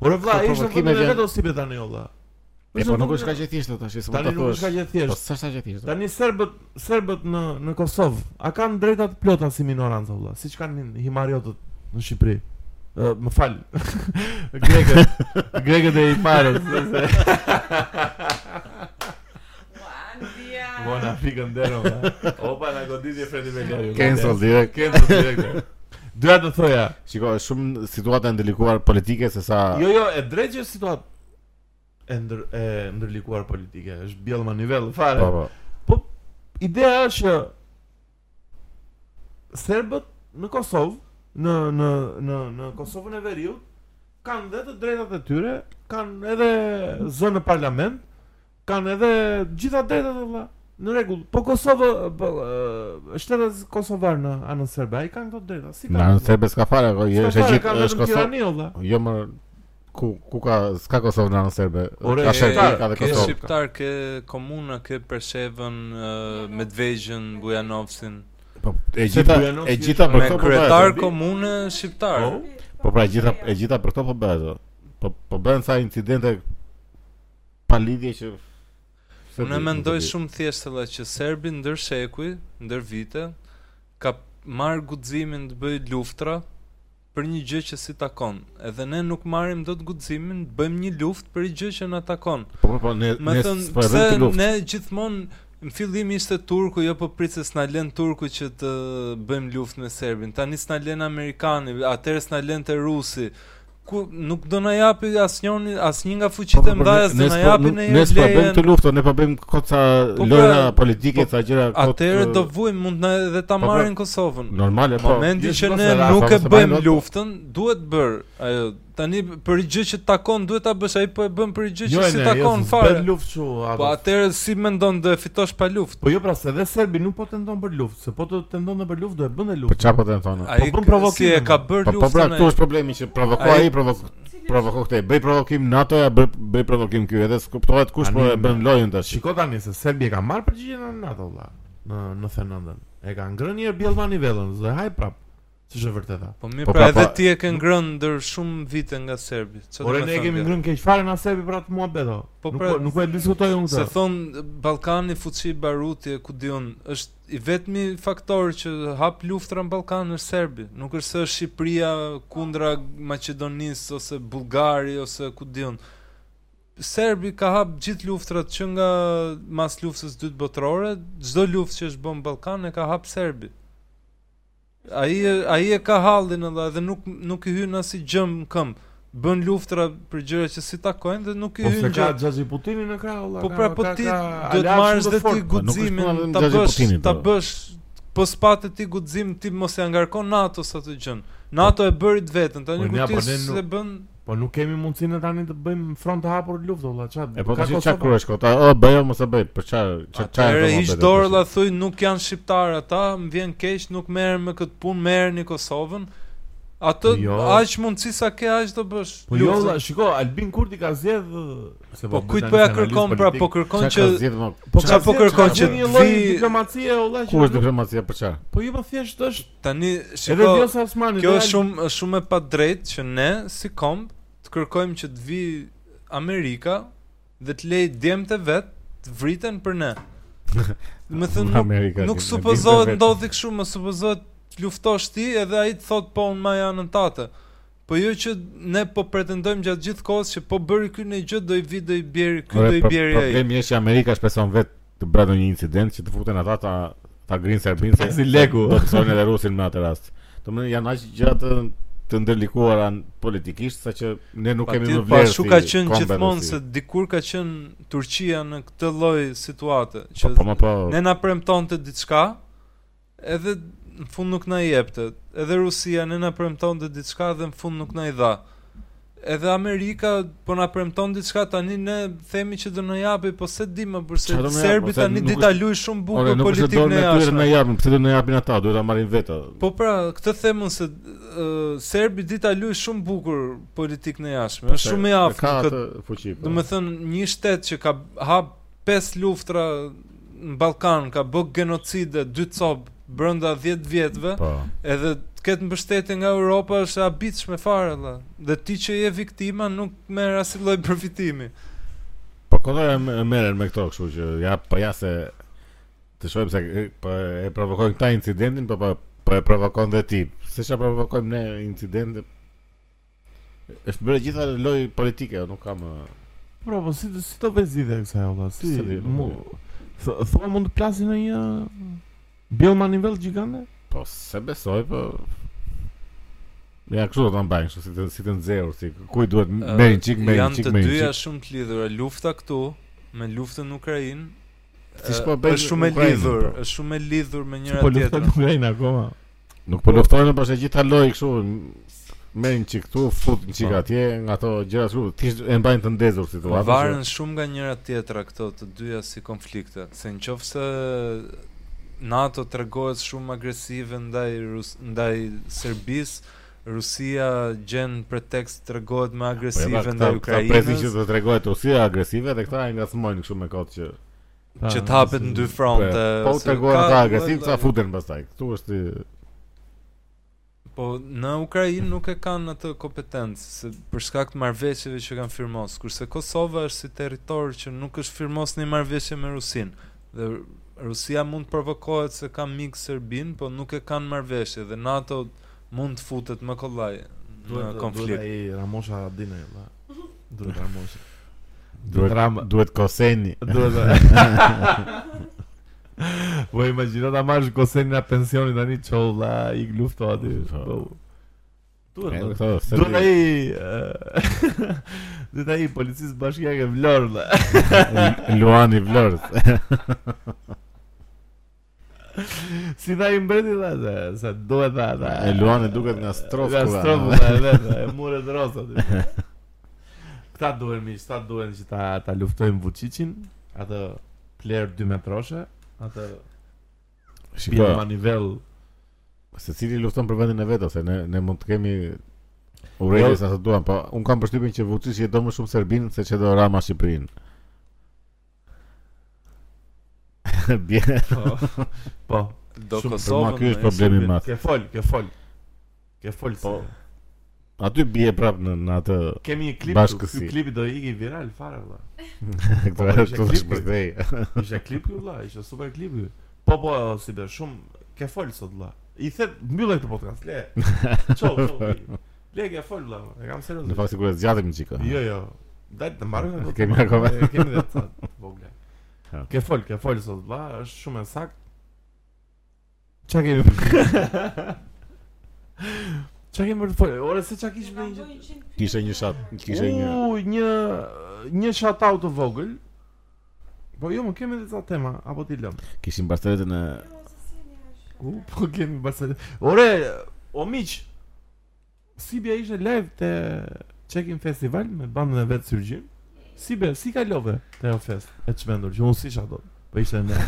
[SPEAKER 1] Ore vlla,
[SPEAKER 2] Po,
[SPEAKER 1] ishte
[SPEAKER 2] provokime
[SPEAKER 1] vetëm
[SPEAKER 2] janë-
[SPEAKER 1] vetë osipe tani olla.
[SPEAKER 2] E po nuk është kaq e thjeshtë tash, s'mund ta
[SPEAKER 1] Tani nuk
[SPEAKER 2] thuash.
[SPEAKER 1] është kaq e
[SPEAKER 2] Po
[SPEAKER 1] thjeshtë.
[SPEAKER 2] s'është kaq e thjeshtë.
[SPEAKER 1] Tani serbët, serbët në në Kosovë, a kanë drejta të plota si minorancë vëlla, siç kanë himariotët në Shqipëri. Ë, më fal. Grekët, grekët e himarët. se- se-
[SPEAKER 4] Juan dia.
[SPEAKER 1] Bona pikën derën. vëlla. Opa na goditje Fredi Beljari. vëlla.
[SPEAKER 2] Cancel direkt.
[SPEAKER 1] Cancel Po direkt. Doja të thoja,
[SPEAKER 2] Shiko, është shumë situata e ndërlikuar politike se sa
[SPEAKER 1] jo jo, e drejtë është situatë e ndër e ndërlikuar politike, është bjell manivell fare.
[SPEAKER 2] po po.
[SPEAKER 1] Ideja është që serbët në Kosovë në në në në Kosovën e Veriut kanë dhe të drejtat e tyre, kanë edhe zënë në parlament, kanë edhe gjitha drejtat e vëlla. Në rregull, po Kosovë po, ë, shtetet kosovar në anën serbe, ai kanë këto drejta, si
[SPEAKER 2] Na në serbe s'ka fare, ko,
[SPEAKER 1] S'ka
[SPEAKER 2] jo, është e
[SPEAKER 1] fare,
[SPEAKER 2] gjithë
[SPEAKER 1] kanë vetëm
[SPEAKER 2] është Kosovë.
[SPEAKER 1] Tirani vëlla.
[SPEAKER 2] Jo më ku ku ka s'ka Kosovë në anën serbe.
[SPEAKER 1] Ore,
[SPEAKER 2] Ka
[SPEAKER 1] e,
[SPEAKER 2] Serbi, ka dhe
[SPEAKER 3] ke
[SPEAKER 2] Kosovë.
[SPEAKER 3] shqiptar, ke komuna, ke Pershevën, uh, Medvezhën, Bujanovsin.
[SPEAKER 2] Po e
[SPEAKER 1] Se
[SPEAKER 2] gjitha
[SPEAKER 1] Bujanovi
[SPEAKER 2] e gjitha për
[SPEAKER 3] Me
[SPEAKER 2] këto po
[SPEAKER 3] kryetar
[SPEAKER 2] bëhet.
[SPEAKER 3] komune shqiptar.
[SPEAKER 1] Po.
[SPEAKER 2] Po pra e gjitha e gjitha për këto po bëhet. Po po bëhen sa incidente pa lidhje që se
[SPEAKER 3] Unë
[SPEAKER 2] di,
[SPEAKER 3] e
[SPEAKER 2] nuk
[SPEAKER 3] mendoj
[SPEAKER 2] e di.
[SPEAKER 3] shumë thjeshtë edhe që Serbi ndër shekuj, ndër vite, ka marrë guximin të bëjë luftra për një gjë që si takon. Edhe ne nuk marrim dot guximin të bëjmë një luftë për një gjë që na takon.
[SPEAKER 2] Po po, po ne
[SPEAKER 3] Më
[SPEAKER 2] ne
[SPEAKER 3] thënë,
[SPEAKER 2] po e
[SPEAKER 3] pse
[SPEAKER 2] vëmë të luftë.
[SPEAKER 3] ne gjithmonë Në fillim ishte turku, jo po pritë se s'na len turku që të bëjmë luftë me serbin. Tani s'na len amerikani, atëherë s'na len të rusi. Ku nuk do na japi asnjëri, asnjë nga
[SPEAKER 2] Po, po,
[SPEAKER 3] fuqitë e
[SPEAKER 2] po,
[SPEAKER 3] mëdha, s'do
[SPEAKER 2] ne
[SPEAKER 3] na
[SPEAKER 2] s'po-
[SPEAKER 3] japin
[SPEAKER 2] nuk-
[SPEAKER 3] e
[SPEAKER 2] Ne s'po e bëjmë
[SPEAKER 3] lejen.
[SPEAKER 2] të luftë, ne po bëjmë kot sa
[SPEAKER 3] Po, pra,
[SPEAKER 2] lojra politike,
[SPEAKER 3] po,
[SPEAKER 2] sa gjëra kot.
[SPEAKER 3] Atëherë
[SPEAKER 2] e,
[SPEAKER 3] do vujmë, mund na edhe ta
[SPEAKER 2] po, pra,
[SPEAKER 3] marrin Kosovën.
[SPEAKER 2] normale, po.
[SPEAKER 3] Momentin
[SPEAKER 2] jo,
[SPEAKER 3] që
[SPEAKER 2] mos
[SPEAKER 3] ne
[SPEAKER 2] e ra, po,
[SPEAKER 3] nuk e
[SPEAKER 2] mos e
[SPEAKER 3] bëjmë
[SPEAKER 2] bajmë lot.
[SPEAKER 3] luftën, duhet bër ajo. Tani për gjë që takon duhet ta bësh, ai po e bën për
[SPEAKER 1] Jo,
[SPEAKER 2] Jo,
[SPEAKER 3] gjë që si takon fare.
[SPEAKER 1] Bën luftë kështu.
[SPEAKER 3] Po
[SPEAKER 1] apo.
[SPEAKER 3] atëherë si mendon do e fitosh pa luftë?
[SPEAKER 1] Po jo pra se edhe serbi nuk po tenton për luftë, se po të tentonte për luftë do e bënte
[SPEAKER 2] Po
[SPEAKER 1] luftë.
[SPEAKER 2] çfarë po të thonë?
[SPEAKER 3] Ai
[SPEAKER 1] bën
[SPEAKER 3] k- si
[SPEAKER 1] provokimin,
[SPEAKER 3] e ka bër
[SPEAKER 2] Po po pra
[SPEAKER 3] luftën.
[SPEAKER 2] këtu
[SPEAKER 3] ai.
[SPEAKER 2] është problemi që provokoi
[SPEAKER 3] Ai-
[SPEAKER 2] ai provokoi provokoi këtë. Bëj provokim NATO-ja, bëj bëj provokim ky, edhe s'kuptohet kush po e
[SPEAKER 1] Tani-
[SPEAKER 2] bën lojën tash.
[SPEAKER 1] Shiko tani se Serbi e ka marrë përgjigjen në NATO vëlla në në 99-ën. E ka ngrënë një herë Bjellmani vellën, dhe haj prap. Siç është vërteta.
[SPEAKER 3] Po mirë
[SPEAKER 2] Po
[SPEAKER 3] pra
[SPEAKER 2] pra,
[SPEAKER 3] edhe
[SPEAKER 2] pa-
[SPEAKER 3] ti e ke ngrënë ndër shumë vite nga Serbi. Çfarë
[SPEAKER 1] Ore
[SPEAKER 3] do të
[SPEAKER 1] ne e
[SPEAKER 3] thonë
[SPEAKER 1] kemi
[SPEAKER 3] kjo?
[SPEAKER 1] ngrënë keq fare na Serbi për atë muhabet. o.
[SPEAKER 3] Po
[SPEAKER 1] Nuk
[SPEAKER 3] pra-
[SPEAKER 1] po- nuk po e diskutoj unë
[SPEAKER 3] Se
[SPEAKER 1] këtë.
[SPEAKER 3] thon Ballkani fuqi Baruti e ku diun është i vetmi faktor që hap luftra në Ballkan është Serbi. Nuk është se është Shqipëria kundra Maqedonisë ose Bullgari ose ku diun. Serbi ka hap gjithë luftrat që nga mas luftës dytë botërore, çdo luftë që është bën në Ballkan e ka hap Serbi. Ai e- ai e ka hallin edhe dhe nuk nuk i hyn as i gjëm në këmbë. Bën luftra për gjëra që si takojnë dhe nuk i
[SPEAKER 1] Po se
[SPEAKER 3] hyn
[SPEAKER 1] ka
[SPEAKER 3] gjë.
[SPEAKER 1] Xhaxhi Putini në krah vëlla.
[SPEAKER 3] Po
[SPEAKER 1] ka-
[SPEAKER 3] pra po
[SPEAKER 1] ka-
[SPEAKER 3] ti
[SPEAKER 1] ka
[SPEAKER 3] do të
[SPEAKER 1] aleat
[SPEAKER 3] marrësh
[SPEAKER 1] shumë
[SPEAKER 3] dhe ti
[SPEAKER 1] fortë.
[SPEAKER 2] nuk është
[SPEAKER 3] guximin,
[SPEAKER 2] puna vetëm
[SPEAKER 3] ta
[SPEAKER 2] Xhaxhi
[SPEAKER 3] bësh,
[SPEAKER 2] Putinit,
[SPEAKER 3] ta
[SPEAKER 2] po.
[SPEAKER 3] bësh po spatë ti guxim ti mos e angarkon NATO-s atë gjën. NATO e bëri të vetën, tani
[SPEAKER 1] Po,
[SPEAKER 3] kur
[SPEAKER 1] nja,
[SPEAKER 3] ti
[SPEAKER 1] po, ne
[SPEAKER 3] s'e
[SPEAKER 1] nuk-
[SPEAKER 3] bën
[SPEAKER 1] Po nuk kemi mundsinë tani të bëjmë front të hapur luftë vëlla. Çfarë?
[SPEAKER 2] E po
[SPEAKER 1] ka
[SPEAKER 2] tash çka
[SPEAKER 1] Kosova?
[SPEAKER 2] kryesh këta? O bëj o mos e bëj. Për çfarë? Çfarë
[SPEAKER 3] Atëherë hiç dorë la thuj nuk janë shqiptar ata, më vjen keq, nuk merrem me këtë punë, merrni Kosovën. Atë
[SPEAKER 1] Jo.
[SPEAKER 3] aq mundësi sa ke aq do bësh.
[SPEAKER 1] Po jo
[SPEAKER 3] Luftën.
[SPEAKER 1] vëlla, shiko Albin Kurti ka zgjedh ë, se
[SPEAKER 3] po
[SPEAKER 1] bëhet
[SPEAKER 3] kujt
[SPEAKER 1] tani
[SPEAKER 3] po ja
[SPEAKER 1] analist
[SPEAKER 3] kërkon pra,
[SPEAKER 1] politik.
[SPEAKER 3] po kërkon që
[SPEAKER 1] Po
[SPEAKER 3] Çfarë po kërkon që
[SPEAKER 1] një lloj
[SPEAKER 3] vi-
[SPEAKER 1] diplomacie o vëlla
[SPEAKER 2] Ku
[SPEAKER 1] që
[SPEAKER 2] është diplomacia për çfarë?
[SPEAKER 1] po jo po thjesht është
[SPEAKER 3] tani
[SPEAKER 1] edhe
[SPEAKER 3] shiko
[SPEAKER 1] Vjosa Osmani.
[SPEAKER 3] Kjo
[SPEAKER 1] dhe
[SPEAKER 3] është
[SPEAKER 1] Albin-
[SPEAKER 3] shumë është shumë e padrejtë që ne si komb të kërkojmë që të vi Amerika dhe të lejë djemtë vet të vriten për ne. Më thënë nuk,
[SPEAKER 2] Amerika.
[SPEAKER 3] nuk supozohet ndodhi kështu, më supozohet të luftosh ti edhe ai të thot po unë ma janë në tate. Po jo që ne po pretendojmë gjatë gjithë kohës që po bëri ky në gjë do i vi do i bjeri ky do i bjeri ai.
[SPEAKER 2] po, Problemi është që Amerika shpeson vet të bëhet një incident që të futen ata ta ta grinë Serbinë se
[SPEAKER 1] Si leku.
[SPEAKER 2] Do të thonë edhe Rusin në atë rast. Domethënë janë aq gjëra të të ndërlikuara n- politikisht sa që ne nuk kemi më
[SPEAKER 3] Patjetër, Po
[SPEAKER 2] vlerë.
[SPEAKER 3] ashtu
[SPEAKER 2] si
[SPEAKER 3] ka qenë
[SPEAKER 2] kombe
[SPEAKER 3] gjithmonë
[SPEAKER 2] dhe si-
[SPEAKER 3] se dikur ka qenë Turqia në këtë lloj situate
[SPEAKER 2] Po,
[SPEAKER 3] që
[SPEAKER 2] po më po.
[SPEAKER 3] Ne na premtonte diçka, edhe në fund nuk na i jepte. Edhe Rusia ne na premtonte diçka dhe në fund nuk na i dha. edhe Amerika po na premton diçka tani ne themi që do na japi, po se di më përse
[SPEAKER 2] Qa do na japë,
[SPEAKER 3] serbit
[SPEAKER 2] se
[SPEAKER 3] tani
[SPEAKER 2] nuk
[SPEAKER 3] di ta luaj shumë
[SPEAKER 2] Ore,
[SPEAKER 3] bukur
[SPEAKER 2] nuk është se dorë
[SPEAKER 3] politikën e
[SPEAKER 2] në tyre
[SPEAKER 3] jashtme.
[SPEAKER 2] në japin, pse do në japin ata, duhet ta marrin vetë.
[SPEAKER 3] Po pra, këtë themun se uh, Serbi dita luaj shumë bukur politikën e jashtme. Është shumë i aftë.
[SPEAKER 2] Po Ka
[SPEAKER 3] në
[SPEAKER 2] atë
[SPEAKER 3] këtë-
[SPEAKER 2] fuqi. po.
[SPEAKER 3] Do të thënë një shtet që ka hap pesë luftra në Ballkan, ka bë genocide, dy cop brenda 10 vjetëve,
[SPEAKER 2] Po.
[SPEAKER 3] edhe të ketë mbështetje nga Europa është e habitshme fare valla. Dhe ti që je viktima nuk merr asnjë lloj përfitimi.
[SPEAKER 2] Po kontra e merren me këto, kështu që ja po ja se të shohim se e- po e provokojnë këta incidentin, po po po e provokon dhe ti. Se çfarë provokojmë ne incidente? Është bërë gjitha loj politike, nuk kam ë,
[SPEAKER 1] Bro, po si si do bëj zgjidhje kësaj olla? Si
[SPEAKER 2] Se di,
[SPEAKER 1] mu
[SPEAKER 2] po.
[SPEAKER 1] Th- thua mund të plasin në një bjell ma nivel gjigande?
[SPEAKER 2] Po se besoj, po Ja, kështu do ta mbajnë, kështu si të si të nxehur, si kuj duhet
[SPEAKER 3] Ë,
[SPEAKER 2] merrin çik, merrin
[SPEAKER 3] Janë
[SPEAKER 2] çik,
[SPEAKER 3] të
[SPEAKER 2] merrin
[SPEAKER 3] dyja
[SPEAKER 2] çik.
[SPEAKER 3] shumë të lidhura, lufta këtu me luftën në Ukrainë.
[SPEAKER 2] Si
[SPEAKER 3] ë,
[SPEAKER 2] s'po bëjnë
[SPEAKER 3] është shumë e
[SPEAKER 2] Ukrainën,
[SPEAKER 3] lidhur,
[SPEAKER 2] po.
[SPEAKER 3] është shumë e lidhur me
[SPEAKER 1] Që
[SPEAKER 3] njëra
[SPEAKER 1] po lufta
[SPEAKER 3] tjetrën.
[SPEAKER 1] në Ukrainë akoma.
[SPEAKER 2] Nuk po luftojnë, po është e gjitha loj kështu merrin çik këtu, futin çik
[SPEAKER 1] Po.
[SPEAKER 2] atje, nga ato gjëra kështu, thjesht e mbajnë të ndezur situatën. që-
[SPEAKER 3] Varen shumë nga njëra tjetra këto të dyja si konflikte, se në qofë se NATO të regohet shumë agresive ndaj, Rus ndaj Serbis, Rusia gjen pretekst të regohet më
[SPEAKER 2] Po, e
[SPEAKER 3] agresive
[SPEAKER 2] pra,
[SPEAKER 3] ndaj
[SPEAKER 2] këta- këta presin që
[SPEAKER 3] Ukrainës,
[SPEAKER 2] do tregohet Rusia agresive dhe këta e ngacmojnë kështu me kot që
[SPEAKER 3] që të hapet në dy fronte.
[SPEAKER 2] po
[SPEAKER 3] se
[SPEAKER 2] tregohen
[SPEAKER 3] ka-
[SPEAKER 2] ata agresiv,
[SPEAKER 3] valla-
[SPEAKER 2] këta futen pastaj. Ktu është
[SPEAKER 3] Po në Ukrainë nuk e kanë atë kompetencë se për shkak të marrëveshjeve që kanë firmos, kurse Kosova është si territor që nuk është firmos në marrëveshje me Rusinë. Dhe Rusia mund të provokohet se ka mik serbin, po nuk e kanë marrëveshje dhe NATO mund të futet më kollaj në konflikt.
[SPEAKER 1] Ai Ramosha Radina olla. Duhet Ramosha.
[SPEAKER 2] duhet
[SPEAKER 1] Drama.
[SPEAKER 2] duhet koseni.
[SPEAKER 1] Duhet. Po imagjino ta marrësh kosen nga pensioni tani çolla, i lufto aty.
[SPEAKER 2] Po.
[SPEAKER 1] Po.
[SPEAKER 2] E,
[SPEAKER 1] Duhet.
[SPEAKER 2] këto, se
[SPEAKER 1] Duhet
[SPEAKER 2] di,
[SPEAKER 1] ai ë, duhet ai policisë bashkiake Vlorë. vëlla.
[SPEAKER 2] Luani Vlorës.
[SPEAKER 1] Si tha i mbreti tha se- se duhet tha tha.
[SPEAKER 2] E Luani duket nga strofë.
[SPEAKER 1] Nga
[SPEAKER 2] kura.
[SPEAKER 1] strofu e vetë, e mure të rosa aty. Këta duhen miq, këta duhen që ta ta luftojmë Vučićin, atë player 2 metroshe, atë
[SPEAKER 2] Shiko,
[SPEAKER 1] bjerë ma nivel.
[SPEAKER 2] secili lufton për vendin e vet ose ne ne mund të kemi urrëti sa të duam, po un kam përshtypjen që Vučić jeton më shumë Serbinë se çdo Rama Shqipërinë. Bje-
[SPEAKER 1] Po. po.
[SPEAKER 3] Do
[SPEAKER 1] Shumë-
[SPEAKER 2] Për ma
[SPEAKER 3] Kosova.
[SPEAKER 2] ky është problemi i madh.
[SPEAKER 1] Ke fol, ke fol. Ke fol. Po.
[SPEAKER 2] Aty bie prap në, në atë
[SPEAKER 1] Kemi një klip, këtu,
[SPEAKER 2] Bashkësi.
[SPEAKER 1] ky klipi do iki viral fare valla.
[SPEAKER 2] këtë
[SPEAKER 1] ishte
[SPEAKER 2] këtë
[SPEAKER 1] klipi.
[SPEAKER 2] shpërthej.
[SPEAKER 1] Ishte klip ky valla, ishte super klip ky. Po po, si be shumë ke fol sot valla. I thet mbyllë këtë podcast, le. Çau, çau. Le ke fol valla. E kam serioz.
[SPEAKER 2] Në fakt sigurisht zgjatëm çika.
[SPEAKER 1] Jo, jo. Dajtë të marrë nga
[SPEAKER 2] Kemi akoma.
[SPEAKER 1] E, Kemi dhe të të vogle
[SPEAKER 2] Ja.
[SPEAKER 1] Ke fol, ke fol sot vlla, është shumë e sakt Qa kemi për Qa kemi për të fol, ore se qa kishë për një
[SPEAKER 2] Kishte një shat, kishte një
[SPEAKER 1] U, një, një shataut të vogël Po jo, më kemi dhe ca tema, apo ti lëm
[SPEAKER 2] kishin basteretën e
[SPEAKER 1] U, po kemi Barcelona Ore, o miq Sibja ishte live të Check-in Festival me bandën e vetë Syrgjin Sibja, si kalove të ajo fest e të shmendur që unë si isha do Po ishte në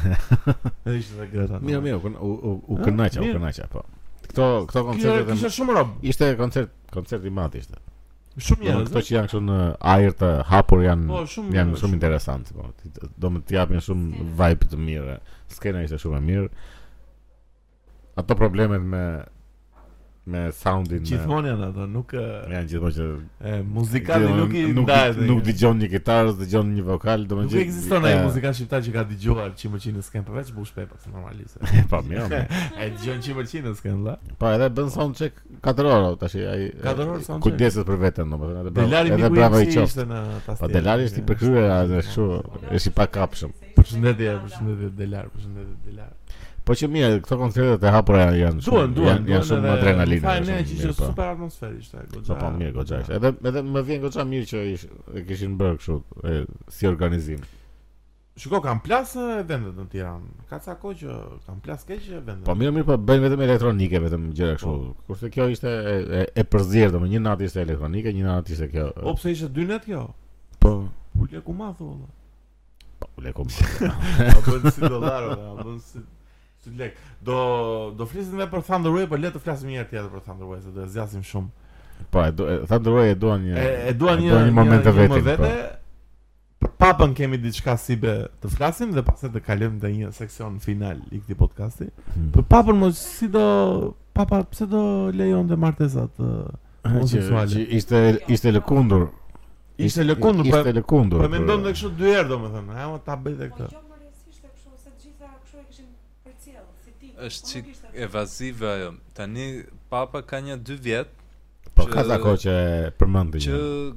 [SPEAKER 1] Edhe ishte dhe Greta
[SPEAKER 2] Mirë, mirë, u kën- u u, u
[SPEAKER 1] Ah,
[SPEAKER 2] kënaqa, u
[SPEAKER 1] mirë.
[SPEAKER 2] kënaqa, po. Këto këto
[SPEAKER 1] Kjo
[SPEAKER 2] koncertet
[SPEAKER 1] kishte
[SPEAKER 2] e-
[SPEAKER 1] shumë rob
[SPEAKER 2] ishte koncert koncert i madh ishte.
[SPEAKER 1] Shumë
[SPEAKER 2] Domethënë
[SPEAKER 1] njerëz
[SPEAKER 2] këto
[SPEAKER 1] eh?
[SPEAKER 2] që janë kështu në ajër të hapur janë
[SPEAKER 1] Po, shumë
[SPEAKER 2] janë shumë interesante, po. Ti- Do më të japin shumë vibe të mirë. Skena ishte shumë e mirë. Ato problemet me me soundin me-
[SPEAKER 1] Gjithmonë janë ato, nuk e,
[SPEAKER 2] janë gjithmonë që
[SPEAKER 1] e, muzikali
[SPEAKER 2] Gjithmonë
[SPEAKER 1] nuk i
[SPEAKER 2] nuk,
[SPEAKER 1] ndahet.
[SPEAKER 2] nuk dëgjon një kitarë, dëgjon një vokal,
[SPEAKER 1] Nuk
[SPEAKER 2] domethënë që-
[SPEAKER 1] ekziston ai
[SPEAKER 2] e,
[SPEAKER 1] muzikan shqiptar që ka dëgjuar 100% s'kan përveç Bush Pepas normalisht.
[SPEAKER 2] Po mirë. mirë.
[SPEAKER 1] E dëgjon 100% s'kan vëlla.
[SPEAKER 2] Po edhe bën sound check 4 orë tash ai.
[SPEAKER 1] Katër orë sound check.
[SPEAKER 2] Kujdeset për veten domethënë edhe bravo.
[SPEAKER 1] Delari
[SPEAKER 2] Edhe
[SPEAKER 1] miku
[SPEAKER 2] bravo
[SPEAKER 1] im
[SPEAKER 2] i
[SPEAKER 1] si
[SPEAKER 2] qoftë.
[SPEAKER 1] ishte në
[SPEAKER 2] Po
[SPEAKER 1] tastier.
[SPEAKER 2] Delari është i përkryer, a, dhe kështu, është i pakapshëm.
[SPEAKER 1] Përshëndetje, përshëndetje Delar, përshëndetje Delar.
[SPEAKER 2] Po që mirë, këto koncertet e hapura janë janë shumë.
[SPEAKER 1] Duan, duan,
[SPEAKER 2] janë, janë shumë me adrenalinë.
[SPEAKER 1] Fajë
[SPEAKER 2] janë
[SPEAKER 1] ne
[SPEAKER 2] shumë
[SPEAKER 1] që
[SPEAKER 2] mirë,
[SPEAKER 1] ishte
[SPEAKER 2] po.
[SPEAKER 1] super atmosferë ishte goxha.
[SPEAKER 2] Po po mirë goxha. ishte. Edhe edhe më vjen goxha mirë që ish, e kishin bërë kështu e, si organizim.
[SPEAKER 1] Shiko, kam plasë vendet në Tiranë. Ka ca kohë që kam plasë keq vendet.
[SPEAKER 2] Po mirë mirë, po bëjnë vetëm elektronike vetëm gjëra kështu. Kurse kjo ishte e, e, e përzierë, domethënë një natë ishte elektronike, një natë ishte kjo.
[SPEAKER 1] o pse ishte dy net kjo?
[SPEAKER 2] po,
[SPEAKER 1] Ule ku ma thu valla.
[SPEAKER 2] po, le kom.
[SPEAKER 1] A bën si dollarë, a bën si si lek. Do do flisim edhe për Thunder Wave, po le të flasim një herë tjetër për Thunder Wave, se do e zgjasim shumë.
[SPEAKER 2] Po, e du- e- tha ndroi e duan një.
[SPEAKER 1] E, e dua një
[SPEAKER 2] një moment të
[SPEAKER 1] më
[SPEAKER 2] vetin.
[SPEAKER 1] vete.
[SPEAKER 2] po.
[SPEAKER 1] Për papën kemi diçka si be të flasim dhe pastaj të kalojmë te një seksion final i këtij podcasti.
[SPEAKER 2] Hmm.
[SPEAKER 1] Për papën mos si do papa pse do lejon të martesat? ë?
[SPEAKER 2] Që,
[SPEAKER 1] homoseksuale.
[SPEAKER 2] që ishte ishte lëkundur.
[SPEAKER 1] Ishte lëkundur, po
[SPEAKER 2] Ishte pra- lëkundur.
[SPEAKER 1] po mendon dhe kështu dy herë domethënë, ha mo ta bëj dhe
[SPEAKER 4] Po
[SPEAKER 1] këtë.
[SPEAKER 4] jo më rësishte kështu se të gjitha kështu e kishin përcjell si ti.
[SPEAKER 3] Është
[SPEAKER 4] po nuk
[SPEAKER 3] qik
[SPEAKER 4] ishte-
[SPEAKER 3] evazive ajo. Tani papa ka një dy vjet
[SPEAKER 2] Po
[SPEAKER 3] që-
[SPEAKER 2] ka ta kohë që e përmendin.
[SPEAKER 3] që
[SPEAKER 2] një.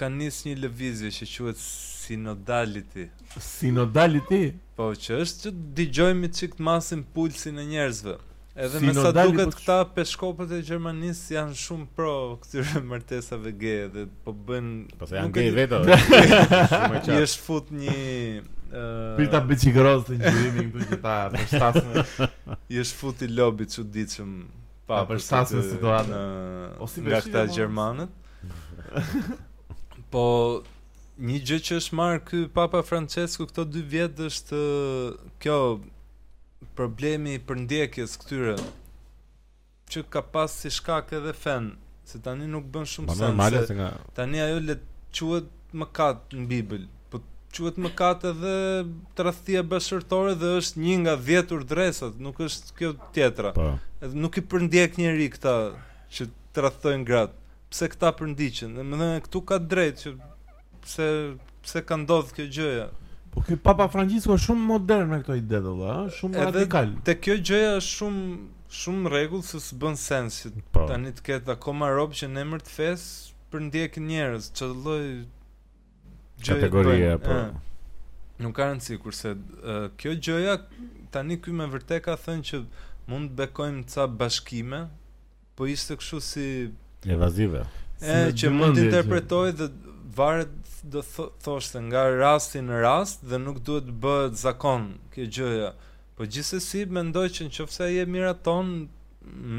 [SPEAKER 3] ka nisë një lëvizje që quhet synodality.
[SPEAKER 1] Sinodality.
[SPEAKER 3] Po që është që dëgjojmë çik të masin pulsin e njerëzve. Edhe me sa
[SPEAKER 1] Synodali,
[SPEAKER 3] duket
[SPEAKER 1] po
[SPEAKER 3] këta peshkopët e Gjermanisë janë shumë pro këtyre martesave gay dhe po bëjnë
[SPEAKER 2] Po se janë
[SPEAKER 3] nuk e
[SPEAKER 2] gay
[SPEAKER 3] di-
[SPEAKER 2] vetë. o, Shumë e
[SPEAKER 3] I
[SPEAKER 2] qartë.
[SPEAKER 3] është fut një ë,
[SPEAKER 1] Prita biçikroz të ngjyrimi këtu që ta përshtasin
[SPEAKER 3] I është futi lobi që ditëshëm
[SPEAKER 1] Ta përshtasin situatën. O, si
[SPEAKER 3] Nga
[SPEAKER 1] beshive,
[SPEAKER 3] këta
[SPEAKER 1] mos.
[SPEAKER 3] Gjermanët Po Një gjë që është marrë ky Papa Francesku këto dy vjet është ë, kjo problemi i përndjekjes këtyre që ka pas si shkak edhe fen, se tani nuk bën
[SPEAKER 2] Po
[SPEAKER 3] shumë
[SPEAKER 2] normale
[SPEAKER 3] sens.
[SPEAKER 2] se
[SPEAKER 3] Se
[SPEAKER 2] nga
[SPEAKER 3] tani ajo le të quhet mëkat në Bibël, po quhet mëkat edhe tradhtia bashkëtorë dhe është një nga 10 urdhresat, nuk është kjo tjetra.
[SPEAKER 2] po.
[SPEAKER 3] Edhe nuk i përndjek njëri këta që tradhtojnë gratë. Pse këta përndiqen? Dhe më thënë këtu ka drejt që pse pse ka ndodhur kjo gjëja.
[SPEAKER 1] Po ky Papa Francisco është shumë modern me këto ide valla, ë, shumë
[SPEAKER 3] Edhe-
[SPEAKER 1] radikal.
[SPEAKER 3] Te kjo gjëja është shumë shumë rregull se s'bën sens që
[SPEAKER 2] Po.
[SPEAKER 3] tani të ketë akoma rob që në emër të fesë përndjekin njerëz, çdo lloj gjëje
[SPEAKER 2] Kategoria
[SPEAKER 3] bëjnë. Ah.
[SPEAKER 2] po.
[SPEAKER 3] Ë. Nuk ka rëndësi kurse uh, kjo gjëja tani ky me vërtet ka thënë që mund të bekojmë ca bashkime, po ishte kështu si
[SPEAKER 2] Evazive.
[SPEAKER 1] Si
[SPEAKER 3] e
[SPEAKER 1] në
[SPEAKER 3] që mund të
[SPEAKER 1] vëmendje që-
[SPEAKER 3] interpretoj dhe varet do tho- thoshte nga rasti në rast dhe nuk duhet të bëhet zakon kjo gjëja. Po gjithsesi mendoj që nëse ai e miraton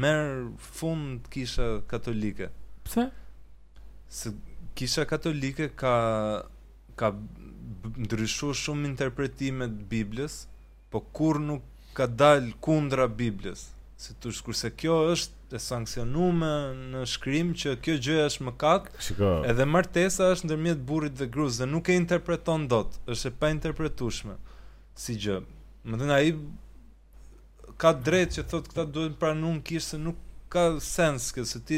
[SPEAKER 3] merr fund kisha katolike
[SPEAKER 1] Pse?
[SPEAKER 3] se kisha katolike ka ka b- ndryshuar shumë interpretimet të Biblës, po kur nuk ka dalë kundra Biblës. Si tush kurse kjo është e sankcionuar në shkrim që kjo gjë është mëkat,
[SPEAKER 2] Shiko.
[SPEAKER 3] edhe martesa është ndërmjet burrit dhe gruas dhe nuk e interpreton dot, është e painterpretueshme si gjë. Më thënë ai ka drejt që thotë këta duhet pranuar kishë se nuk ka sens kjo se ti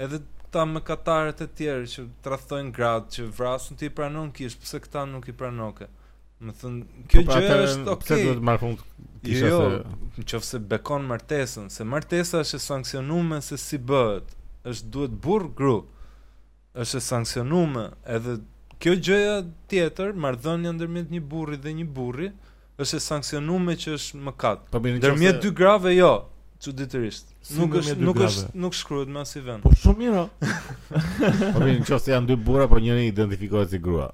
[SPEAKER 3] edhe këta më katarët e tjerë që tradhtojnë gratë që vrasin ti i pranon kishë, pse këta nuk i pranoke. Më thënë, kjo
[SPEAKER 2] Po, pra,
[SPEAKER 3] gjë
[SPEAKER 2] atëherë,
[SPEAKER 3] është
[SPEAKER 2] Pse
[SPEAKER 3] okay.
[SPEAKER 2] duhet marr fund kisha
[SPEAKER 3] Jo,
[SPEAKER 2] se
[SPEAKER 3] në qoftë se bekon martesën, se martesa është e sankcionume se si bëhet, është duhet burr gru, është e sankcionume, edhe kjo gjëja tjetër, marrëdhënia ndërmjet një burri dhe një burri, është e sankcionume që është mëkat.
[SPEAKER 2] Po mirë,
[SPEAKER 3] Ndërmjet dy grave jo, çuditërisht.
[SPEAKER 1] Si
[SPEAKER 3] Nuk
[SPEAKER 1] ndërmjet
[SPEAKER 3] është
[SPEAKER 1] dy
[SPEAKER 3] nuk
[SPEAKER 1] grave?
[SPEAKER 3] është nuk shkruhet me asnjë vend.
[SPEAKER 1] Po shumë mirë. o.
[SPEAKER 2] Po mirë, nëse janë dy burra, po njëri identifikohet si grua.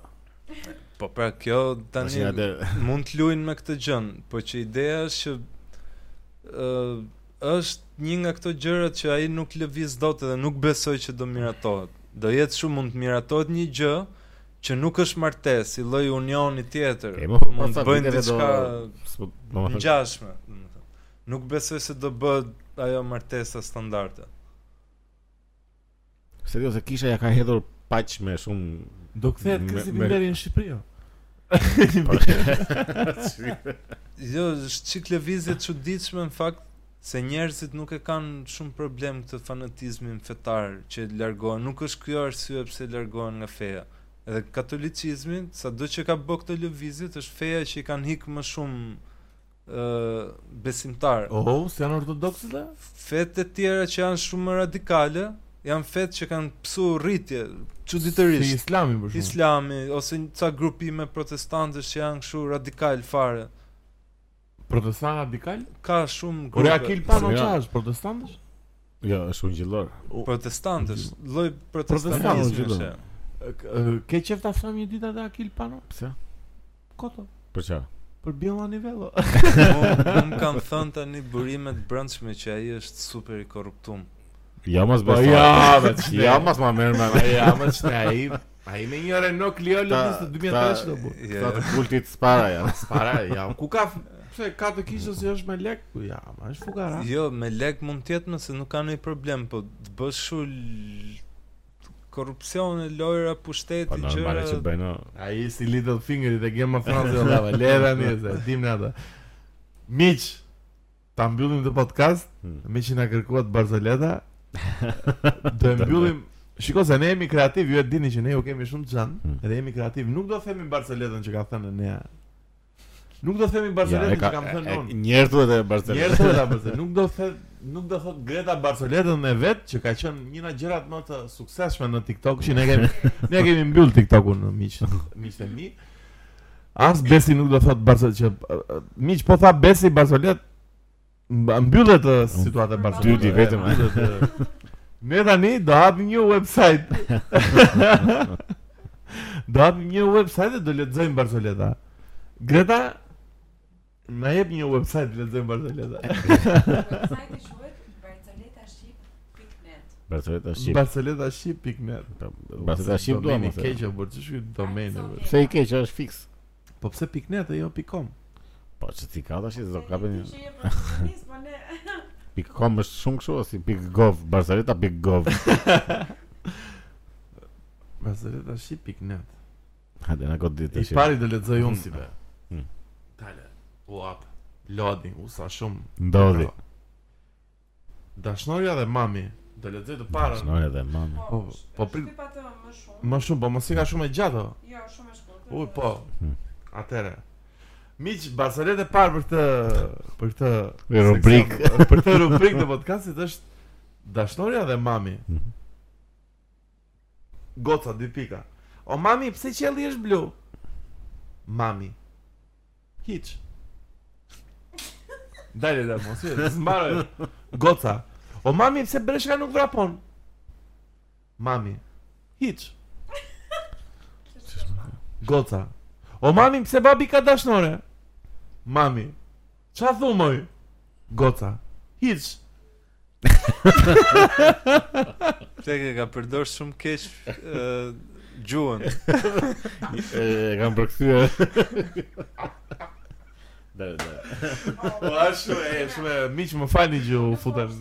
[SPEAKER 3] Po pra kjo
[SPEAKER 2] Tash
[SPEAKER 3] tani
[SPEAKER 2] atë
[SPEAKER 3] mund të luajnë me këtë gjën, po që ideja është që ë është një nga këto gjërat që ai nuk lëviz dot edhe nuk besoj që do miratohet. Do jetë shumë mund të miratohet një gjë që nuk është martesë, si lloj unioni tjetër.
[SPEAKER 2] E, mo, po,
[SPEAKER 3] mund
[SPEAKER 2] sa
[SPEAKER 3] të bëjnë
[SPEAKER 2] viteve do-
[SPEAKER 3] diçka
[SPEAKER 2] s'po- domethënë-
[SPEAKER 3] ngjashme, domethënë. Nuk besoj se do bëhet ajo martesa standarde.
[SPEAKER 2] Se do se kisha ja ka hedhur paq me shumë
[SPEAKER 1] Do kthehet
[SPEAKER 2] Me-
[SPEAKER 1] kësi
[SPEAKER 2] me-
[SPEAKER 1] binderi në Shqipëri. o.
[SPEAKER 2] po-
[SPEAKER 3] Jo, është çik lëvizje të çuditshme në fakt se njerëzit nuk e kanë shumë problem këtë fanatizmin fetar që largohen. Nuk është kjo arsye pse largohen nga feja. Edhe katolicizmi, sado që ka bë këtë lëvizjet, është feja që i kanë hik më shumë ë besimtar.
[SPEAKER 1] Oh, si janë ortodoksët? e?
[SPEAKER 3] Fetë të tjera që janë shumë më radikale, janë fetë që kanë psu rritje çuditërisht.
[SPEAKER 1] Si Islami për shembull.
[SPEAKER 3] Islami ose një ca grupime protestante që janë kështu radikal fare.
[SPEAKER 1] Protestant radikal?
[SPEAKER 3] Ka shumë
[SPEAKER 1] Ore Akil Pano
[SPEAKER 2] Mirë.
[SPEAKER 1] çfarë është protestantësh?
[SPEAKER 2] Jo, është unë gjillor.
[SPEAKER 3] protestantësh, lloj
[SPEAKER 1] Protestantësh,
[SPEAKER 3] protestantizmi
[SPEAKER 2] gjithë.
[SPEAKER 3] është.
[SPEAKER 1] Ke qef ta flamë një ditë atë Akil Pano?
[SPEAKER 2] Pse?
[SPEAKER 1] Koto.
[SPEAKER 2] Për çfarë?
[SPEAKER 1] Për Bjella Nivello.
[SPEAKER 3] Unë më kanë thënë tani burimet brendshme që ai është super i korruptum.
[SPEAKER 2] Ja mos
[SPEAKER 1] Po
[SPEAKER 2] bëj.
[SPEAKER 1] ja,
[SPEAKER 2] fare.
[SPEAKER 1] veç ne.
[SPEAKER 2] ja mos ma merr me.
[SPEAKER 1] ja, më ç'ne ai. Ai me një Renault Clio lëviz të 2013 do bu.
[SPEAKER 3] Je-
[SPEAKER 2] Sa të kultit spara ja.
[SPEAKER 1] Para, ja, ku ka pse ka të kishës që është me lek, ku ja, ma është fukara.
[SPEAKER 3] Jo, me lek mund të jetë më se nuk ka ndonjë problem, po të bësh shu l- korrupsion, lojra,
[SPEAKER 2] Po
[SPEAKER 3] pushteti,
[SPEAKER 2] normale që
[SPEAKER 3] gjëra.
[SPEAKER 2] bëjnë. o.
[SPEAKER 1] Ai si Little Finger i The Game of Thrones do lava lera njerëz, dim ne atë. Miq, ta mbyllim të podcast,
[SPEAKER 2] Hmm.
[SPEAKER 1] me që na kërkuat Barzoleta. Do e mbyllim Shiko se ne jemi kreativ, ju e dini që ne ju kemi shumë xhan,
[SPEAKER 2] Hmm.
[SPEAKER 1] edhe jemi kreativ. Nuk do themi Barceletën që ka thënë Nea. Nuk do themi
[SPEAKER 2] Ja,
[SPEAKER 1] Barceletën
[SPEAKER 2] e ka
[SPEAKER 1] që kam thënë unë.
[SPEAKER 2] njerëzit e
[SPEAKER 1] Njerëz
[SPEAKER 2] Barcelonës.
[SPEAKER 1] thonë apo nuk do the nuk do thot Greta Barcoletën e vet që ka qenë një nga gjërat më të suksesshme në TikTok, që ne kemi ne kemi mbyll TikTokun në miq miq të mi. As Besi nuk do thot Barcolet që uh, uh, miq po tha Besi Barcolet mb- mbyllet uh, situata e Barcolet.
[SPEAKER 4] Dyti
[SPEAKER 2] vetëm, a?
[SPEAKER 1] Ne tani do hapim një website. do hapim një website dhe do lexojmë Barcoleta. Greta Na jep një website të lexojmë Barceleta.
[SPEAKER 4] Website-i Po, quhet barceletaship.net.
[SPEAKER 2] Barcelona është po, shqip. Po,
[SPEAKER 1] Barcelonaship.net.
[SPEAKER 2] Barcelona shqip do
[SPEAKER 1] Domeni
[SPEAKER 2] më.
[SPEAKER 1] keq e bërë, ç'është ky domeni
[SPEAKER 4] Ai,
[SPEAKER 1] bërë.
[SPEAKER 4] sorry.
[SPEAKER 2] Pse i keq është fiks?
[SPEAKER 1] Po pse .net e jo .com?
[SPEAKER 2] Po që ti ka tash do ka
[SPEAKER 4] Ti që je profesionist, po ne.
[SPEAKER 2] pikkom është shumë kështu si pikgov Barcelona pikgov.
[SPEAKER 1] Barcelonaship.net.
[SPEAKER 2] Hajde na god ditë
[SPEAKER 1] I
[SPEAKER 2] tash.
[SPEAKER 1] pari do lexoj unë si be.
[SPEAKER 2] Hmm.
[SPEAKER 1] Tale. U hap. Lodi, u sa shumë.
[SPEAKER 2] Ndodhi.
[SPEAKER 1] Bravo. Dashnorja dhe mami. Do lexoj të parën.
[SPEAKER 2] Shnoja dhe mami.
[SPEAKER 1] Po, po prit-
[SPEAKER 4] shtypa të më shumë.
[SPEAKER 1] Më shumë, po mos i ka shumë e gjatë. o.
[SPEAKER 4] Jo, shumë e shkurtër.
[SPEAKER 1] Uj, po.
[SPEAKER 2] Hmm.
[SPEAKER 1] Atëre. Miq, Barcelet e parë për këtë për këtë
[SPEAKER 2] Një rubrik.
[SPEAKER 1] seksion- për këtë rubrik të podcastit është Dashnorja dhe Mami.
[SPEAKER 2] Mhm.
[SPEAKER 1] Goca dy pika. O Mami, pse qielli është blu? Mami. Hiç. Dale da mos e zmbaroj. Goca. O Mami, pse breshka nuk vrapon? Mami. Hiç. Goca. O mami, pse babi ka dashnore? Mami. Qa thumoj? Goca. Hiç.
[SPEAKER 3] Tek e ka përdor shumë keq ë, gjuhën.
[SPEAKER 2] E kam përkthyer. Dhe dhe.
[SPEAKER 1] Po, shumë e, shumë e, miq më falni që u futem.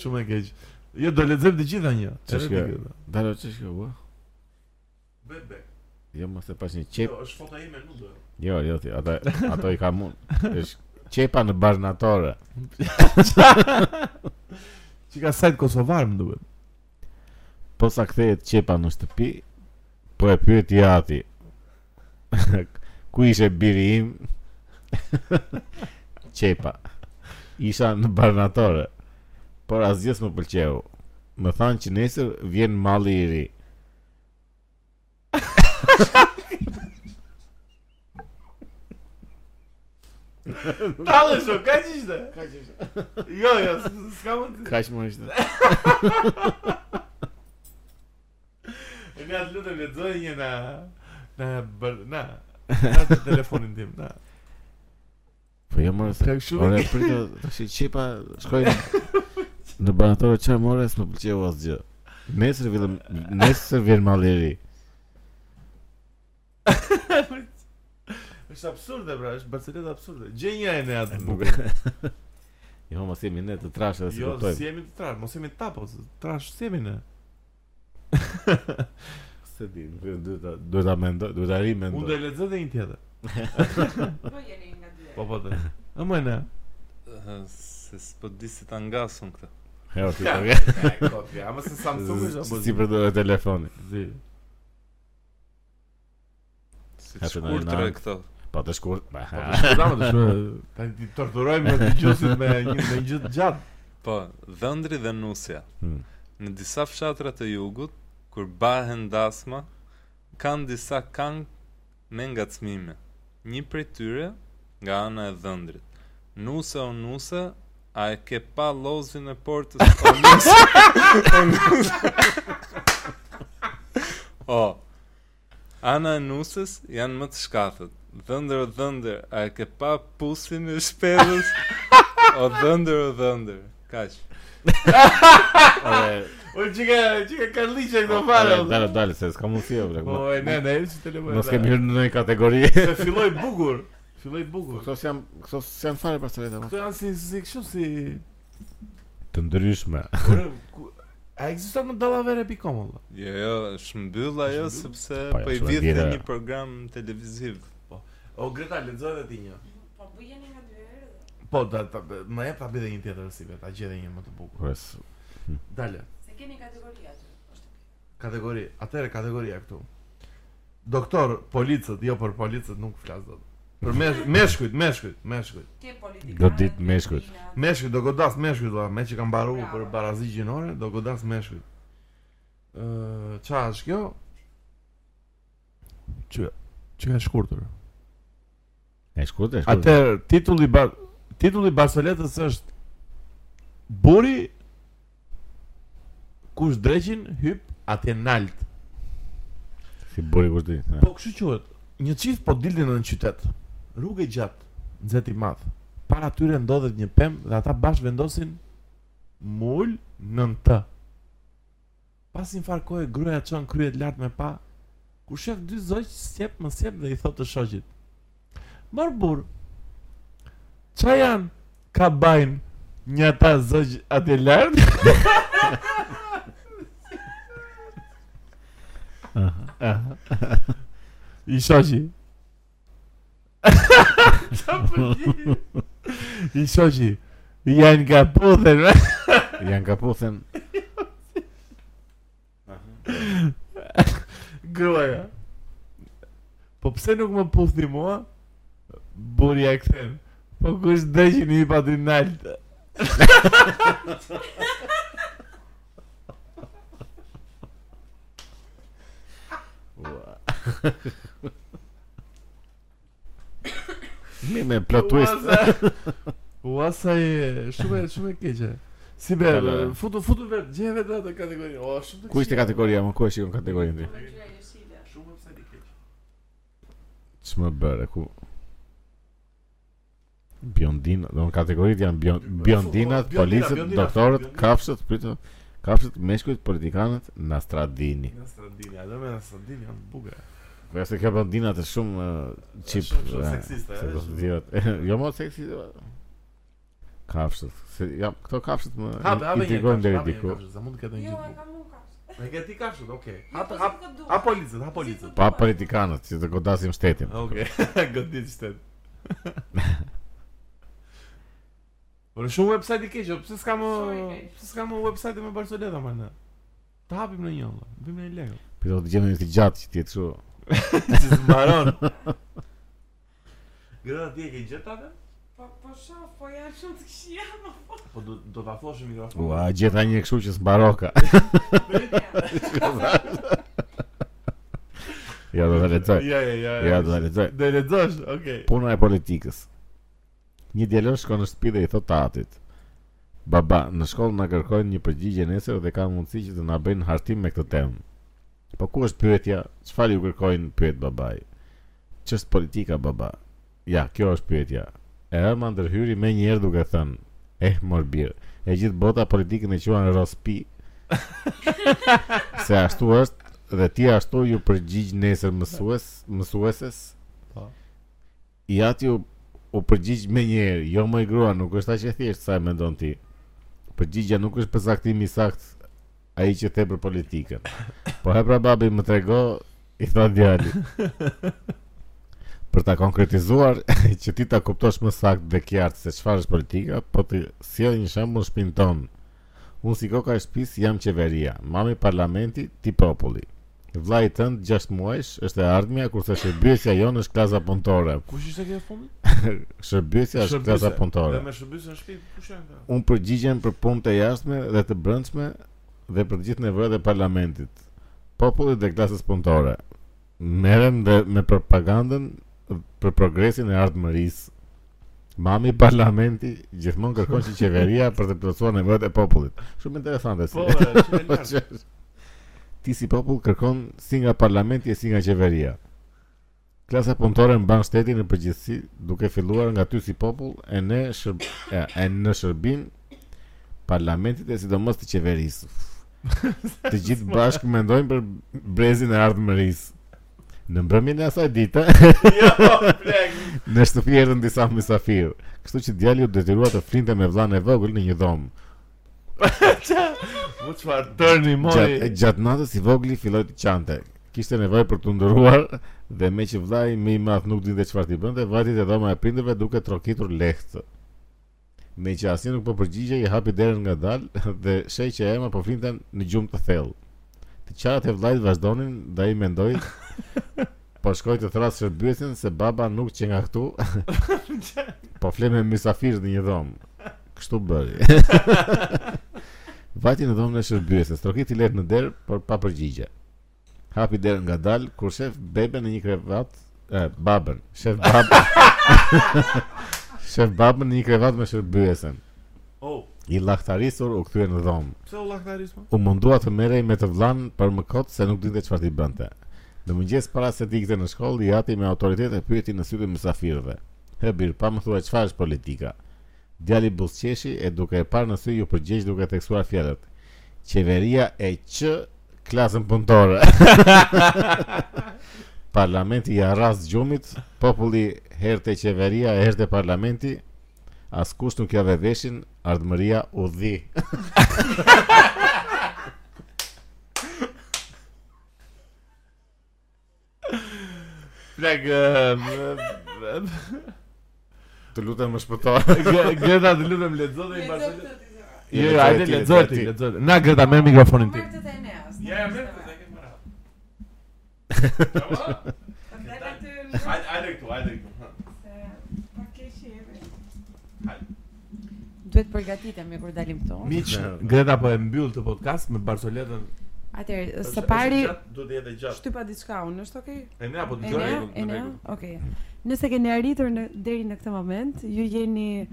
[SPEAKER 1] Shumë e keq. Jo, do lexojmë të gjitha një.
[SPEAKER 2] Ç'është kjo? Dalo ç'është kjo? ua?
[SPEAKER 1] Bebe.
[SPEAKER 2] Jo mos e pash një çep.
[SPEAKER 1] është foto ime, nuk do.
[SPEAKER 2] Jo, jo ti, ata ato i kam unë. Është çepa në barnatore.
[SPEAKER 1] Çika sajt kosovar më duhet.
[SPEAKER 2] Po sa kthehet qepa në shtëpi, po e pyet i ati. Ku ishe biri im? qepa. Isha në barnatore. Por asgjë s'më pëlqeu. Më thanë që nesër vjen malli i ri.
[SPEAKER 1] Tallë shumë, kaq ishte. Kaq ishte. Jo, jo, s- s'ka më. të-
[SPEAKER 2] Kaq më ishte.
[SPEAKER 1] E ne atë lutem lexoj një na na bër- na na të telefonin tim, na.
[SPEAKER 2] Po jo mërë se...
[SPEAKER 1] Plak shumë
[SPEAKER 2] Ore, pritë, të shi qepa, shkoj në, në barnatore që more, s'më pëlqeu asgjë. Nesër vjen nesër vjen malli i ri.
[SPEAKER 1] Është absurde pra, është Barcelona absurde. Gjej një e ne atë bukur.
[SPEAKER 2] Bukur. jo, mos jemi ne të trashë dhe si
[SPEAKER 1] Jo,
[SPEAKER 2] kuptojmë.
[SPEAKER 1] si jemi të trash, mos jemi tapo, se trash si jemi ne.
[SPEAKER 2] Se di, nuk e duhet ta duhet ta mendoj, duhet ta
[SPEAKER 1] Unë do
[SPEAKER 2] rimendoj.
[SPEAKER 1] e lexoj edhe një tjetër.
[SPEAKER 4] Po jeni nga dy.
[SPEAKER 1] Po po. të- Ë më ne.
[SPEAKER 3] Ë, Se s'po di si ta ngasun këtë.
[SPEAKER 2] Jo, ti po.
[SPEAKER 1] Ja, mos se po
[SPEAKER 2] ke- Si përdor telefonin.
[SPEAKER 1] zi.
[SPEAKER 3] Si
[SPEAKER 2] Ja,
[SPEAKER 3] të
[SPEAKER 2] se na
[SPEAKER 3] shkurtre
[SPEAKER 2] janë-
[SPEAKER 3] këto.
[SPEAKER 2] Po të shkurt. ba,
[SPEAKER 1] Po
[SPEAKER 2] ha.
[SPEAKER 1] të shkurtame të shkurtame. Tani ti torturojmë me dëgjuesit me një me një gjë të gjatë.
[SPEAKER 3] Po, dhëndri dhe nusja.
[SPEAKER 2] Hmm.
[SPEAKER 3] Në disa fshatra të jugut, kur bahen dasma, kanë disa këngë me ngacmime. Një prej tyre nga ana e dhëndrit. Nuse o nuse, a e ke pa lozin e portës o nuse? o nuse. o. Ana e nusës janë më të shkathët Dhëndër o dhëndër, a e ke pa pusin e shpellës? o dhëndër o dhëndër. Kaq.
[SPEAKER 2] Ore,
[SPEAKER 1] O çika, çika Karliçe këto fare.
[SPEAKER 2] ore, dale, dale, se s'ka mundësi, bre.
[SPEAKER 1] Po
[SPEAKER 2] mo-
[SPEAKER 1] e ne, ne, si të lëmë.
[SPEAKER 2] Mos kemi hyrë në ndonjë kategori.
[SPEAKER 1] Se filloi bukur. Filloi bukur.
[SPEAKER 2] Këto s'jam, këto s'jam fare pastareta. mo.
[SPEAKER 1] Këto janë si si kështu si
[SPEAKER 2] Të ndryshme.
[SPEAKER 1] Kur- ku- A ekziston në dallavere.com valla?
[SPEAKER 3] Jo, jo, është mbyll ajo
[SPEAKER 1] Është mbyll?
[SPEAKER 3] sepse
[SPEAKER 2] Po, ja,
[SPEAKER 3] po i
[SPEAKER 2] është
[SPEAKER 3] vjet në
[SPEAKER 2] vjedhja.
[SPEAKER 3] një program televiziv.
[SPEAKER 1] O Greta, lexo edhe ti një.
[SPEAKER 4] Po bujeni nga dy herë. dhe-
[SPEAKER 1] Po, da, ta, më jep ta bëj edhe një tjetër si vetë, ta gjej edhe një më të bukur.
[SPEAKER 2] Ore, s-
[SPEAKER 1] Dale,
[SPEAKER 4] Se keni kategori aty. Është okay.
[SPEAKER 1] kategori, atëre kategoria këtu. Doktor, policët, jo për policët nuk flas dot. Për mesh, meshkujt, meshkujt, meshkujt.
[SPEAKER 4] Ke politikanë.
[SPEAKER 2] Godit
[SPEAKER 4] ke
[SPEAKER 2] meshkujt.
[SPEAKER 4] kina,
[SPEAKER 1] Meshkujt do godas meshkujt, valla, me që kanë mbaruar për barazi gjinore, do godas meshkujt. Ë, ç'a është kjo? Çë, çë ka shkurtër.
[SPEAKER 2] E shkurtë, e shkurtë.
[SPEAKER 1] Atëherë titulli ba titulli Barceletës është Buri kush dreqin hyp atje nalt.
[SPEAKER 2] si buri kur ti. e.
[SPEAKER 1] Po kështu quhet. Një çift po dilnin në qytet. Rrugë e gjatë, nxehtë i madh. Para tyre ndodhet një pemë dhe ata bash vendosin mul nën të. Pas një farë kohë gruaja çon kryet lart me pa. Kur shef dy zogj sjep më sjep dhe i thotë të shoqit. Mor burr. Ça janë? Ka bajnë një ata zogj atë lart. I shoqi. Qa përgjigje? I shoqi. Janë nga puthen.
[SPEAKER 2] Janë kaputhen.
[SPEAKER 1] Gruaja. Po pse nuk më puthni mua? Burja e kthen. Po kush dëgjin i pa dinalt.
[SPEAKER 2] Mi me plot twist.
[SPEAKER 1] Ua sa e shumë e- shumë e keqe. Si be,
[SPEAKER 2] Edhe-
[SPEAKER 1] futu futu vet, gjej vetë atë kategori. O, shumë të
[SPEAKER 2] Ku ishte kategoria, më ku e shikon kategorinë ti?
[SPEAKER 4] po ngjyra jeshile.
[SPEAKER 1] Shumë pse di keq.
[SPEAKER 2] Ç'më bëre ku? Biondina, do në kategorit janë bion, biondinat,
[SPEAKER 1] Biondina,
[SPEAKER 2] policët,
[SPEAKER 1] biondina,
[SPEAKER 2] doktorët,
[SPEAKER 1] biondina.
[SPEAKER 2] kafshët, pritë, kafshët, meshkujt, politikanët, Nastradini.
[SPEAKER 1] Nga Stradini, ajo me nga Stradini janë bukura.
[SPEAKER 2] Kërë se kjo biondinat është shumë uh, qip.
[SPEAKER 1] Shumë- shumë
[SPEAKER 2] eh,
[SPEAKER 1] seksiste,
[SPEAKER 2] se
[SPEAKER 1] eh,
[SPEAKER 2] do të
[SPEAKER 1] shumë.
[SPEAKER 2] thuhet. jo më seksiste. eh. Kafshët, se ja, këto kafshët më
[SPEAKER 1] Hape, hape një
[SPEAKER 2] intrigojnë
[SPEAKER 1] kafshë,
[SPEAKER 2] deri
[SPEAKER 1] hape një
[SPEAKER 2] diku.
[SPEAKER 1] kafshë, Sa mund të ketë një
[SPEAKER 4] Jo, e
[SPEAKER 1] gjë.
[SPEAKER 4] kam unë kafshë.
[SPEAKER 1] E ke ti kafshët, okay.
[SPEAKER 4] Jo,
[SPEAKER 1] Hap
[SPEAKER 4] po si
[SPEAKER 1] hap
[SPEAKER 4] të dua.
[SPEAKER 1] hap policët, hap policët.
[SPEAKER 2] Pa politikanët, që të godasim shtetin.
[SPEAKER 1] Okej, godit shtet. Por shumë website i keq, o, pse s'ka më
[SPEAKER 4] Shumë i keq.
[SPEAKER 1] pse s'ka më website me Barcelona më ne. Ta hapim në një olla, bëjmë në lekë.
[SPEAKER 2] Për do të gjejmë një të gjatë që ti kështu.
[SPEAKER 1] Si zmaron. Gjëra ti e ke gjetë atë?
[SPEAKER 4] Po po shoh, po janë shumë të këshia, më po.
[SPEAKER 1] Po do do ta foshim mikrofonin.
[SPEAKER 2] Ua, gjeta një kështu që s'mbaroka. ja do ta lexoj.
[SPEAKER 1] Ja, ja, ja.
[SPEAKER 2] Ja do ta lexoj.
[SPEAKER 1] Do e lexosh, okay.
[SPEAKER 2] Puna e politikës. Një djalor shkon në shtëpi dhe i thot atit: "Baba, në shkollë na kërkojnë një përgjigje nesër dhe ka mundësi që të na bëjnë hartim me këtë temë." Po ku është pyetja? Çfarë ju kërkojnë? pyet babai. Ç'është politika, baba? Ja, kjo është pyetja. E ërma ndërhyri me njëherë duke thënë: "Eh, morbir, e gjithë bota politikën e quan rospi." Se ashtu është dhe ti ashtu ju përgjigj nesër mësues, mësueses i ati u, u përgjigj me njerë, jo më i grua, nuk është aq e thjeshtë sa e mendon ti. Përgjigja nuk është përcaktimi i saktë ai që the për politikën. Po hapra babi më trego, i tha djali. Për ta konkretizuar që ti ta kuptosh më saktë dhe qartë se çfarë është politika, po të sjell një shembull në shtëpinë tonë. Unë si koka e shtëpisë jam qeveria, mami parlamenti, ti populli. Vllai i tënd 6 muajsh është e ardhmja kurse shërbyesja jonë është klasa punëtore.
[SPEAKER 1] Kush ishte kjo fundi?
[SPEAKER 2] Shërbësja është klasa punëtore.
[SPEAKER 1] Dhe me shërbësën në shtëpi, kush janë këta?
[SPEAKER 2] Unë përgjigjem për punët e jashtme dhe të brendshme dhe për gjithë nevojat e parlamentit, popullit dhe klasës punëtore. Merrem dhe me propagandën për progresin e ardhmërisë. Mami parlamenti gjithmonë kërkon që qeveria për të plotësuar nevojat e popullit. Shumë interesante si.
[SPEAKER 1] Po, e, shumë e
[SPEAKER 2] Po,
[SPEAKER 1] lartë.
[SPEAKER 2] që është. Ti si popull kërkon si nga parlamenti e si nga qeveria. Klasa punëtore mban shtetin në përgjithësi duke filluar nga ty si popull e ne shërb e, e në shërbim parlamentit e sidomos të qeverisë. Të gjithë bashkë mendojnë për brezin e ardhmërisë. Në mbrëmjen e asaj dite, në shtëpi erdhën disa mysafirë, kështu që djali u detyrua të flinte me vllain e vogël në një dhomë.
[SPEAKER 1] Mu Po çfarë tërni
[SPEAKER 2] Gjatë
[SPEAKER 1] mori?
[SPEAKER 2] gjat natës i vogli filloi të qante. Kishte nevojë për të ndëruar dhe me që vllai më i madh nuk dinte çfarë të bënte, vajti te dhoma e prindërve duke trokitur lehtë. Me që asnjë nuk po përgjigje, i hapi derën nga dalë dhe shej që ema po flinten në gjumë të thellë. Të qarat e vllajt vazhdonin dhe ai mendoi po shkoi të thrasë shërbyesin se baba nuk që nga këtu. po fle me mysafir në një dhomë. Kështu bëri. Vajti në dhomën e shërbyeses, trokiti lehtë në derë, por pa përgjigje. Hapi derën nga dalë, kur shef bebe në një krevat, e, babën, shef babën, shef babën në një krevat me shërbyesen.
[SPEAKER 1] Oh,
[SPEAKER 2] I laktarisur u kthye në dhomë.
[SPEAKER 1] pse u
[SPEAKER 5] po?
[SPEAKER 1] laktarisma?
[SPEAKER 2] U mundua të merrej me të vllanë për më kot se nuk dinte çfarë t'i bënte. Në mëngjes para se të ikte në shkollë, i hati me autoritet e pyeti në sy të mysafirëve. "He bir, pa më thuaj çfarë është politika?" Djali buzqeshi e duke e parë në sy ju përgjigj duke theksuar fjalët. Qeveria e q klasën punëtore. Parlamenti i arras gjumit, populli herte qeveria, e herte parlamenti, askush nuk jave veshin, ardhmëria u dhi.
[SPEAKER 1] Plak
[SPEAKER 2] Të lutem më shpëto.
[SPEAKER 1] Greta të lutem lexo dhe i
[SPEAKER 4] Lexo
[SPEAKER 1] bashkë.
[SPEAKER 4] këtë ti zëra.
[SPEAKER 1] Jo, jo, hajde lexo ti, lexo. ti. Na Greta merr mikrofonin tim.
[SPEAKER 4] Marr këtë të Eneas.
[SPEAKER 5] Ja, ja, merr këtë, e ke marrë. Çfarë?
[SPEAKER 4] Ta flaj aty
[SPEAKER 5] Hajde, hajde këtu, hajde këtu.
[SPEAKER 4] se pa keq jemi.
[SPEAKER 5] Hajde.
[SPEAKER 4] Duhet përgatitemi kur dalim këtu.
[SPEAKER 1] Miq, Greta po e mbyll të podcast me Barceletën.
[SPEAKER 4] Atëherë, së pari
[SPEAKER 1] duhet të jetë gjatë.
[SPEAKER 4] shtypa diçka unë, është okay?
[SPEAKER 1] E ne apo
[SPEAKER 4] E
[SPEAKER 1] po dëgjoj?
[SPEAKER 4] ne, e ne, okay. Nëse keni arritur në deri në këtë moment, ju jeni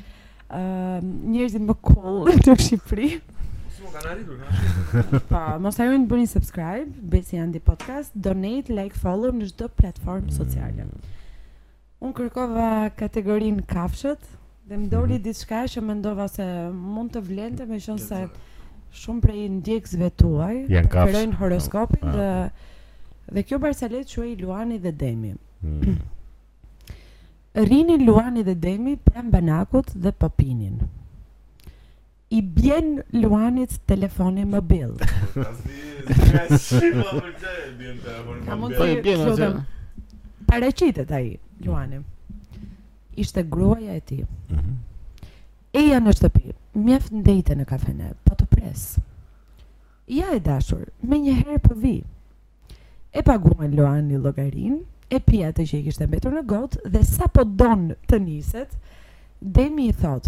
[SPEAKER 4] ë njerëzit më cool në Shqipëri.
[SPEAKER 1] Si më kanë arritur?
[SPEAKER 4] Pa, Po, mos harroni të bëni subscribe, Besi Andi Podcast, donate, like, follow në çdo platformë sociale. Unë kërkova kategorinë kafshët dhe më
[SPEAKER 2] Mhm.
[SPEAKER 4] doli diçka që mendova se mund të vlente me qenë se shumë prej ndjekësve tuaj
[SPEAKER 2] Janë kafshë.
[SPEAKER 4] preferojnë horoskopin
[SPEAKER 2] Ah. po.
[SPEAKER 4] dhe dhe kjo Barcelet quhej Luani dhe Demi.
[SPEAKER 2] Hmm.
[SPEAKER 4] Rini, Luani dhe Demi pranë banakut dhe popinin. I bjen Luanit telefoni mobil.
[SPEAKER 5] Asi, s'ka shqipa për që e bjen telefon
[SPEAKER 4] Ka
[SPEAKER 5] më
[SPEAKER 4] mund
[SPEAKER 5] bjen.
[SPEAKER 2] Po
[SPEAKER 4] të
[SPEAKER 2] i bjen atë.
[SPEAKER 4] flodem. Paraqitet ai, Luani. Ishte gruaja e tij.
[SPEAKER 2] Mm-hmm.
[SPEAKER 4] Eja në shtëpi, mjeft ndejte në kafene, po të pres. Ja e dashur, me një herë për vi. E paguan Luani llogarin, e pi atë që i kishte mbetur në gotë dhe sa po don të niset, Demi i thot,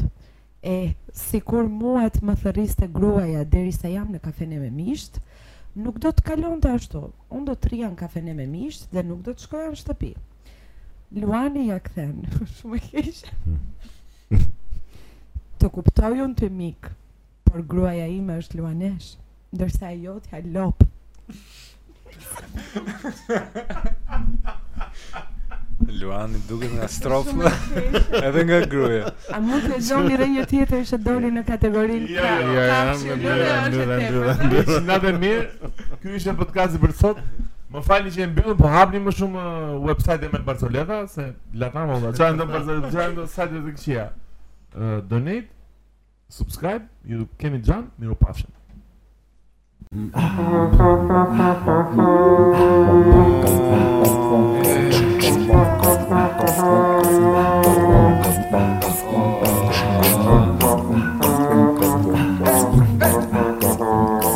[SPEAKER 4] e si kur muat më thëriste gruaja derisa jam në kafene me misht, nuk do të kalon të ashtu, unë do të rria në kafene me misht dhe nuk do të shkoja në shtëpi. Luani ja kthen, shumë e keqe. të kuptoj unë të mik, por gruaja ime është luanesh, ndërsa e jotja lop.
[SPEAKER 3] Luani duket nga
[SPEAKER 4] Shumë
[SPEAKER 3] strofa
[SPEAKER 4] e keqe.
[SPEAKER 3] edhe nga gruaja.
[SPEAKER 4] A mund të lexoni edhe një tjetër që doli në kategorinë
[SPEAKER 5] Jo,
[SPEAKER 4] krah?
[SPEAKER 5] jo,
[SPEAKER 2] Ja, ja,
[SPEAKER 4] Kafshë,
[SPEAKER 2] më
[SPEAKER 4] lule,
[SPEAKER 2] bëra,
[SPEAKER 4] është e
[SPEAKER 2] më bëra,
[SPEAKER 4] tepërt.
[SPEAKER 2] më bëra.
[SPEAKER 1] Natë mirë. Ky ishte podcasti për sot. Më falni që e mbyllëm, po hapni më shumë uh, website-e me Barceleta se lata më valla. Çfarë ndon Barceleta, çfarë ndon sajtet të këqija. Uh, donate, subscribe, ju kemi xhan, miru pafshim.
[SPEAKER 2] Thank